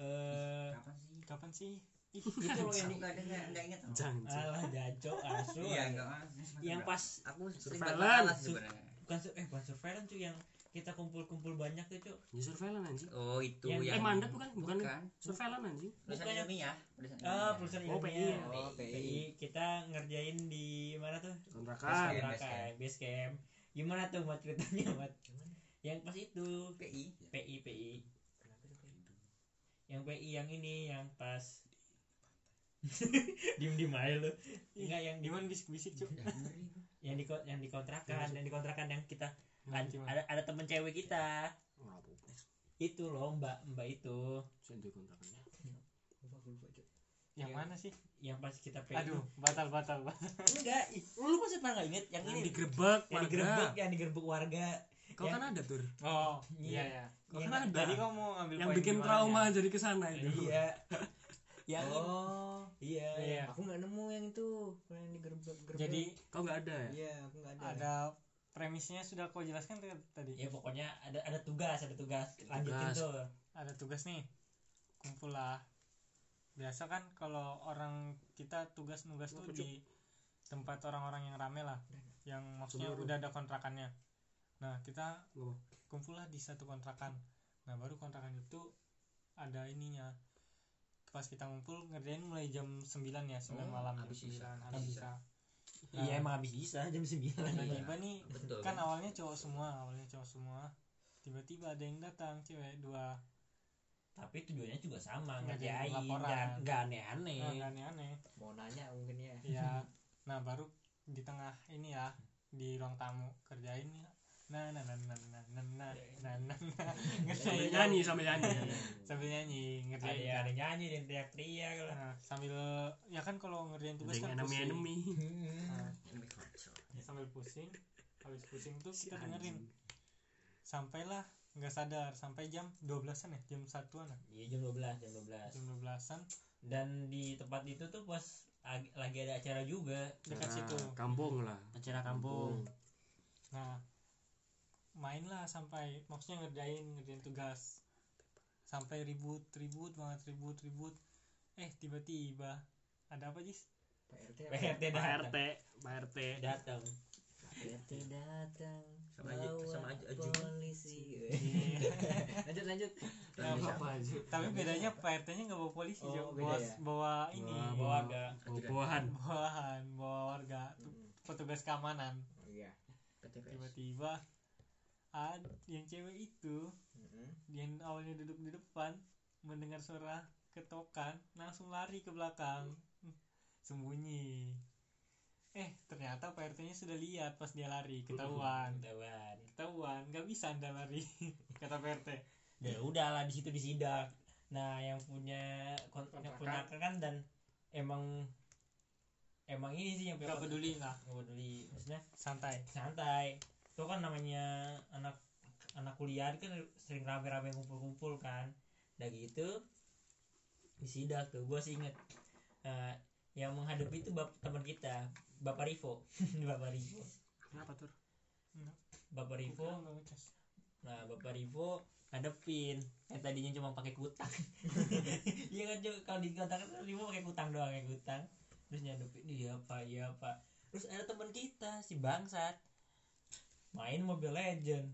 [SPEAKER 1] eh
[SPEAKER 5] kapan sih
[SPEAKER 2] kapan sih
[SPEAKER 1] itu loh Oh, yang
[SPEAKER 5] Aku
[SPEAKER 1] di- ya,
[SPEAKER 5] nggak ada nggak nggak ingat loh.
[SPEAKER 6] Jangan. Cuk.
[SPEAKER 1] alah jaco asu
[SPEAKER 5] iya
[SPEAKER 1] aja.
[SPEAKER 5] nggak
[SPEAKER 1] yang pas
[SPEAKER 5] aku sering
[SPEAKER 6] Surveillance.
[SPEAKER 5] bermasalah sebenarnya
[SPEAKER 1] bukan sur- eh bukan surveillance cuy yang kita kumpul-kumpul banyak tuh cuy
[SPEAKER 6] Ya surveillance anjing.
[SPEAKER 5] oh itu
[SPEAKER 1] Yang-
[SPEAKER 5] yang
[SPEAKER 6] Eh, mandat bukan? Bukan.
[SPEAKER 5] bukan
[SPEAKER 6] Surveillance anjing.
[SPEAKER 5] tulisan
[SPEAKER 1] Bukan.
[SPEAKER 14] ya?
[SPEAKER 5] ilmiah tulisan
[SPEAKER 1] ah
[SPEAKER 5] ilmiah.
[SPEAKER 1] perusahaan
[SPEAKER 6] Oh,
[SPEAKER 1] ilmiah
[SPEAKER 6] PI.
[SPEAKER 3] Oh, PI.
[SPEAKER 1] PI. kita ngerjain di mana tuh
[SPEAKER 5] Base
[SPEAKER 6] Kontrakan.
[SPEAKER 5] camp, base
[SPEAKER 1] Rakai, base camp. Gimana tuh mat ceritanya mat? Yang pas itu
[SPEAKER 5] PI
[SPEAKER 1] PI PI. Yang PI yang ini yang pas diem diem aja lu enggak yang di
[SPEAKER 2] Iman bisik-bisik cuy
[SPEAKER 1] yang di yang dikontrakan yang dikontrakan yang kita kan.
[SPEAKER 2] Gimana, gimana?
[SPEAKER 1] ada ada temen cewek kita
[SPEAKER 6] Oh, nggak apa-apa.
[SPEAKER 1] itu loh mbak mbak itu
[SPEAKER 6] Saya di kontrakannya.
[SPEAKER 2] yang mana sih
[SPEAKER 1] yang pas kita PI
[SPEAKER 2] aduh batal batal batal
[SPEAKER 1] enggak ih, lu masa pernah nggak inget yang
[SPEAKER 6] Yang
[SPEAKER 1] ini
[SPEAKER 6] digerebek,
[SPEAKER 1] yang
[SPEAKER 6] warga.
[SPEAKER 1] digerebek yang digerebek warga
[SPEAKER 6] Kau
[SPEAKER 1] Ya.
[SPEAKER 6] kan ada tur.
[SPEAKER 2] oh
[SPEAKER 1] Iya.
[SPEAKER 2] iya ya
[SPEAKER 6] Kau
[SPEAKER 1] Yang-
[SPEAKER 6] kan
[SPEAKER 2] tadi
[SPEAKER 6] ada.
[SPEAKER 2] kau mau ambil
[SPEAKER 6] Yang
[SPEAKER 2] poin
[SPEAKER 6] bikin
[SPEAKER 2] gimana
[SPEAKER 6] trauma
[SPEAKER 2] ya?
[SPEAKER 6] jadi kesana itu.
[SPEAKER 1] iya yang ini-
[SPEAKER 3] Oh,
[SPEAKER 1] iya
[SPEAKER 2] iya
[SPEAKER 3] aku nggak nemu yang itu, yang di gerbek gerbek.
[SPEAKER 2] jadi
[SPEAKER 6] Kau nggak ada ya?
[SPEAKER 3] iya, aku nggak ada.
[SPEAKER 2] ada premisnya sudah kau jelaskan tuh tadi
[SPEAKER 1] ya pokoknya ada ada tugas ada tugas lanjutin
[SPEAKER 6] Tugas.
[SPEAKER 1] tuh
[SPEAKER 2] ada tugas nih kumpul lah biasa kan kalau orang kita tugas nugas tuh di tempat orang-orang yang rame lah yang maksudnya
[SPEAKER 6] Seluruh.
[SPEAKER 2] udah ada kontrakannya nah kita
[SPEAKER 6] Oh.
[SPEAKER 2] kumpul lah di satu kontrakan nah baru kontrakan itu ada ininya pas kita ngumpul ngerjain mulai jam 9 ya 9
[SPEAKER 5] Oh,
[SPEAKER 2] malam jam
[SPEAKER 5] habis sisa,
[SPEAKER 2] 9
[SPEAKER 5] habis
[SPEAKER 2] habis
[SPEAKER 5] sisa.
[SPEAKER 2] sisa
[SPEAKER 5] Iya.
[SPEAKER 2] Nah,
[SPEAKER 1] iya emang habis bisa jam
[SPEAKER 14] Iya,
[SPEAKER 1] sembilan
[SPEAKER 2] tiba-tiba nih
[SPEAKER 5] betul
[SPEAKER 2] kan awalnya cowok semua awalnya cowok semua tiba-tiba ada yang datang cewek dua
[SPEAKER 1] tapi tujuannya juga sama
[SPEAKER 2] Nggak ada
[SPEAKER 1] ngerjain
[SPEAKER 2] laporan.
[SPEAKER 1] nggak nggak aneh-aneh
[SPEAKER 5] Iya.
[SPEAKER 2] nah, nggak aneh-aneh
[SPEAKER 3] Mau nanya mungkin ya.
[SPEAKER 6] Iya.
[SPEAKER 2] ya nah baru di tengah ini ya di ruang tamu kerjain ya nah nah nah nah nah nah nah nah nah nah. ngerjain
[SPEAKER 6] Sambil nyanyi, sambil nyanyi.
[SPEAKER 2] sambil nyanyi
[SPEAKER 1] ada
[SPEAKER 2] ngerjain
[SPEAKER 1] yang
[SPEAKER 2] kan.
[SPEAKER 1] ada nyanyi dan teriak-teriak lah
[SPEAKER 2] Nah, sambil ya kan kalau ngerjain tugas kan
[SPEAKER 6] Dengan enemy
[SPEAKER 2] pusing.
[SPEAKER 6] enemy.
[SPEAKER 3] Ah,
[SPEAKER 2] Nah,
[SPEAKER 5] Enemy culture.
[SPEAKER 2] sambil pusing habis pusing tuh
[SPEAKER 6] Si
[SPEAKER 2] kita
[SPEAKER 6] anjing.
[SPEAKER 2] dengerin sampailah nggak sadar sampai jam 12-an ya jam satuan ya
[SPEAKER 1] iya jam dua belas jam dua belas
[SPEAKER 2] jam 12-an
[SPEAKER 1] dan di tempat itu tuh pas ag- lagi ada acara juga
[SPEAKER 2] dekat
[SPEAKER 6] Nah,
[SPEAKER 2] situ
[SPEAKER 6] Kampung lah.
[SPEAKER 1] acara
[SPEAKER 6] kampung.
[SPEAKER 2] Nah, mainlah sampai maksudnya ngerjain ngerjain tugas sampai ribut ribut banget ribut ribut eh tiba-tiba ada apa Jis?
[SPEAKER 1] PRT
[SPEAKER 3] PRT apa?
[SPEAKER 6] Pak
[SPEAKER 1] datang
[SPEAKER 6] RT, Pak RT.
[SPEAKER 1] datang
[SPEAKER 3] PRT datang
[SPEAKER 5] Sama aja-
[SPEAKER 3] bawa
[SPEAKER 5] sama aja- ajudan.
[SPEAKER 3] polisi Iya. lanjut lanjut
[SPEAKER 2] Ya,
[SPEAKER 5] Bisa.
[SPEAKER 2] apa aja. Tapi bedanya PRT-nya nggak bawa polisi,
[SPEAKER 3] Oh,
[SPEAKER 2] Jok.
[SPEAKER 3] beda
[SPEAKER 2] bawa,
[SPEAKER 3] ya?
[SPEAKER 2] bawa ini,
[SPEAKER 6] Bawa-
[SPEAKER 2] bawa
[SPEAKER 1] keluarga
[SPEAKER 6] Bobohan.
[SPEAKER 2] bawahan, bawa warga, tu-
[SPEAKER 3] Hmm,
[SPEAKER 2] petugas keamanan.
[SPEAKER 3] oh iya
[SPEAKER 5] PTPS.
[SPEAKER 2] Tiba-tiba ada yang cewek itu
[SPEAKER 3] Mm-mm.
[SPEAKER 2] yang awalnya duduk di depan mendengar suara ketokan langsung lari ke belakang sembunyi eh ternyata PRT-nya sudah lihat pas dia lari ketahuan
[SPEAKER 1] Ketahuan.
[SPEAKER 2] ketahuan nggak bisa anda lari kata PRT
[SPEAKER 1] ya udahlah di situ disidak nah yang punya kon- yang punya kan dan emang emang ini sih yang punya
[SPEAKER 2] nggak
[SPEAKER 1] kontrakan.
[SPEAKER 2] peduli lah
[SPEAKER 1] nggak peduli maksudnya
[SPEAKER 2] santai
[SPEAKER 1] santai itu kan namanya anak anak kuliah kan sering rame-rame kumpul-kumpul kan udah gitu disidak tuh gue sih inget Eh, yang menghadapi itu bap- teman kita bapak Rivo bapak Rivo
[SPEAKER 6] Kenapa tuh?
[SPEAKER 1] bapak Rivo
[SPEAKER 2] Bukan, nggak ngecas.
[SPEAKER 1] Nah, Bapak Rivo ngadepin yang tadinya cuma pakai kutang. Iya kan Cuk? kalau di kota kan Rivo pakai kutang doang kayak kutang. Terus ngadepin iya Pak, iya Pak. Terus ada teman kita si Bangsat main Mobile Legend.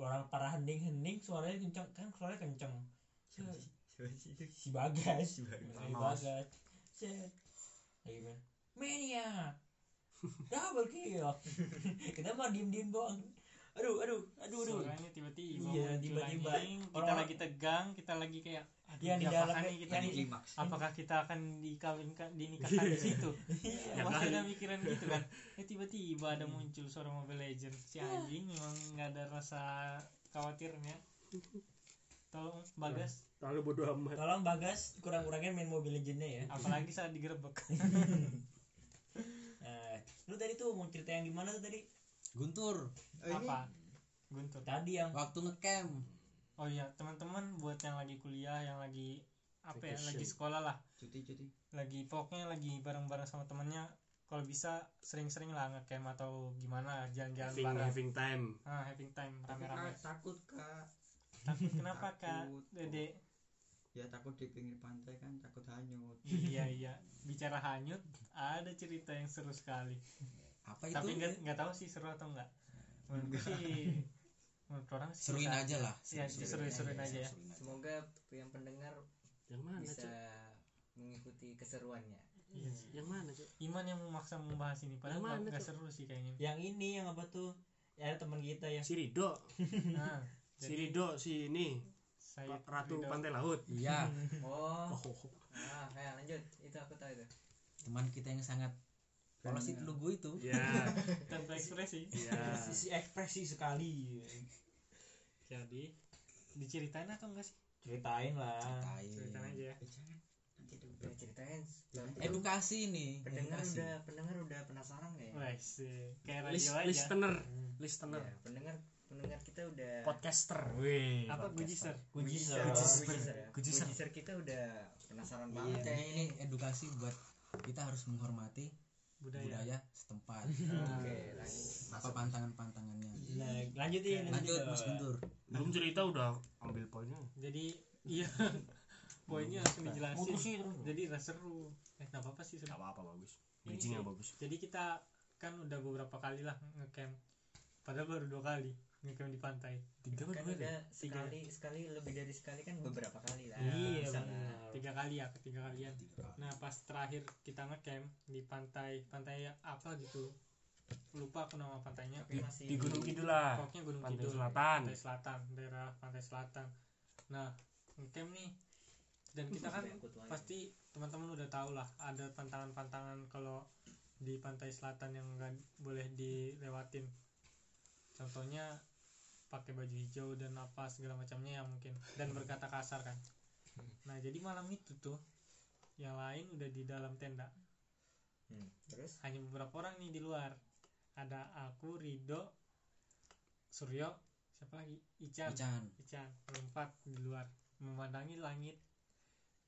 [SPEAKER 1] Orang parah hening-hening suaranya kenceng kan suaranya kenceng.
[SPEAKER 5] Siapa sih? Siapa sih?
[SPEAKER 1] Si Bagas.
[SPEAKER 5] Si Bagas.
[SPEAKER 1] Si Bagas. Set. Lagi main. Mania. Double kill. Kita mah diem-diem doang. Aduh, aduh, aduh, aduh.
[SPEAKER 2] suaranya tiba-tiba
[SPEAKER 1] Iya,
[SPEAKER 2] muncul
[SPEAKER 1] tiba-tiba.
[SPEAKER 2] anjing. kita
[SPEAKER 1] Orang-
[SPEAKER 2] lagi tegang kita lagi kayak aduh,
[SPEAKER 1] Yang di
[SPEAKER 2] diapakan
[SPEAKER 1] dalam-
[SPEAKER 2] nih kita
[SPEAKER 5] Tadi
[SPEAKER 2] nih?
[SPEAKER 5] klimaks.
[SPEAKER 2] apakah kita akan dikawinkan dinikahkan di situ
[SPEAKER 1] Iya.
[SPEAKER 6] Ya
[SPEAKER 2] masih
[SPEAKER 6] kan?
[SPEAKER 2] ada pikiran gitu kan eh tiba-tiba ada muncul suara Mobile Legends si
[SPEAKER 1] Iya.
[SPEAKER 2] anjing memang nggak ada rasa khawatirnya tolong bagas
[SPEAKER 6] Terlalu bodoh amat.
[SPEAKER 1] Tolong Bagas kurang-kurangin main Mobile Legends-nya ya.
[SPEAKER 2] apalagi saat digerebek
[SPEAKER 1] Nah, lu tadi tuh mau cerita yang gimana tuh tadi?
[SPEAKER 14] Guntur
[SPEAKER 1] Oh,
[SPEAKER 2] apa guntur
[SPEAKER 1] Tadi yang
[SPEAKER 14] waktu ngecamp
[SPEAKER 2] oh iya teman-teman buat yang lagi kuliah yang lagi apa ya
[SPEAKER 5] Vacation.
[SPEAKER 2] lagi sekolah lah
[SPEAKER 5] Cuti cuti.
[SPEAKER 2] lagi pokoknya lagi bareng-bareng sama temennya kalau bisa sering-sering lah ngecamp atau gimana jalan-jalan
[SPEAKER 6] Having,
[SPEAKER 2] bareng
[SPEAKER 6] having time.
[SPEAKER 2] ah having time rame-rame
[SPEAKER 5] Kak, takut kak.
[SPEAKER 2] takut kenapa kak
[SPEAKER 5] Takut.
[SPEAKER 2] dede
[SPEAKER 5] Ya takut di pinggir pantai kan takut hanyut.
[SPEAKER 2] iya iya bicara hanyut ada cerita yang seru sekali
[SPEAKER 14] apa itu
[SPEAKER 2] tapi nggak nggak tahu sih seru atau enggak menurut gue sih menurut orang sih
[SPEAKER 14] seruin
[SPEAKER 2] bisa.
[SPEAKER 14] aja lah
[SPEAKER 2] Iya, diseru-seruin aja ya.
[SPEAKER 14] seruin aja.
[SPEAKER 3] semoga yang pendengar
[SPEAKER 6] Yang mana,
[SPEAKER 3] bisa
[SPEAKER 6] Cuk?
[SPEAKER 3] mengikuti keseruannya
[SPEAKER 2] Iya.
[SPEAKER 6] Yang mana, Cuk?
[SPEAKER 2] Iman yang memaksa membahas ini padahal
[SPEAKER 6] Yang
[SPEAKER 2] nggak
[SPEAKER 6] mana
[SPEAKER 2] nggak
[SPEAKER 6] tuh?
[SPEAKER 2] seru sih kayaknya
[SPEAKER 1] yang ini yang apa tuh? Ya ada teman kita yang
[SPEAKER 6] Si Rido.
[SPEAKER 2] nah
[SPEAKER 6] Si Rido si ini,
[SPEAKER 2] saya
[SPEAKER 6] Pa- Ratu
[SPEAKER 2] Ridho.
[SPEAKER 6] Pantai Laut.
[SPEAKER 14] iya
[SPEAKER 3] oh
[SPEAKER 6] Oh,
[SPEAKER 3] ah kayak lanjut itu aku tahu itu
[SPEAKER 14] teman kita yang sangat polos itu lu gue itu
[SPEAKER 6] ya,
[SPEAKER 2] tanpa ekspresi
[SPEAKER 6] ya.
[SPEAKER 1] sisi ekspresi sekali.
[SPEAKER 2] jadi diceritain atau enggak sih
[SPEAKER 1] Ceritain lah.
[SPEAKER 5] Ah.
[SPEAKER 2] ceritain
[SPEAKER 14] ceritain
[SPEAKER 2] aja ya
[SPEAKER 3] udah ceritain
[SPEAKER 14] edukasi nih
[SPEAKER 5] Iya
[SPEAKER 3] pendengar
[SPEAKER 14] edukasi
[SPEAKER 3] udah pendengar udah penasaran nggak ya
[SPEAKER 1] Iya.
[SPEAKER 2] Wes, eh, kayak
[SPEAKER 6] Lis-
[SPEAKER 2] radio aja Iya.
[SPEAKER 6] listener,
[SPEAKER 1] Hmm.
[SPEAKER 6] listener,
[SPEAKER 3] Ya, pendengar pendengar kita udah
[SPEAKER 6] podcaster. Wih.
[SPEAKER 2] apa bujiser
[SPEAKER 1] Kujiser.
[SPEAKER 3] Kujiser ya.
[SPEAKER 6] Kujiser.
[SPEAKER 3] Kujiser kita udah penasaran
[SPEAKER 14] Iya,
[SPEAKER 3] banget
[SPEAKER 14] jadi
[SPEAKER 3] ya.
[SPEAKER 14] ini edukasi buat kita harus menghormati
[SPEAKER 1] Iya.
[SPEAKER 2] budaya
[SPEAKER 14] budaya setempat
[SPEAKER 3] Oke, lanjut.
[SPEAKER 14] apa pantangan-pantangannya
[SPEAKER 2] Iya.
[SPEAKER 1] Nah, lanjutin.
[SPEAKER 14] lanjut Mas Guntur
[SPEAKER 6] ya. Belum cerita udah ambil poinnya.
[SPEAKER 2] jadi iya poinnya harus dijelasin
[SPEAKER 1] Putusin terus.
[SPEAKER 2] jadi rasa seru eh nggak apa apa sih seru
[SPEAKER 6] Gak apa-apa bagus.
[SPEAKER 2] Ini
[SPEAKER 6] Bridgingnya
[SPEAKER 2] sih.
[SPEAKER 6] bagus.
[SPEAKER 2] jadi kita kan udah beberapa kali lah ngecamp padahal baru dua kali ngecamp di pantai
[SPEAKER 6] Tiga
[SPEAKER 3] Kan
[SPEAKER 6] apa
[SPEAKER 3] udah
[SPEAKER 6] dua? ya?
[SPEAKER 2] Tiga.
[SPEAKER 3] sekali sekali lebih dari sekali kan beberapa kali lah.
[SPEAKER 1] Iya,
[SPEAKER 3] Bisa
[SPEAKER 1] benar.
[SPEAKER 3] lah.
[SPEAKER 2] tiga kali ya ketiga kalian nah pas terakhir kita ngecamp di pantai pantai apa gitu lupa aku nama pantainya
[SPEAKER 3] Tapi masih
[SPEAKER 6] Di Gunung Kidul lah.
[SPEAKER 2] pokoknya Gunung
[SPEAKER 6] Ah, Pantai
[SPEAKER 2] Kidul
[SPEAKER 6] Selatan.
[SPEAKER 2] pantai selatan daerah pantai selatan nah ngecamp nih dan kita kan
[SPEAKER 3] Nyangkut lagi.
[SPEAKER 2] pasti teman-teman udah tahu lah ada tantangan-tantangan kalau di pantai selatan yang nggak boleh dilewatin contohnya pakai baju hijau dan apa segala macamnya ya mungkin dan berkata kasar kan nah jadi malam itu tuh yang lain udah di dalam tenda
[SPEAKER 3] Hmm, Terus
[SPEAKER 2] hanya beberapa orang nih di luar ada aku Rido Suryo siapa lagi Ican
[SPEAKER 14] Ican
[SPEAKER 2] Ican berempat di luar memandangi langit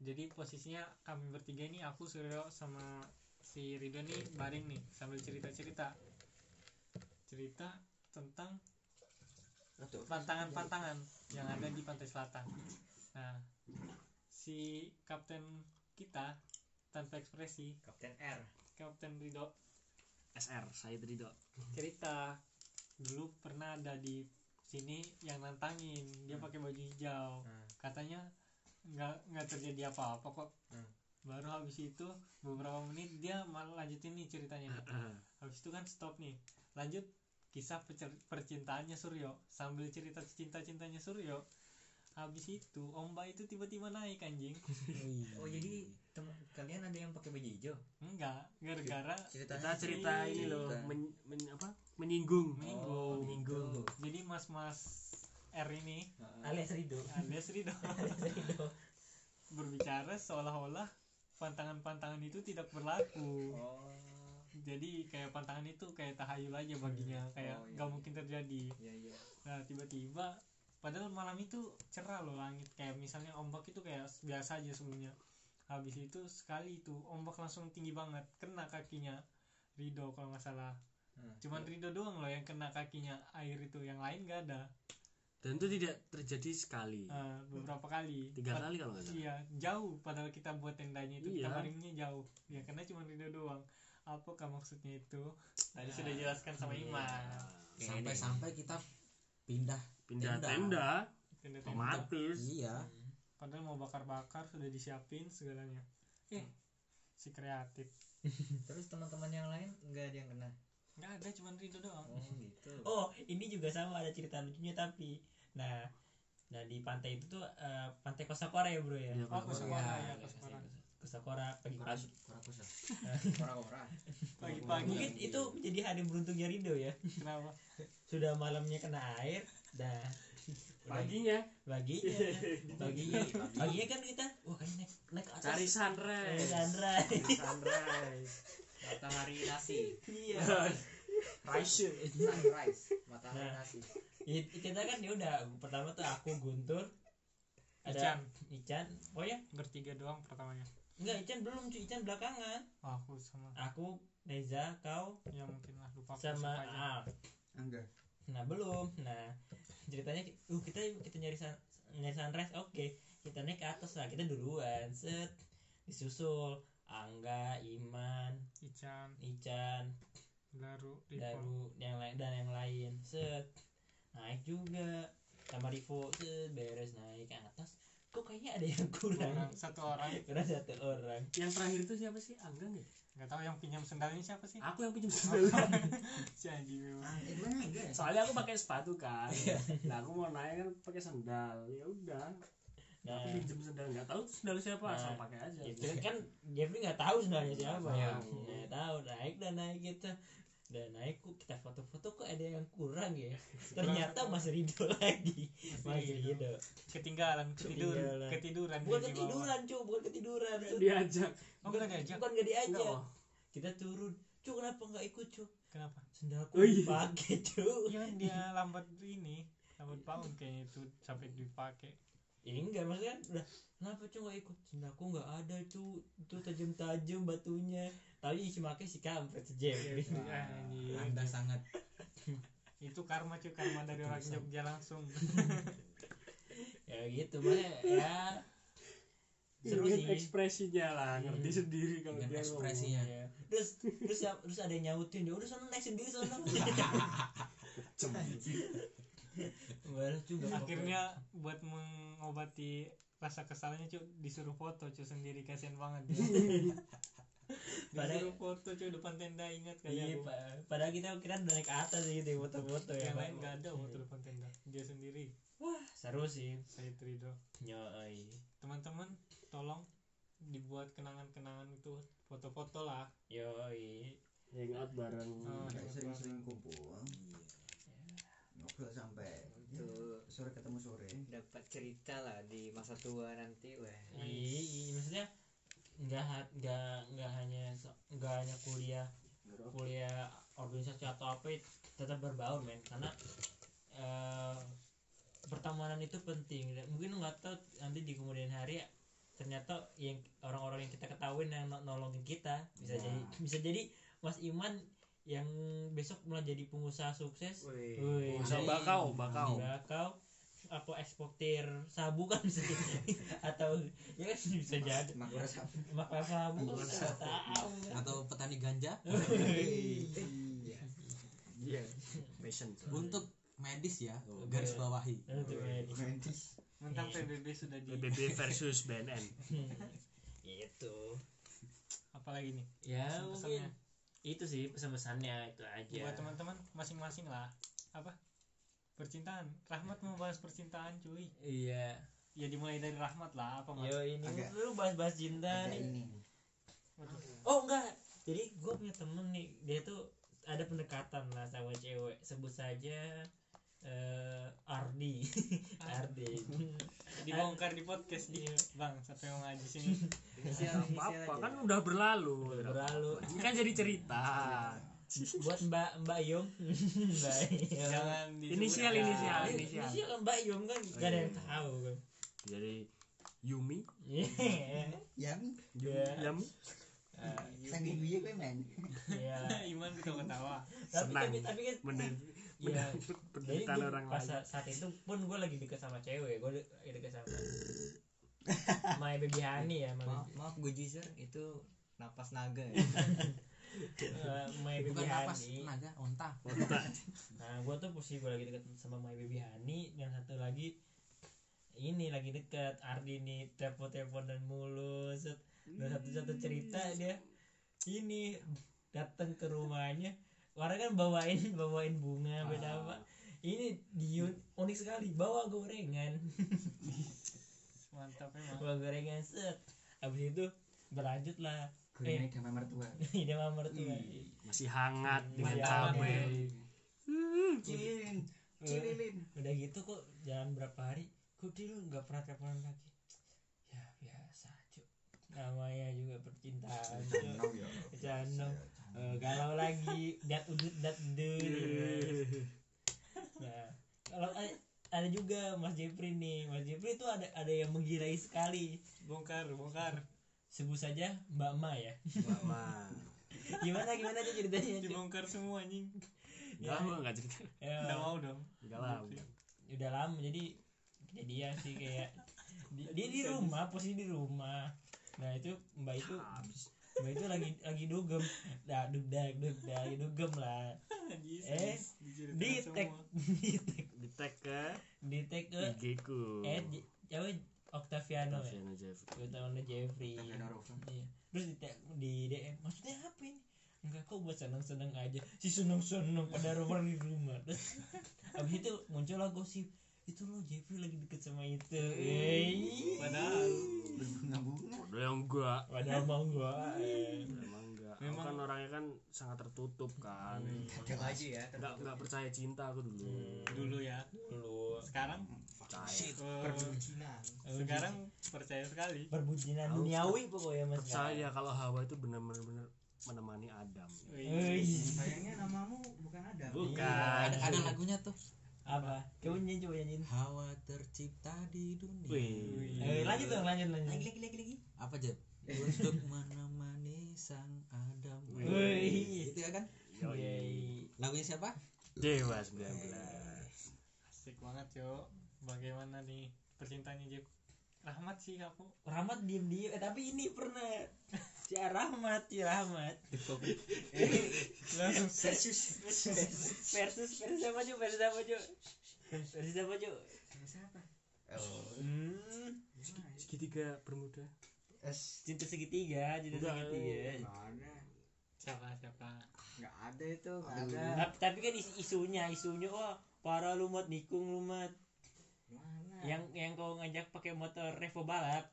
[SPEAKER 2] jadi posisinya kami bertiga ini aku Suryo sama si Rido nih bareng nih sambil cerita cerita cerita tentang pantangan-pantangan yang ada di pantai selatan nah si kapten kita tanpa ekspresi
[SPEAKER 3] Kapten R
[SPEAKER 2] Kapten Ridho
[SPEAKER 21] SR saya Ridho
[SPEAKER 2] cerita dulu pernah ada di sini yang nantangin dia pakai baju hijau
[SPEAKER 3] Hmm.
[SPEAKER 2] katanya nggak nggak terjadi apa-apa kok
[SPEAKER 3] Hmm.
[SPEAKER 2] baru habis itu beberapa menit dia malah lanjutin nih ceritanya nih.
[SPEAKER 3] Hmm.
[SPEAKER 2] habis itu kan stop nih lanjut kisah pecer- percintaannya Suryo sambil cerita cinta cintanya Suryo habis itu Omba itu tiba-tiba naik anjing
[SPEAKER 3] Oh jadi teman kalian ada yang pakai baju hijau?
[SPEAKER 2] enggak gara-gara
[SPEAKER 5] ceritanya
[SPEAKER 6] kita cerita ini loh
[SPEAKER 3] Iya.
[SPEAKER 6] men- men- apa menyinggung
[SPEAKER 2] Menyinggung.
[SPEAKER 3] gitu.
[SPEAKER 6] menyinggung
[SPEAKER 2] jadi mas-mas R ini
[SPEAKER 1] alias Rido
[SPEAKER 2] Alias Ridho berbicara seolah-olah pantangan-pantangan itu tidak berlaku
[SPEAKER 3] Oh
[SPEAKER 2] jadi kayak pantangan itu kayak tahayul aja baginya kayak
[SPEAKER 3] Oh, iya,
[SPEAKER 2] nggak
[SPEAKER 3] iya.
[SPEAKER 2] mungkin terjadi
[SPEAKER 3] iya iya
[SPEAKER 2] nah tiba-tiba padahal malam itu cerah loh langit kayak misalnya ombak itu kayak biasa aja sebelumnya habis itu sekali itu ombak langsung tinggi banget kena kakinya Ridho kalau nggak salah
[SPEAKER 3] Hmm.
[SPEAKER 2] cuman Ridho doang loh yang kena kakinya air itu yang lain nggak ada
[SPEAKER 6] dan itu tidak terjadi sekali
[SPEAKER 2] Nah, beberapa kali
[SPEAKER 6] tiga
[SPEAKER 2] Pad-
[SPEAKER 6] kali kalau nggak salah
[SPEAKER 2] Iya, jauh padahal kita buat tendanya itu kita
[SPEAKER 6] Iya.
[SPEAKER 2] baringnya jauh. Ya karena cuma Ridho doang. Apakah maksudnya itu? Tadi
[SPEAKER 3] Iya.
[SPEAKER 2] sudah jelaskan sama Ima.
[SPEAKER 14] sampai-sampai kita pindah
[SPEAKER 6] pindah
[SPEAKER 14] Tenda.
[SPEAKER 6] tenda
[SPEAKER 2] Tenda-tenda.
[SPEAKER 6] otomatis
[SPEAKER 14] iya
[SPEAKER 2] Padahal mau bakar-bakar sudah disiapin segalanya. Eh, si kreatif.
[SPEAKER 3] Hmm. Terus teman-teman yang lain nggak ada yang kena?
[SPEAKER 2] Nggak ada cuma Ridho doang.
[SPEAKER 3] Oh gitu
[SPEAKER 1] oh ini juga sama ada cerita lucunya tapi nah nah di pantai itu tuh eh, pantai Kosakora ya bro ya
[SPEAKER 6] Iya,
[SPEAKER 2] Oh,
[SPEAKER 6] Kosakora.
[SPEAKER 2] Kosakora
[SPEAKER 3] Iya,
[SPEAKER 2] ya,
[SPEAKER 3] iya,
[SPEAKER 2] Kosakora.
[SPEAKER 1] Kosakora pagi-pagi
[SPEAKER 3] Orang-orang
[SPEAKER 2] Pagi-pagi
[SPEAKER 1] mungkin itu menjadi hari beruntungnya Rido ya
[SPEAKER 2] kenapa?
[SPEAKER 1] sudah malamnya kena air dah
[SPEAKER 6] paginya
[SPEAKER 1] baginya baginya baginya kan kita wah kan naik naik ke atas
[SPEAKER 6] cari
[SPEAKER 1] Naik
[SPEAKER 6] sunrise
[SPEAKER 1] sunrise
[SPEAKER 6] sunrise
[SPEAKER 3] Matahari nasi
[SPEAKER 1] iya
[SPEAKER 6] rise
[SPEAKER 3] Sunrise Matahari
[SPEAKER 1] Nah.
[SPEAKER 3] nasi
[SPEAKER 1] Ya, kita kan ya udah pertama tuh aku Guntur
[SPEAKER 2] Ican.
[SPEAKER 1] ada Ican oh ya
[SPEAKER 2] Bertiga doang pertamanya.
[SPEAKER 1] enggak Ican belum cuy Ican belakangan
[SPEAKER 2] Wah, aku sama
[SPEAKER 1] aku Neza kau
[SPEAKER 2] ya mungkin lah lupa aku
[SPEAKER 1] sama
[SPEAKER 2] siapa aja.
[SPEAKER 1] Al
[SPEAKER 5] enggak
[SPEAKER 1] nah belum nah ceritanya ki- uh kita kita nyari sun, nyari sunrise oke kita naik ke atas lah kita duluan set disusul Angga Iman
[SPEAKER 2] Ican,
[SPEAKER 1] Ican
[SPEAKER 2] Daru, Rivo.
[SPEAKER 1] Daru yang lain dan yang lain set naik juga sama Rivo set beres naik ke atas kok kayaknya ada yang kurang
[SPEAKER 2] Orang, satu orang.
[SPEAKER 1] kurang satu orang
[SPEAKER 6] yang terakhir itu siapa sih angga nggak ya?
[SPEAKER 2] Nggak tahu yang pinjam sendalnya siapa sih?
[SPEAKER 6] aku yang pinjam sendal
[SPEAKER 2] Si anjing memang.
[SPEAKER 6] Ah, soalnya aku pakai sepatu kan nah aku mau naik kan pakai sendal ya udah
[SPEAKER 1] nah
[SPEAKER 6] aku pinjam sendal nggak tahu sendal siapa
[SPEAKER 1] Nah.
[SPEAKER 6] asal pakai aja
[SPEAKER 1] ya, kan- kan Jeffrey nggak tahu sebenarnya siapa
[SPEAKER 6] Iya.
[SPEAKER 1] ya nggak tahu naik dan naik gitu dan naik kok kita foto-foto kok ada yang kurang ya ternyata Mas Rido lagi Mas
[SPEAKER 2] Rido.
[SPEAKER 1] Rido
[SPEAKER 2] ketinggalan ketidur
[SPEAKER 1] Ketinggalan.
[SPEAKER 2] ketiduran
[SPEAKER 1] bukan
[SPEAKER 2] dia di bawah.
[SPEAKER 1] ketiduran cuy bukan ketiduran
[SPEAKER 6] diajak
[SPEAKER 2] oh bukan diajak
[SPEAKER 1] bukan gak diajak
[SPEAKER 6] Enggak, oh.
[SPEAKER 1] kita turun cuy kenapa nggak ikut cuy
[SPEAKER 2] kenapa
[SPEAKER 1] sendalku
[SPEAKER 6] Oh, iya.
[SPEAKER 1] dipakai cuy
[SPEAKER 2] iya kan dia lambat ini lambat bangun kayaknya itu sampai dipakai
[SPEAKER 1] ya enggak maksudnya udah kenapa cuy nggak ikut sendalku nggak ada cuy itu tajam-tajam batunya tapi isi makai si kampret si Jeffrey
[SPEAKER 6] Iya.
[SPEAKER 2] Ah, anjing.
[SPEAKER 14] anda sangat
[SPEAKER 2] itu karma cuy karma dari orang Jogja langsung
[SPEAKER 1] ya gitu makanya ya seru
[SPEAKER 6] Ingat
[SPEAKER 1] sih
[SPEAKER 6] ekspresinya lah
[SPEAKER 1] Hmm.
[SPEAKER 6] ngerti sendiri kalau
[SPEAKER 14] dengan
[SPEAKER 6] dia
[SPEAKER 14] ekspresinya
[SPEAKER 1] Iya. terus terus ya- terus ada yang nyautin ya udah sana naik sendiri sana Walah, cuy, nggak apa-apa.
[SPEAKER 2] akhirnya buat mengobati rasa kesalnya cuy disuruh foto cuy sendiri kasihan banget dia disuruh
[SPEAKER 1] Padahal-
[SPEAKER 2] foto cuy depan tenda ingat
[SPEAKER 1] Iya,
[SPEAKER 2] kali aku
[SPEAKER 1] pa- padahal kita kira udah naik ke atas gitu ya, foto-foto ya
[SPEAKER 2] yang lain
[SPEAKER 1] Pak.
[SPEAKER 2] nggak ada foto depan tenda dia sendiri
[SPEAKER 1] seru sih
[SPEAKER 2] saya terido
[SPEAKER 1] Yoi.
[SPEAKER 2] teman-teman tolong dibuat kenangan-kenangan itu foto-foto lah
[SPEAKER 1] Yoi.
[SPEAKER 6] hangout Ya, bareng
[SPEAKER 2] Oh,
[SPEAKER 5] sering-sering kumpul ngobrol sampai
[SPEAKER 3] Itu
[SPEAKER 5] sore ketemu sore
[SPEAKER 3] Gitu. dapat cerita lah di masa tua nanti weh
[SPEAKER 1] Iya, iya, maksudnya nggak ha- nggak nggak hanya se- nggak hanya kuliah kuliah organisasi atau apa tetap berbaur men karena eh, pertemanan itu penting Dan mungkin lu nggak tahu nanti di kemudian hari ya, ternyata yang orang-orang yang kita ketahuin yang no- nolongin kita bisa jadi bisa jadi Mas Iman yang besok malah jadi pengusaha sukses
[SPEAKER 5] Wih.
[SPEAKER 1] Wih,
[SPEAKER 6] bisa
[SPEAKER 1] jadi- Iya,
[SPEAKER 6] bakau bakau
[SPEAKER 1] bakau apa eksportir sabu kan bisa jadi. atau ya kan bisa jadi
[SPEAKER 3] makmur sapi
[SPEAKER 1] makar sabu kan nggak tahu kan.
[SPEAKER 14] atau petani ganja
[SPEAKER 3] iya iya
[SPEAKER 6] Passion.
[SPEAKER 14] untuk medis ya garis bawahi
[SPEAKER 1] Nah, itu kayak di-
[SPEAKER 2] Mentang PBB sudah di
[SPEAKER 6] PBB versus
[SPEAKER 1] Iya,
[SPEAKER 6] BNN.
[SPEAKER 1] itu
[SPEAKER 2] apalagi nih
[SPEAKER 1] ya
[SPEAKER 2] pesan-pesannya.
[SPEAKER 1] mungkin itu sih pesan-pesannya itu aja
[SPEAKER 2] buat teman-teman masing-masing lah apa percintaan Rahmat mau bahas percintaan cuy
[SPEAKER 1] iya
[SPEAKER 2] ya dimulai dari Rahmat lah apa mas
[SPEAKER 1] yo ini
[SPEAKER 3] Agak-
[SPEAKER 1] lu bahas-bahas cinta
[SPEAKER 3] ada
[SPEAKER 1] nih
[SPEAKER 3] ini
[SPEAKER 1] Oh enggak, jadi gue punya temen nih dia tuh ada pendekatan lah sama cewek sebut saja eh Ardi, Ardi.
[SPEAKER 2] dibongkar di podcast nih Iya, bang sampai mau ngaji sini
[SPEAKER 3] inisial inisial aja.
[SPEAKER 6] Apa kan udah berlalu.
[SPEAKER 1] Berlalu.
[SPEAKER 6] Ini kan jadi cerita.
[SPEAKER 1] Buat Mbak Mbak Yom, Mbak Yom.
[SPEAKER 2] jangan disebut
[SPEAKER 6] Inisial,
[SPEAKER 2] ya.
[SPEAKER 6] inisial.
[SPEAKER 1] Ini-
[SPEAKER 6] inisial.
[SPEAKER 1] Ini sih kan Mbak Yom kan gak ada yang
[SPEAKER 6] Iya.
[SPEAKER 1] tahu kan.
[SPEAKER 6] Jadi Yumi,
[SPEAKER 1] Iya.
[SPEAKER 3] yang
[SPEAKER 6] Yami,
[SPEAKER 1] Ah,
[SPEAKER 3] saking gue gue main
[SPEAKER 1] iya lah.
[SPEAKER 2] Iman ketawa-ketawa
[SPEAKER 1] Tapi
[SPEAKER 6] Senang.
[SPEAKER 1] tapi tapi kan
[SPEAKER 6] Menden-
[SPEAKER 1] Iya.
[SPEAKER 6] mendapat
[SPEAKER 1] Jadi
[SPEAKER 6] penderitaan
[SPEAKER 1] gua,
[SPEAKER 6] orang
[SPEAKER 1] pas
[SPEAKER 6] lain.
[SPEAKER 1] sa- saat itu pun gue lagi deket sama cewek, gue lagi deket sama My Baby Hani ya, My
[SPEAKER 3] maaf
[SPEAKER 1] Baby-
[SPEAKER 3] maaf gue jujur itu napas naga ya
[SPEAKER 1] eh, My Baby
[SPEAKER 14] bukan napas
[SPEAKER 1] Hani.
[SPEAKER 14] naga onta
[SPEAKER 1] Nah, gue tuh posisi gue lagi deket sama My Baby Hani, yang satu lagi ini lagi deket Ardi nih telepon-telepon dan mulu, set. Dan satu-satu
[SPEAKER 2] Hmm.
[SPEAKER 1] cerita dia ini datang ke rumahnya, orang kan bawain bawain
[SPEAKER 2] Ah.
[SPEAKER 1] bunga beda apa. Ini Dion unik sekali bawa gorengan.
[SPEAKER 2] mantap emang
[SPEAKER 1] Gua gorengan set Abis itu berlanjut lah
[SPEAKER 3] gue sama mertua
[SPEAKER 1] Ini sama mertua
[SPEAKER 6] Masih hangat dengan
[SPEAKER 1] Masih hangat.
[SPEAKER 6] cabe.
[SPEAKER 2] Hmm,
[SPEAKER 3] cilin cililin
[SPEAKER 1] Eh, Udah gitu kok jalan berapa hari Kok dia lu gak pernah teleponan lagi Ya biasa cuk Namanya juga percintaan Cuk.
[SPEAKER 2] Iya,
[SPEAKER 1] Bercandong Eh, Galau lagi Dat udut dat dut
[SPEAKER 2] Iya.
[SPEAKER 1] Nah Kalau ada, ada juga Mas Jepri nih Mas Jepri tuh ada ada yang menggirai sekali
[SPEAKER 2] bongkar bongkar
[SPEAKER 1] Sebut saja Mbak Ma ya
[SPEAKER 3] mama
[SPEAKER 1] Gimana gimana aja
[SPEAKER 2] Iya,
[SPEAKER 1] ceritanya Cuk?
[SPEAKER 2] dibongkar semua anjing
[SPEAKER 6] Enggak gua enggak cerita.
[SPEAKER 1] Ya.
[SPEAKER 2] nggak mau dong
[SPEAKER 6] Enggak lah.
[SPEAKER 1] Iya. udah lama jadi kejadian sih kayak di- dia di rumah posisi di rumah nah itu mbak itu mbak itu lagi lagi dugem nah dugdag dugdag lagi dugem lah
[SPEAKER 2] Anjing,
[SPEAKER 1] Eh,
[SPEAKER 2] diceritain
[SPEAKER 1] di tag
[SPEAKER 2] semua.
[SPEAKER 1] di tag
[SPEAKER 6] Di tag ke
[SPEAKER 1] di tag ke
[SPEAKER 6] IG ku.
[SPEAKER 1] eh J- siapa Octaviano ya
[SPEAKER 6] Taviano Jeff.
[SPEAKER 1] gue tahu Jeffrey
[SPEAKER 3] Ada Rovan.
[SPEAKER 1] Iya. terus di, tag- di DM maksudnya apa ini enggak kok buat seneng-seneng aja si seneng-seneng pada orang di rumah terus abis itu muncullah gosip itu lo Jeffrey lagi deket sama itu Yeay.
[SPEAKER 2] padahal
[SPEAKER 3] bunga-bunga
[SPEAKER 6] Udah yang gua
[SPEAKER 1] padahal mau gua eh.
[SPEAKER 6] Emang enggak. Aku kan orangnya kan sangat tertutup kan.
[SPEAKER 3] coba aja ya
[SPEAKER 6] Enggak enggak percaya cinta aku dulu.
[SPEAKER 2] dulu ya
[SPEAKER 1] dulu
[SPEAKER 2] sekarang
[SPEAKER 6] Percaya.
[SPEAKER 2] eh,
[SPEAKER 3] perbucinan
[SPEAKER 2] Oh, sekarang percaya sekali
[SPEAKER 1] perbucinan
[SPEAKER 6] Harus
[SPEAKER 1] duniawi pokoknya mas
[SPEAKER 6] Percaya kalau Hawa itu benar-benar menemani Adam.
[SPEAKER 1] Wih.
[SPEAKER 2] Iya.
[SPEAKER 3] sayangnya namamu Ya, bukan ada
[SPEAKER 6] Bukan.
[SPEAKER 14] ada, ada lagunya tuh
[SPEAKER 1] apa coba nyanyi coba nyanyiin
[SPEAKER 14] hawa tercipta di dunia
[SPEAKER 6] Wih.
[SPEAKER 1] eh,
[SPEAKER 2] Iya.
[SPEAKER 1] lanjut dong lanjut lanjut
[SPEAKER 3] lagi lagi lagi
[SPEAKER 14] apa Jeb? untuk menemani sang Adam
[SPEAKER 1] Wih.
[SPEAKER 14] itu ya kan
[SPEAKER 1] Yeay.
[SPEAKER 14] lagunya siapa
[SPEAKER 6] Dewa 19.
[SPEAKER 2] asik banget yo bagaimana nih percintaannya Jep Rahmat sih aku
[SPEAKER 1] Rahmat diem diem eh, tapi ini pernah si Rahmat si Rahmat Eh,
[SPEAKER 2] langsung
[SPEAKER 3] serius
[SPEAKER 1] versus versus apa cuy versus apa cuy versus apa cuy
[SPEAKER 3] siapa
[SPEAKER 1] hmm,
[SPEAKER 6] segitiga bermuda
[SPEAKER 3] es
[SPEAKER 1] cinta segitiga cinta
[SPEAKER 6] Enggak,
[SPEAKER 1] segitiga
[SPEAKER 3] nggak ada
[SPEAKER 2] siapa siapa
[SPEAKER 3] nggak ada itu nggak ada
[SPEAKER 1] tapi, tapi kan is- isunya isunya wah para lumat nikung lumat
[SPEAKER 3] mana
[SPEAKER 1] yang yang kau ngajak pakai motor Revo balap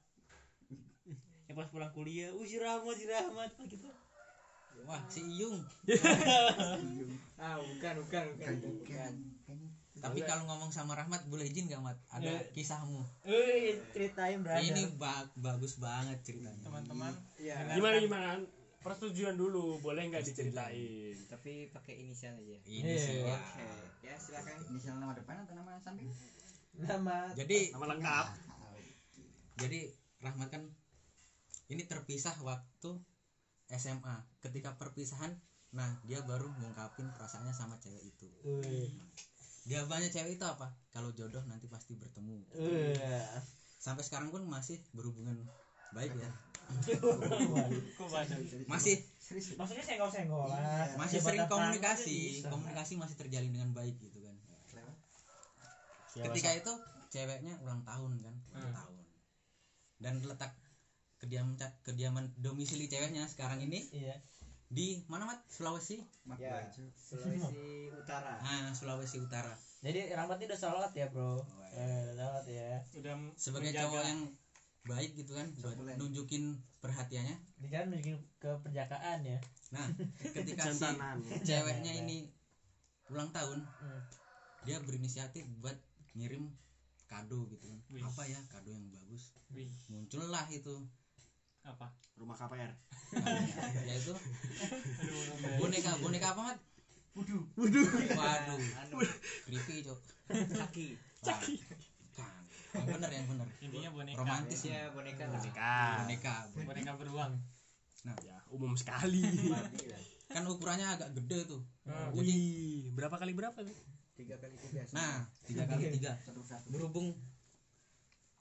[SPEAKER 1] yang pas pulang kuliah uh si Rahmat si Rahmat Wah, gitu
[SPEAKER 14] wah si Iyung
[SPEAKER 3] ah bukan bukan bukan bukan
[SPEAKER 14] tapi kalau ngomong sama Rahmat boleh izin gak Mat ada
[SPEAKER 1] Eh.
[SPEAKER 14] kisahmu
[SPEAKER 1] eh ceritain berada
[SPEAKER 14] ini ba- bagus banget ceritanya
[SPEAKER 2] teman-teman
[SPEAKER 3] ya
[SPEAKER 6] gimana gimana persetujuan dulu boleh nggak diceritain
[SPEAKER 3] tapi pakai inisial aja
[SPEAKER 14] ini
[SPEAKER 2] Eh, Iya.
[SPEAKER 14] sih
[SPEAKER 3] Oke,
[SPEAKER 14] wah.
[SPEAKER 3] ya silakan inisial nama depan atau nama samping nama
[SPEAKER 14] jadi
[SPEAKER 6] nama lengkap
[SPEAKER 14] jadi Rahmat kan ini terpisah waktu SMA ketika perpisahan nah dia baru ngungkapin perasaannya sama cewek itu jawabannya cewek itu apa kalau jodoh nanti pasti bertemu
[SPEAKER 5] sampai sekarang pun masih berhubungan baik ya
[SPEAKER 2] Kok baca?
[SPEAKER 5] masih
[SPEAKER 1] Maksudnya senggol-senggolan.
[SPEAKER 5] masih sering
[SPEAKER 1] Jabatan tangan
[SPEAKER 5] komunikasi
[SPEAKER 1] aja bisa.
[SPEAKER 5] komunikasi masih terjalin dengan baik gitu kan ketika itu ceweknya ulang tahun kan ulang tahun dan letak kediam kediaman domisili ceweknya sekarang ini
[SPEAKER 1] Iya.
[SPEAKER 5] di mana mat Sulawesi
[SPEAKER 3] ya Sulawesi Utara
[SPEAKER 5] ah Sulawesi Utara
[SPEAKER 1] Jadi Rahmat ini udah sholat ya bro. Eh, udah sholat ya.
[SPEAKER 2] Udah
[SPEAKER 5] sebagai
[SPEAKER 2] menjaga.
[SPEAKER 5] cowok yang baik gitu kan buat nunjukin perhatiannya
[SPEAKER 2] kan
[SPEAKER 1] Dikira mungkin ke perjakaan ya.
[SPEAKER 5] nah ketika Iya, si
[SPEAKER 6] jantanan ya.
[SPEAKER 5] ceweknya ini ulang tahun
[SPEAKER 1] Hmm.
[SPEAKER 5] dia berinisiatif buat ngirim kado gitu kan apa ya kado yang bagus
[SPEAKER 2] Wih,
[SPEAKER 5] muncullah itu
[SPEAKER 2] apa?
[SPEAKER 6] rumah KPR
[SPEAKER 5] yaitu
[SPEAKER 2] Aduh, orang
[SPEAKER 5] boneka boneka apa mat wudu waduh creepy cok
[SPEAKER 3] Caki
[SPEAKER 5] caki kan yang bener yang bener
[SPEAKER 2] baik. Intinya boneka.
[SPEAKER 5] romantis ya
[SPEAKER 3] ya boneka lah
[SPEAKER 6] boneka
[SPEAKER 5] boneka
[SPEAKER 2] Boneka beruang.
[SPEAKER 6] ya umum sekali
[SPEAKER 3] Iya,
[SPEAKER 5] kan ukurannya agak gede tuh
[SPEAKER 6] wih berapa kali berapa tuh
[SPEAKER 3] tiga kali tiga
[SPEAKER 5] nah tiga kali tiga
[SPEAKER 3] satu satu
[SPEAKER 5] berhubung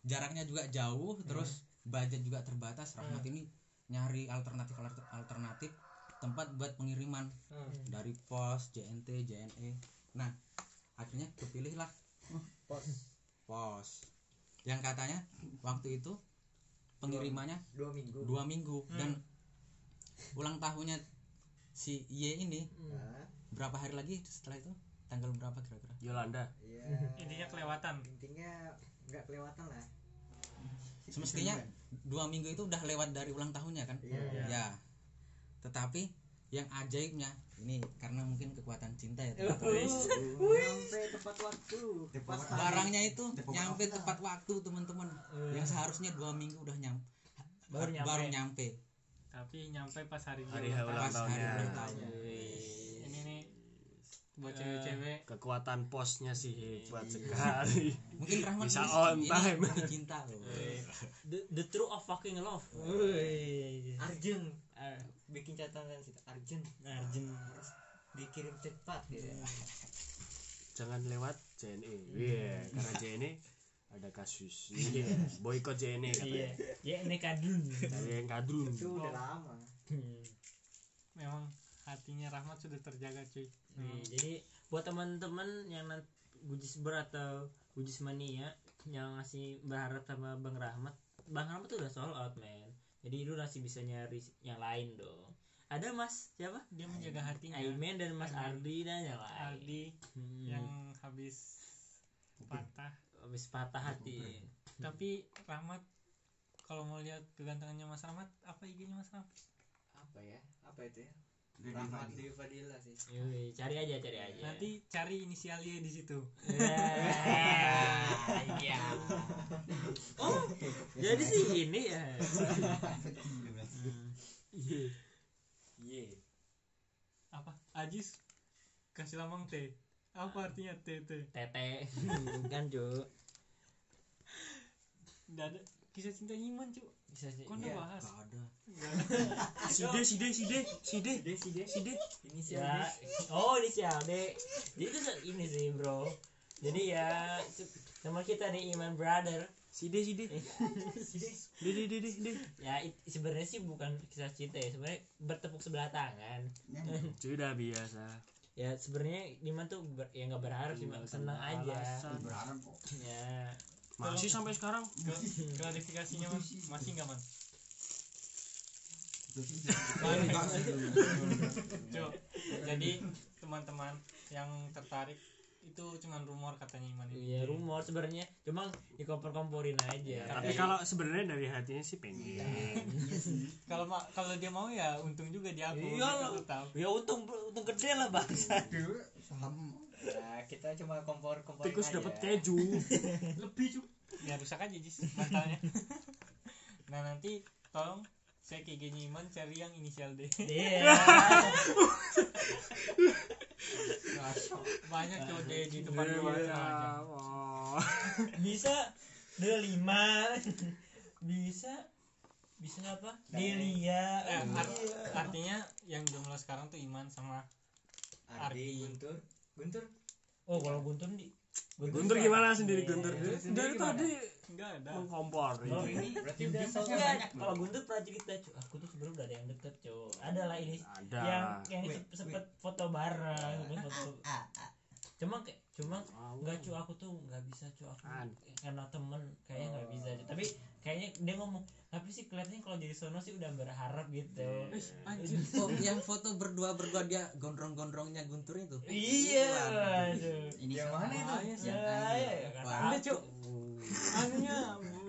[SPEAKER 5] jaraknya juga
[SPEAKER 3] Hmm.
[SPEAKER 5] jauh terus budget juga terbatas rahmat ini nyari alternatif alternatif tempat buat pengiriman
[SPEAKER 2] Hmm.
[SPEAKER 5] dari pos JNT JNE nah akhirnya kepilihlah
[SPEAKER 3] pos
[SPEAKER 5] pos yang katanya waktu itu pengirimannya
[SPEAKER 3] dua minggu Hmm.
[SPEAKER 5] dua minggu dan ulang tahunnya si Y ini
[SPEAKER 3] Nah,
[SPEAKER 5] berapa hari lagi setelah itu tanggal berapa kira-kira
[SPEAKER 6] Yolanda
[SPEAKER 3] ya
[SPEAKER 2] Intinya kelewatan.
[SPEAKER 3] intinya nggak kelewatan lah
[SPEAKER 5] semestinya dua minggu itu udah lewat dari ulang tahunnya kan
[SPEAKER 3] Iya, iya.
[SPEAKER 5] ya tetapi yang ajaibnya ini karena mungkin kekuatan cinta ya
[SPEAKER 3] Iya.
[SPEAKER 5] teman-teman.
[SPEAKER 3] sampai tepat waktu pas hari
[SPEAKER 5] barangnya itu nyampe tepat waktu teman-teman
[SPEAKER 3] Iya.
[SPEAKER 5] yang seharusnya dua minggu udah nyam
[SPEAKER 2] Baru nyampe.
[SPEAKER 5] baru nyampe
[SPEAKER 2] Tapi nyampe pas hari dia
[SPEAKER 6] hari
[SPEAKER 2] ulang
[SPEAKER 6] ulang
[SPEAKER 5] pas hari
[SPEAKER 6] tahunnya
[SPEAKER 5] ulang tahunnya
[SPEAKER 2] tahun. Ini nih buat cewek-cewek
[SPEAKER 6] kekuatan posnya sih hebat sekali
[SPEAKER 5] mungkin Rahmat
[SPEAKER 6] Bisa
[SPEAKER 5] ini-
[SPEAKER 6] on
[SPEAKER 5] ini
[SPEAKER 6] time.
[SPEAKER 5] lebih cinta loh
[SPEAKER 2] Iya.
[SPEAKER 1] The, the true of fucking love.
[SPEAKER 3] Arjen Eh, bikin catatan sih Nah, Arjen
[SPEAKER 1] Arjen.
[SPEAKER 3] dikirim cepat gitu
[SPEAKER 6] jangan lewat JNE Iya, karena JNE ada kasus Iya, boykot JNE katanya
[SPEAKER 1] Iya. Ya ini kadun.
[SPEAKER 6] dari yang kadrun
[SPEAKER 3] itu udah lama
[SPEAKER 1] Hmm.
[SPEAKER 2] memang hatinya Rahmat sudah terjaga cuy.
[SPEAKER 1] Nih, Hmm, jadi buat teman-teman yang nan- gujis berat atau gujis mania yang masih berharap sama Bang Rahmat, Bang Rahmat tuh udah sold out man. Jadi lu masih bisa nyari yang lain dong. Ada Mas siapa?
[SPEAKER 2] Dia menjaga hatinya.
[SPEAKER 1] Aiman dan Mas Ardi dan yang lain.
[SPEAKER 2] Ardi
[SPEAKER 1] Hmm.
[SPEAKER 2] yang habis patah.
[SPEAKER 1] habis patah hati.
[SPEAKER 2] Tapi Rahmat kalau mau lihat kegantengannya Mas Rahmat, apa IG-nya Mas Rahmat?
[SPEAKER 3] apa ya apa itu ya Rahmat Dewi Fadila sih
[SPEAKER 1] Yoi, cari aja, cari aja.
[SPEAKER 2] Nanti cari inisialnya di situ.
[SPEAKER 1] Eh, iya. Oh, jadi sih ini ya.
[SPEAKER 3] Ye
[SPEAKER 2] Apa? Ajis kasih lambang T. Apa artinya T T?
[SPEAKER 1] Tete kan Jo.
[SPEAKER 2] Nggak ada kisah cinta Iman, cuy.
[SPEAKER 1] Bisa sih.
[SPEAKER 2] Kok nggak bahas?
[SPEAKER 5] gak ada
[SPEAKER 6] side side side side
[SPEAKER 1] Side
[SPEAKER 6] side
[SPEAKER 3] ini sih
[SPEAKER 1] Ya. Oh, ini si Ade. Jadi itu se- ini sih, Bro. Jadi ya sama kita nih Iman Brother.
[SPEAKER 6] side side de de de de de
[SPEAKER 1] Ya it- sebenarnya sih bukan kisah cinta ya, sebenarnya bertepuk sebelah tangan.
[SPEAKER 6] sudah biasa
[SPEAKER 1] Ya sebenarnya Iman tuh ber- ya nggak berharap sih, Iman. senang aja.
[SPEAKER 6] Alasan.
[SPEAKER 1] Ya.
[SPEAKER 6] masih sampai sekarang
[SPEAKER 2] Kla- Klarifikasinya man. masih nggak man? Cuk, jadi teman-teman yang tertarik itu cuman rumor katanya Iman ini.
[SPEAKER 1] Iya rumor sebenarnya cuma dikompor-komporin aja.
[SPEAKER 6] tapi kalau sebenarnya dari hatinya sih pengen
[SPEAKER 2] Kalau ma- kalau dia mau ya untung juga dia aku.
[SPEAKER 1] Iya
[SPEAKER 2] gitu,
[SPEAKER 1] loh.
[SPEAKER 2] lu tahu.
[SPEAKER 1] ya untung untung gede lah bangsa.
[SPEAKER 3] nah, kita cuma kompor kompor
[SPEAKER 6] tikus dapat keju
[SPEAKER 2] Ya rusak aja jis bantalnya. nah nanti tolong saya ke IG-nya Iman cari yang inisial D.
[SPEAKER 1] Iya.
[SPEAKER 2] Banyak tuh D di tempat
[SPEAKER 6] Iya,
[SPEAKER 2] rumah
[SPEAKER 6] iya.
[SPEAKER 2] banyak.
[SPEAKER 6] Oh.
[SPEAKER 1] Bisa delima. Bisa bisa apa? Delia. Iya.
[SPEAKER 2] Eh, art- artinya yang jomblo sekarang tuh Iman sama
[SPEAKER 3] Ardi
[SPEAKER 2] Ardi.
[SPEAKER 3] Guntur Guntur
[SPEAKER 1] Oh kalau Guntur di
[SPEAKER 6] Guntur gimana sendiri Guntur?
[SPEAKER 3] Iya.
[SPEAKER 6] Dari,
[SPEAKER 3] Sendiri
[SPEAKER 6] dari
[SPEAKER 3] gimana?
[SPEAKER 6] tadi
[SPEAKER 2] Enggak ada.
[SPEAKER 6] mengkompor. Iya.
[SPEAKER 1] Kalau
[SPEAKER 6] ini.
[SPEAKER 1] ini
[SPEAKER 5] Berarti
[SPEAKER 1] udah
[SPEAKER 5] gamesnya
[SPEAKER 1] soalnya
[SPEAKER 5] banyak
[SPEAKER 1] kalau
[SPEAKER 5] dong.
[SPEAKER 1] Guntur pernah cerita cu aku tuh sebelum udah ada yang deket cu ada lah ini
[SPEAKER 6] Ada.
[SPEAKER 1] yang yang
[SPEAKER 3] Wait,
[SPEAKER 1] se- sempet foto bareng kan foto cuma kayak cuma nggak cu aku tuh nggak bisa cu aku
[SPEAKER 6] An.
[SPEAKER 1] karena temen kayaknya nggak bisa cu. tapi kayaknya dia ngomong tapi sih kelihatannya kalau jadi sono sih udah berharap gitu
[SPEAKER 2] Anjir.
[SPEAKER 14] Oh, yang foto berdua berdua dia gondrong-gondrongnya Guntur itu.
[SPEAKER 1] iya
[SPEAKER 14] Waduh.
[SPEAKER 1] aduh
[SPEAKER 5] Ini siapa?
[SPEAKER 2] Bahaya sih.
[SPEAKER 5] Yang
[SPEAKER 1] Ya, ya,
[SPEAKER 5] air.
[SPEAKER 1] ya, nggak
[SPEAKER 14] Iya, Wah.
[SPEAKER 1] tahu,
[SPEAKER 2] Ada cu. Anunya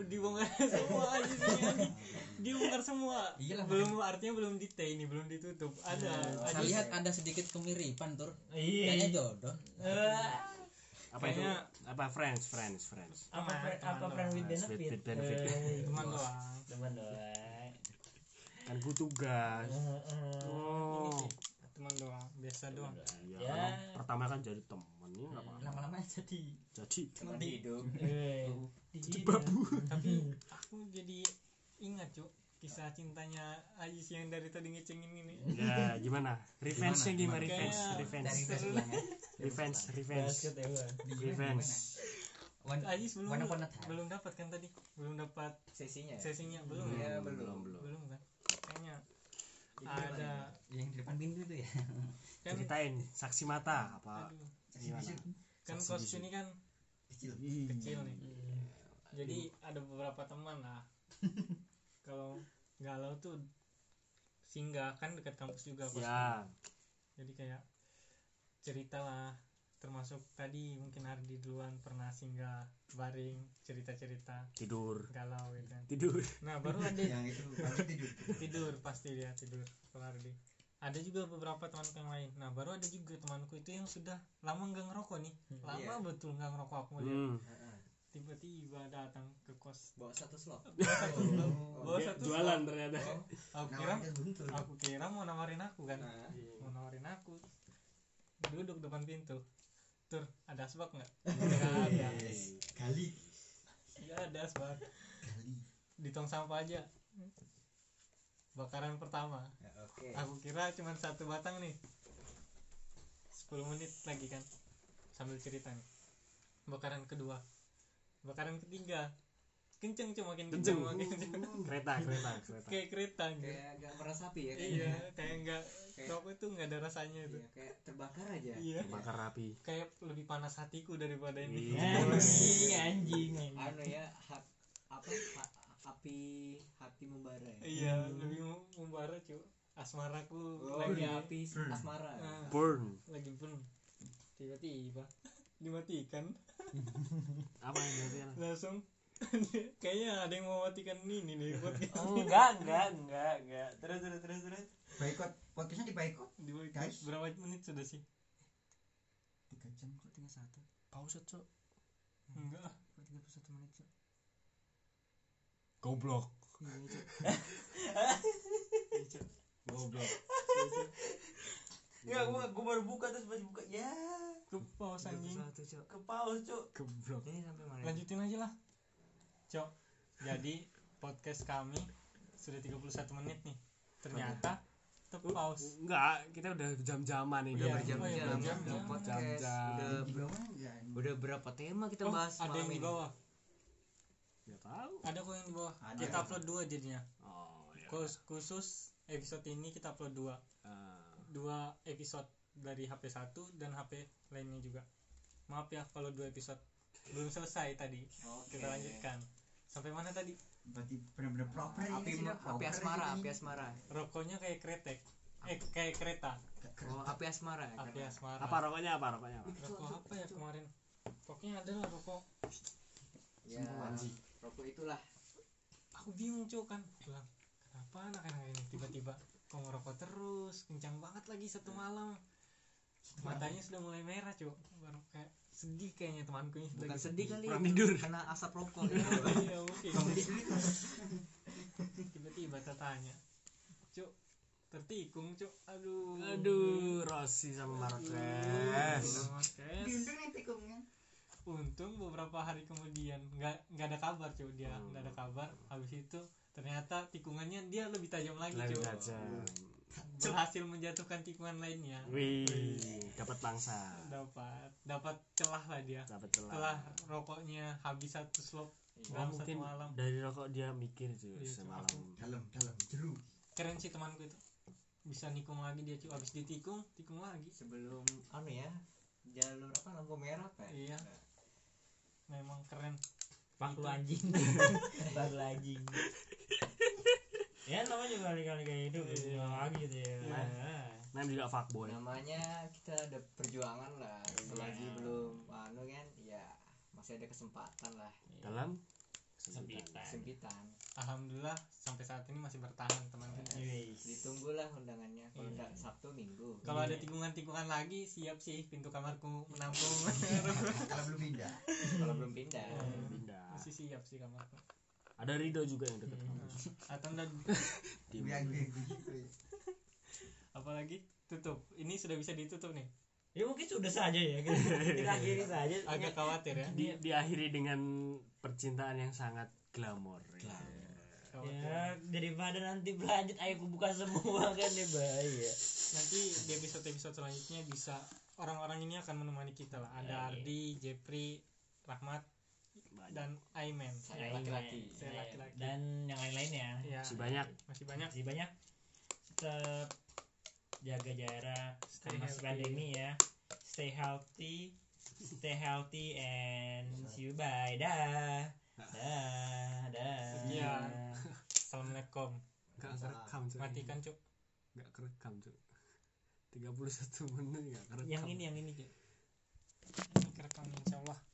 [SPEAKER 2] dibongkar semua anjir ini. Dibongkar semua.
[SPEAKER 5] Iyalah,
[SPEAKER 2] belum artinya belum dite ini, belum ditutup. Ada.
[SPEAKER 14] Saya
[SPEAKER 2] ada.
[SPEAKER 14] lihat ada sedikit kemiripan tur.
[SPEAKER 1] iya
[SPEAKER 14] Kayaknya jodoh.
[SPEAKER 1] Eh,
[SPEAKER 6] Apa itu? Apa friends, friends, friends.
[SPEAKER 1] apa friend- apa friend with
[SPEAKER 6] Friends with
[SPEAKER 1] benefit
[SPEAKER 6] benefit.
[SPEAKER 1] Eh,
[SPEAKER 2] Teman doang.
[SPEAKER 1] teman doang
[SPEAKER 6] Kan ku tugas.
[SPEAKER 1] Eh,
[SPEAKER 6] Oh.
[SPEAKER 2] Teman doang, biasa doang.
[SPEAKER 6] Iya,
[SPEAKER 1] Ya.
[SPEAKER 6] kan pertama kan jadi temen ini nggak apa-apa.
[SPEAKER 5] Lama-lama jadi
[SPEAKER 6] Jadi
[SPEAKER 5] teman hidup.
[SPEAKER 1] Eh,
[SPEAKER 6] jadi babu.
[SPEAKER 2] Tapi aku jadi ingat, Cuk. Kisah cintanya Ajis yang dari tadi ngecengin ini.
[SPEAKER 6] Ya, gimana? Revenge-nya
[SPEAKER 14] Gimana?
[SPEAKER 2] Gimana?
[SPEAKER 6] gimana? Revenge, revenge,
[SPEAKER 5] Dari Facebook ya.
[SPEAKER 6] revenge, revenge,
[SPEAKER 1] basket ya Bang.
[SPEAKER 6] revenge.
[SPEAKER 5] One
[SPEAKER 2] Ajis belum
[SPEAKER 5] One upon a time.
[SPEAKER 2] belum dapat kan tadi? Belum dapat
[SPEAKER 3] sesinya ya?
[SPEAKER 2] sesinya belum ya?
[SPEAKER 3] Iya,
[SPEAKER 6] Hmm,
[SPEAKER 3] belum.
[SPEAKER 2] Belum kan? Kayaknya
[SPEAKER 3] Jadi
[SPEAKER 2] ada
[SPEAKER 3] gimana?
[SPEAKER 5] yang di depan pintu itu ya.
[SPEAKER 2] kan
[SPEAKER 6] Ceritain saksi mata apa
[SPEAKER 2] aduh,
[SPEAKER 6] gimana?
[SPEAKER 2] kan
[SPEAKER 6] Saksi
[SPEAKER 2] kos
[SPEAKER 6] bisu.
[SPEAKER 2] ini kan
[SPEAKER 5] Kecil.
[SPEAKER 2] kecil nih. Jadi ada beberapa teman lah. Kalau galau tuh singgah kan dekat kampus juga kos
[SPEAKER 6] Ya,
[SPEAKER 2] jadi kayak ceritalah termasuk tadi mungkin Ardi duluan pernah singgah baring cerita-cerita
[SPEAKER 6] tidur,
[SPEAKER 2] galau gitu kan
[SPEAKER 6] tidur.
[SPEAKER 2] nah baru
[SPEAKER 6] Iya.
[SPEAKER 2] ada
[SPEAKER 5] Yang itu pasti tidur.
[SPEAKER 2] tidur pasti dia tidur kalau Ardi ada juga beberapa temanku yang lain nah baru ada juga temanku itu yang sudah lama nggak ngerokok nih lama
[SPEAKER 3] iya.
[SPEAKER 2] betul nggak ngerokok aku lihat
[SPEAKER 6] Hmm.
[SPEAKER 3] Heeh.
[SPEAKER 2] tiba-tiba datang ke kos
[SPEAKER 3] Bawa satu slot. Oh.
[SPEAKER 2] Bawa
[SPEAKER 3] Bawa
[SPEAKER 6] Dia
[SPEAKER 2] satu
[SPEAKER 6] Jualan ternyata.
[SPEAKER 3] slot.
[SPEAKER 2] aku kira
[SPEAKER 5] Nawarnya buntur.
[SPEAKER 2] aku kira mau nawarin aku kan
[SPEAKER 3] Nah,
[SPEAKER 2] mau nawarin aku duduk depan pintu tur ada asbak nggak nggak ada
[SPEAKER 5] Kali.
[SPEAKER 2] nggak ada asbak
[SPEAKER 5] Kali.
[SPEAKER 2] di tong sampah aja bakaran pertama
[SPEAKER 3] ya, Oke.
[SPEAKER 2] aku kira cuma satu batang nih 10 menit lagi kan sambil cerita nih bakaran kedua bakaran ketiga kenceng cuma makin kenceng
[SPEAKER 6] Kenceng.
[SPEAKER 2] makin kenceng
[SPEAKER 6] Kereta, kereta, kereta.
[SPEAKER 2] kayak kereta gitu.
[SPEAKER 3] Kayak gak merasapi ya
[SPEAKER 2] iya
[SPEAKER 3] kayaknya.
[SPEAKER 2] kayak nggak
[SPEAKER 3] Kayak-
[SPEAKER 2] rokok itu nggak ada rasanya itu
[SPEAKER 3] Iya, kayak terbakar aja.
[SPEAKER 2] iya
[SPEAKER 6] Bakar Iya. rapi.
[SPEAKER 2] kayak lebih panas hatiku daripada
[SPEAKER 1] anjing
[SPEAKER 2] ini
[SPEAKER 1] anjing anjing.
[SPEAKER 3] Anu ya, hak apa ha- api hati membara ya.
[SPEAKER 2] iya lebih mem- membara cu asmaraku
[SPEAKER 3] Oh,
[SPEAKER 2] lagi
[SPEAKER 3] iya, api asmara.
[SPEAKER 2] Nah.
[SPEAKER 6] Burn.
[SPEAKER 2] lagi burn tiba-tiba dimatikan
[SPEAKER 6] Apa yang dia
[SPEAKER 2] langsung kayaknya ada yang mau matikan ini nih podcast
[SPEAKER 1] enggak enggak enggak enggak terus terus terus terus
[SPEAKER 5] Boikot. Podcastnya di boikot.
[SPEAKER 2] di podcast
[SPEAKER 5] Guys.
[SPEAKER 2] berapa menit sudah sih
[SPEAKER 5] Tiga jam kok tinggal satu.
[SPEAKER 6] Pause, Cok.
[SPEAKER 2] enggak
[SPEAKER 5] Kok tiga puluh satu menit. Cok?
[SPEAKER 6] Goblok.
[SPEAKER 5] Goblok.
[SPEAKER 1] ya gua gua baru buka terus pas buka ya
[SPEAKER 2] ke pause anjing
[SPEAKER 5] Satu cok.
[SPEAKER 1] ke pause cuk
[SPEAKER 5] Goblok. Ini sampai mana?
[SPEAKER 2] lanjutin aja lah cok jadi podcast kami sudah 31 menit nih ternyata tetap pause
[SPEAKER 6] Enggak, kita udah jam-jaman ini.
[SPEAKER 2] Iya,
[SPEAKER 3] berjam-jam.
[SPEAKER 2] oh iya, berjam-jam.
[SPEAKER 3] Podcast.
[SPEAKER 6] Jam-jam.
[SPEAKER 3] Udah,
[SPEAKER 5] Di bawah enggak?
[SPEAKER 3] udah berapa tema kita
[SPEAKER 2] Oh,
[SPEAKER 3] bahas
[SPEAKER 2] ada yang
[SPEAKER 3] malam
[SPEAKER 2] di
[SPEAKER 3] ini?
[SPEAKER 2] bawah
[SPEAKER 6] Enggak Ya tahu.
[SPEAKER 2] ada kok yang di bawah
[SPEAKER 5] Ada.
[SPEAKER 2] kita upload dua jadinya
[SPEAKER 6] Oh, iya.
[SPEAKER 2] Khusus- khusus episode ini kita upload dua
[SPEAKER 6] Ah,
[SPEAKER 2] dua episode dari HP satu dan HP lainnya juga maaf ya kalau dua episode belum selesai tadi
[SPEAKER 3] Oke.
[SPEAKER 2] kita lanjutkan sampai mana tadi
[SPEAKER 5] Berarti benar-benar proper ini
[SPEAKER 3] Api
[SPEAKER 5] sih, Cok.
[SPEAKER 3] api
[SPEAKER 5] Proper
[SPEAKER 3] asmara,
[SPEAKER 5] ini.
[SPEAKER 3] api asmara.
[SPEAKER 2] rokoknya kayak kretek eh kayak kereta
[SPEAKER 5] Gak keren.
[SPEAKER 3] Oh, api asmara.
[SPEAKER 2] api asmara
[SPEAKER 6] apa rokoknya apa rokoknya apa?
[SPEAKER 2] rokok apa ya kemarin pokoknya ada lah rokok
[SPEAKER 3] Ya, rokok itulah.
[SPEAKER 2] aku bingung cuy kan bilang kenapa anak-anak ini tiba-tiba kok ngerokok terus kencang banget lagi satu malam matanya sudah mulai merah cuy baru kayak sedih kayaknya temanku ini
[SPEAKER 3] Bukan
[SPEAKER 2] lagi
[SPEAKER 3] sedih kan kali.
[SPEAKER 6] Kurang tidur.
[SPEAKER 3] Kena asap rokok. gitu.
[SPEAKER 2] iya mungkin tiba-tiba tertanya cuk tertikung cuk aduh
[SPEAKER 6] Aduh, Rossi sama Marquez.
[SPEAKER 2] Marquez.
[SPEAKER 5] Diundang nih tikungnya.
[SPEAKER 2] untung beberapa hari kemudian nggak nggak ada kabar cuy dia nggak ada kabar habis itu ternyata tikungannya dia lebih tajam lagi
[SPEAKER 6] Lagi
[SPEAKER 2] cuy
[SPEAKER 6] aja.
[SPEAKER 2] berhasil menjatuhkan tikungan lainnya
[SPEAKER 6] Wih, dapat bangsa.
[SPEAKER 2] dapat dapat celah lah dia
[SPEAKER 6] Dapat
[SPEAKER 2] celah
[SPEAKER 6] celah.
[SPEAKER 2] rokoknya habis satu slop
[SPEAKER 6] Oh,
[SPEAKER 2] dalam satu
[SPEAKER 6] mungkin
[SPEAKER 2] malam
[SPEAKER 6] dari rokok dia mikir tuh
[SPEAKER 2] Iya,
[SPEAKER 6] semalam.
[SPEAKER 2] aku-
[SPEAKER 3] dalam dalam jeruk
[SPEAKER 2] keren sih temanku itu bisa nikung lagi dia cuy habis ditikung tikung lagi
[SPEAKER 3] sebelum anu ya jalur apa lampu merah apa ya?
[SPEAKER 2] Iya. memang keren
[SPEAKER 1] Pak lu anjing Pak lu anjing Ya namanya juga kali-kali kayak hidup Iya lagi gitu ya Nah,
[SPEAKER 6] Nah, juga fuckboy.
[SPEAKER 3] namanya kita ada perjuangan lah selagi belum anu kan ya masih ada kesempatan lah
[SPEAKER 6] Dalam
[SPEAKER 1] Kesempitan
[SPEAKER 3] kesempitan
[SPEAKER 2] alhamdulillah sampai saat ini masih bertahan temanku
[SPEAKER 1] Yes.
[SPEAKER 3] ditunggulah undangannya kalau
[SPEAKER 1] Iya.
[SPEAKER 3] enggak sabtu minggu
[SPEAKER 2] kalau ada tikungan-tikungan lagi siap sih pintu kamarku menampung
[SPEAKER 3] kalau belum pindah kalau belum pindah
[SPEAKER 6] pindah.
[SPEAKER 2] masih siap sih kamarku
[SPEAKER 6] Ada Rido juga yang deket
[SPEAKER 2] Iya.
[SPEAKER 6] kamu.
[SPEAKER 2] Nah, atau enggak
[SPEAKER 6] Tim.
[SPEAKER 2] gitu ya. apalagi tutup ini sudah bisa ditutup nih
[SPEAKER 1] Ya mungkin sudah saja ya Kita, kita akhiri saja
[SPEAKER 2] agak khawatir ya
[SPEAKER 6] Di, diakhiri dengan percintaan yang sangat glamor.
[SPEAKER 2] Khawatir.
[SPEAKER 1] Ya, daripada nanti berlanjut ayo aku buka semua kan ya bahaya.
[SPEAKER 2] nanti di episode episode selanjutnya bisa orang-orang ini akan menemani kita lah ada Ardi, Jepri, Rahmat
[SPEAKER 6] Banyak.
[SPEAKER 2] dan Aiman
[SPEAKER 3] saya laki-laki
[SPEAKER 2] Saya laki-laki.
[SPEAKER 1] Dan yang lain-lainnya.
[SPEAKER 2] ya
[SPEAKER 6] Masih banyak.
[SPEAKER 2] masih banyak
[SPEAKER 1] Masih banyak tetap jaga jarak
[SPEAKER 2] Stay
[SPEAKER 1] sama masih
[SPEAKER 2] healthy.
[SPEAKER 1] pandemi ya. Stay healthy, stay healthy and see you bye. Dah. Dah, dah.
[SPEAKER 2] Sekian. assalamualaikum
[SPEAKER 6] Gak kerekam cuy.
[SPEAKER 2] matikan cuk
[SPEAKER 6] Gak kerekam cuy. 31 menit gak kerekam.
[SPEAKER 1] Yang ini yang ini. Cuk.
[SPEAKER 2] ini kerekam insyaallah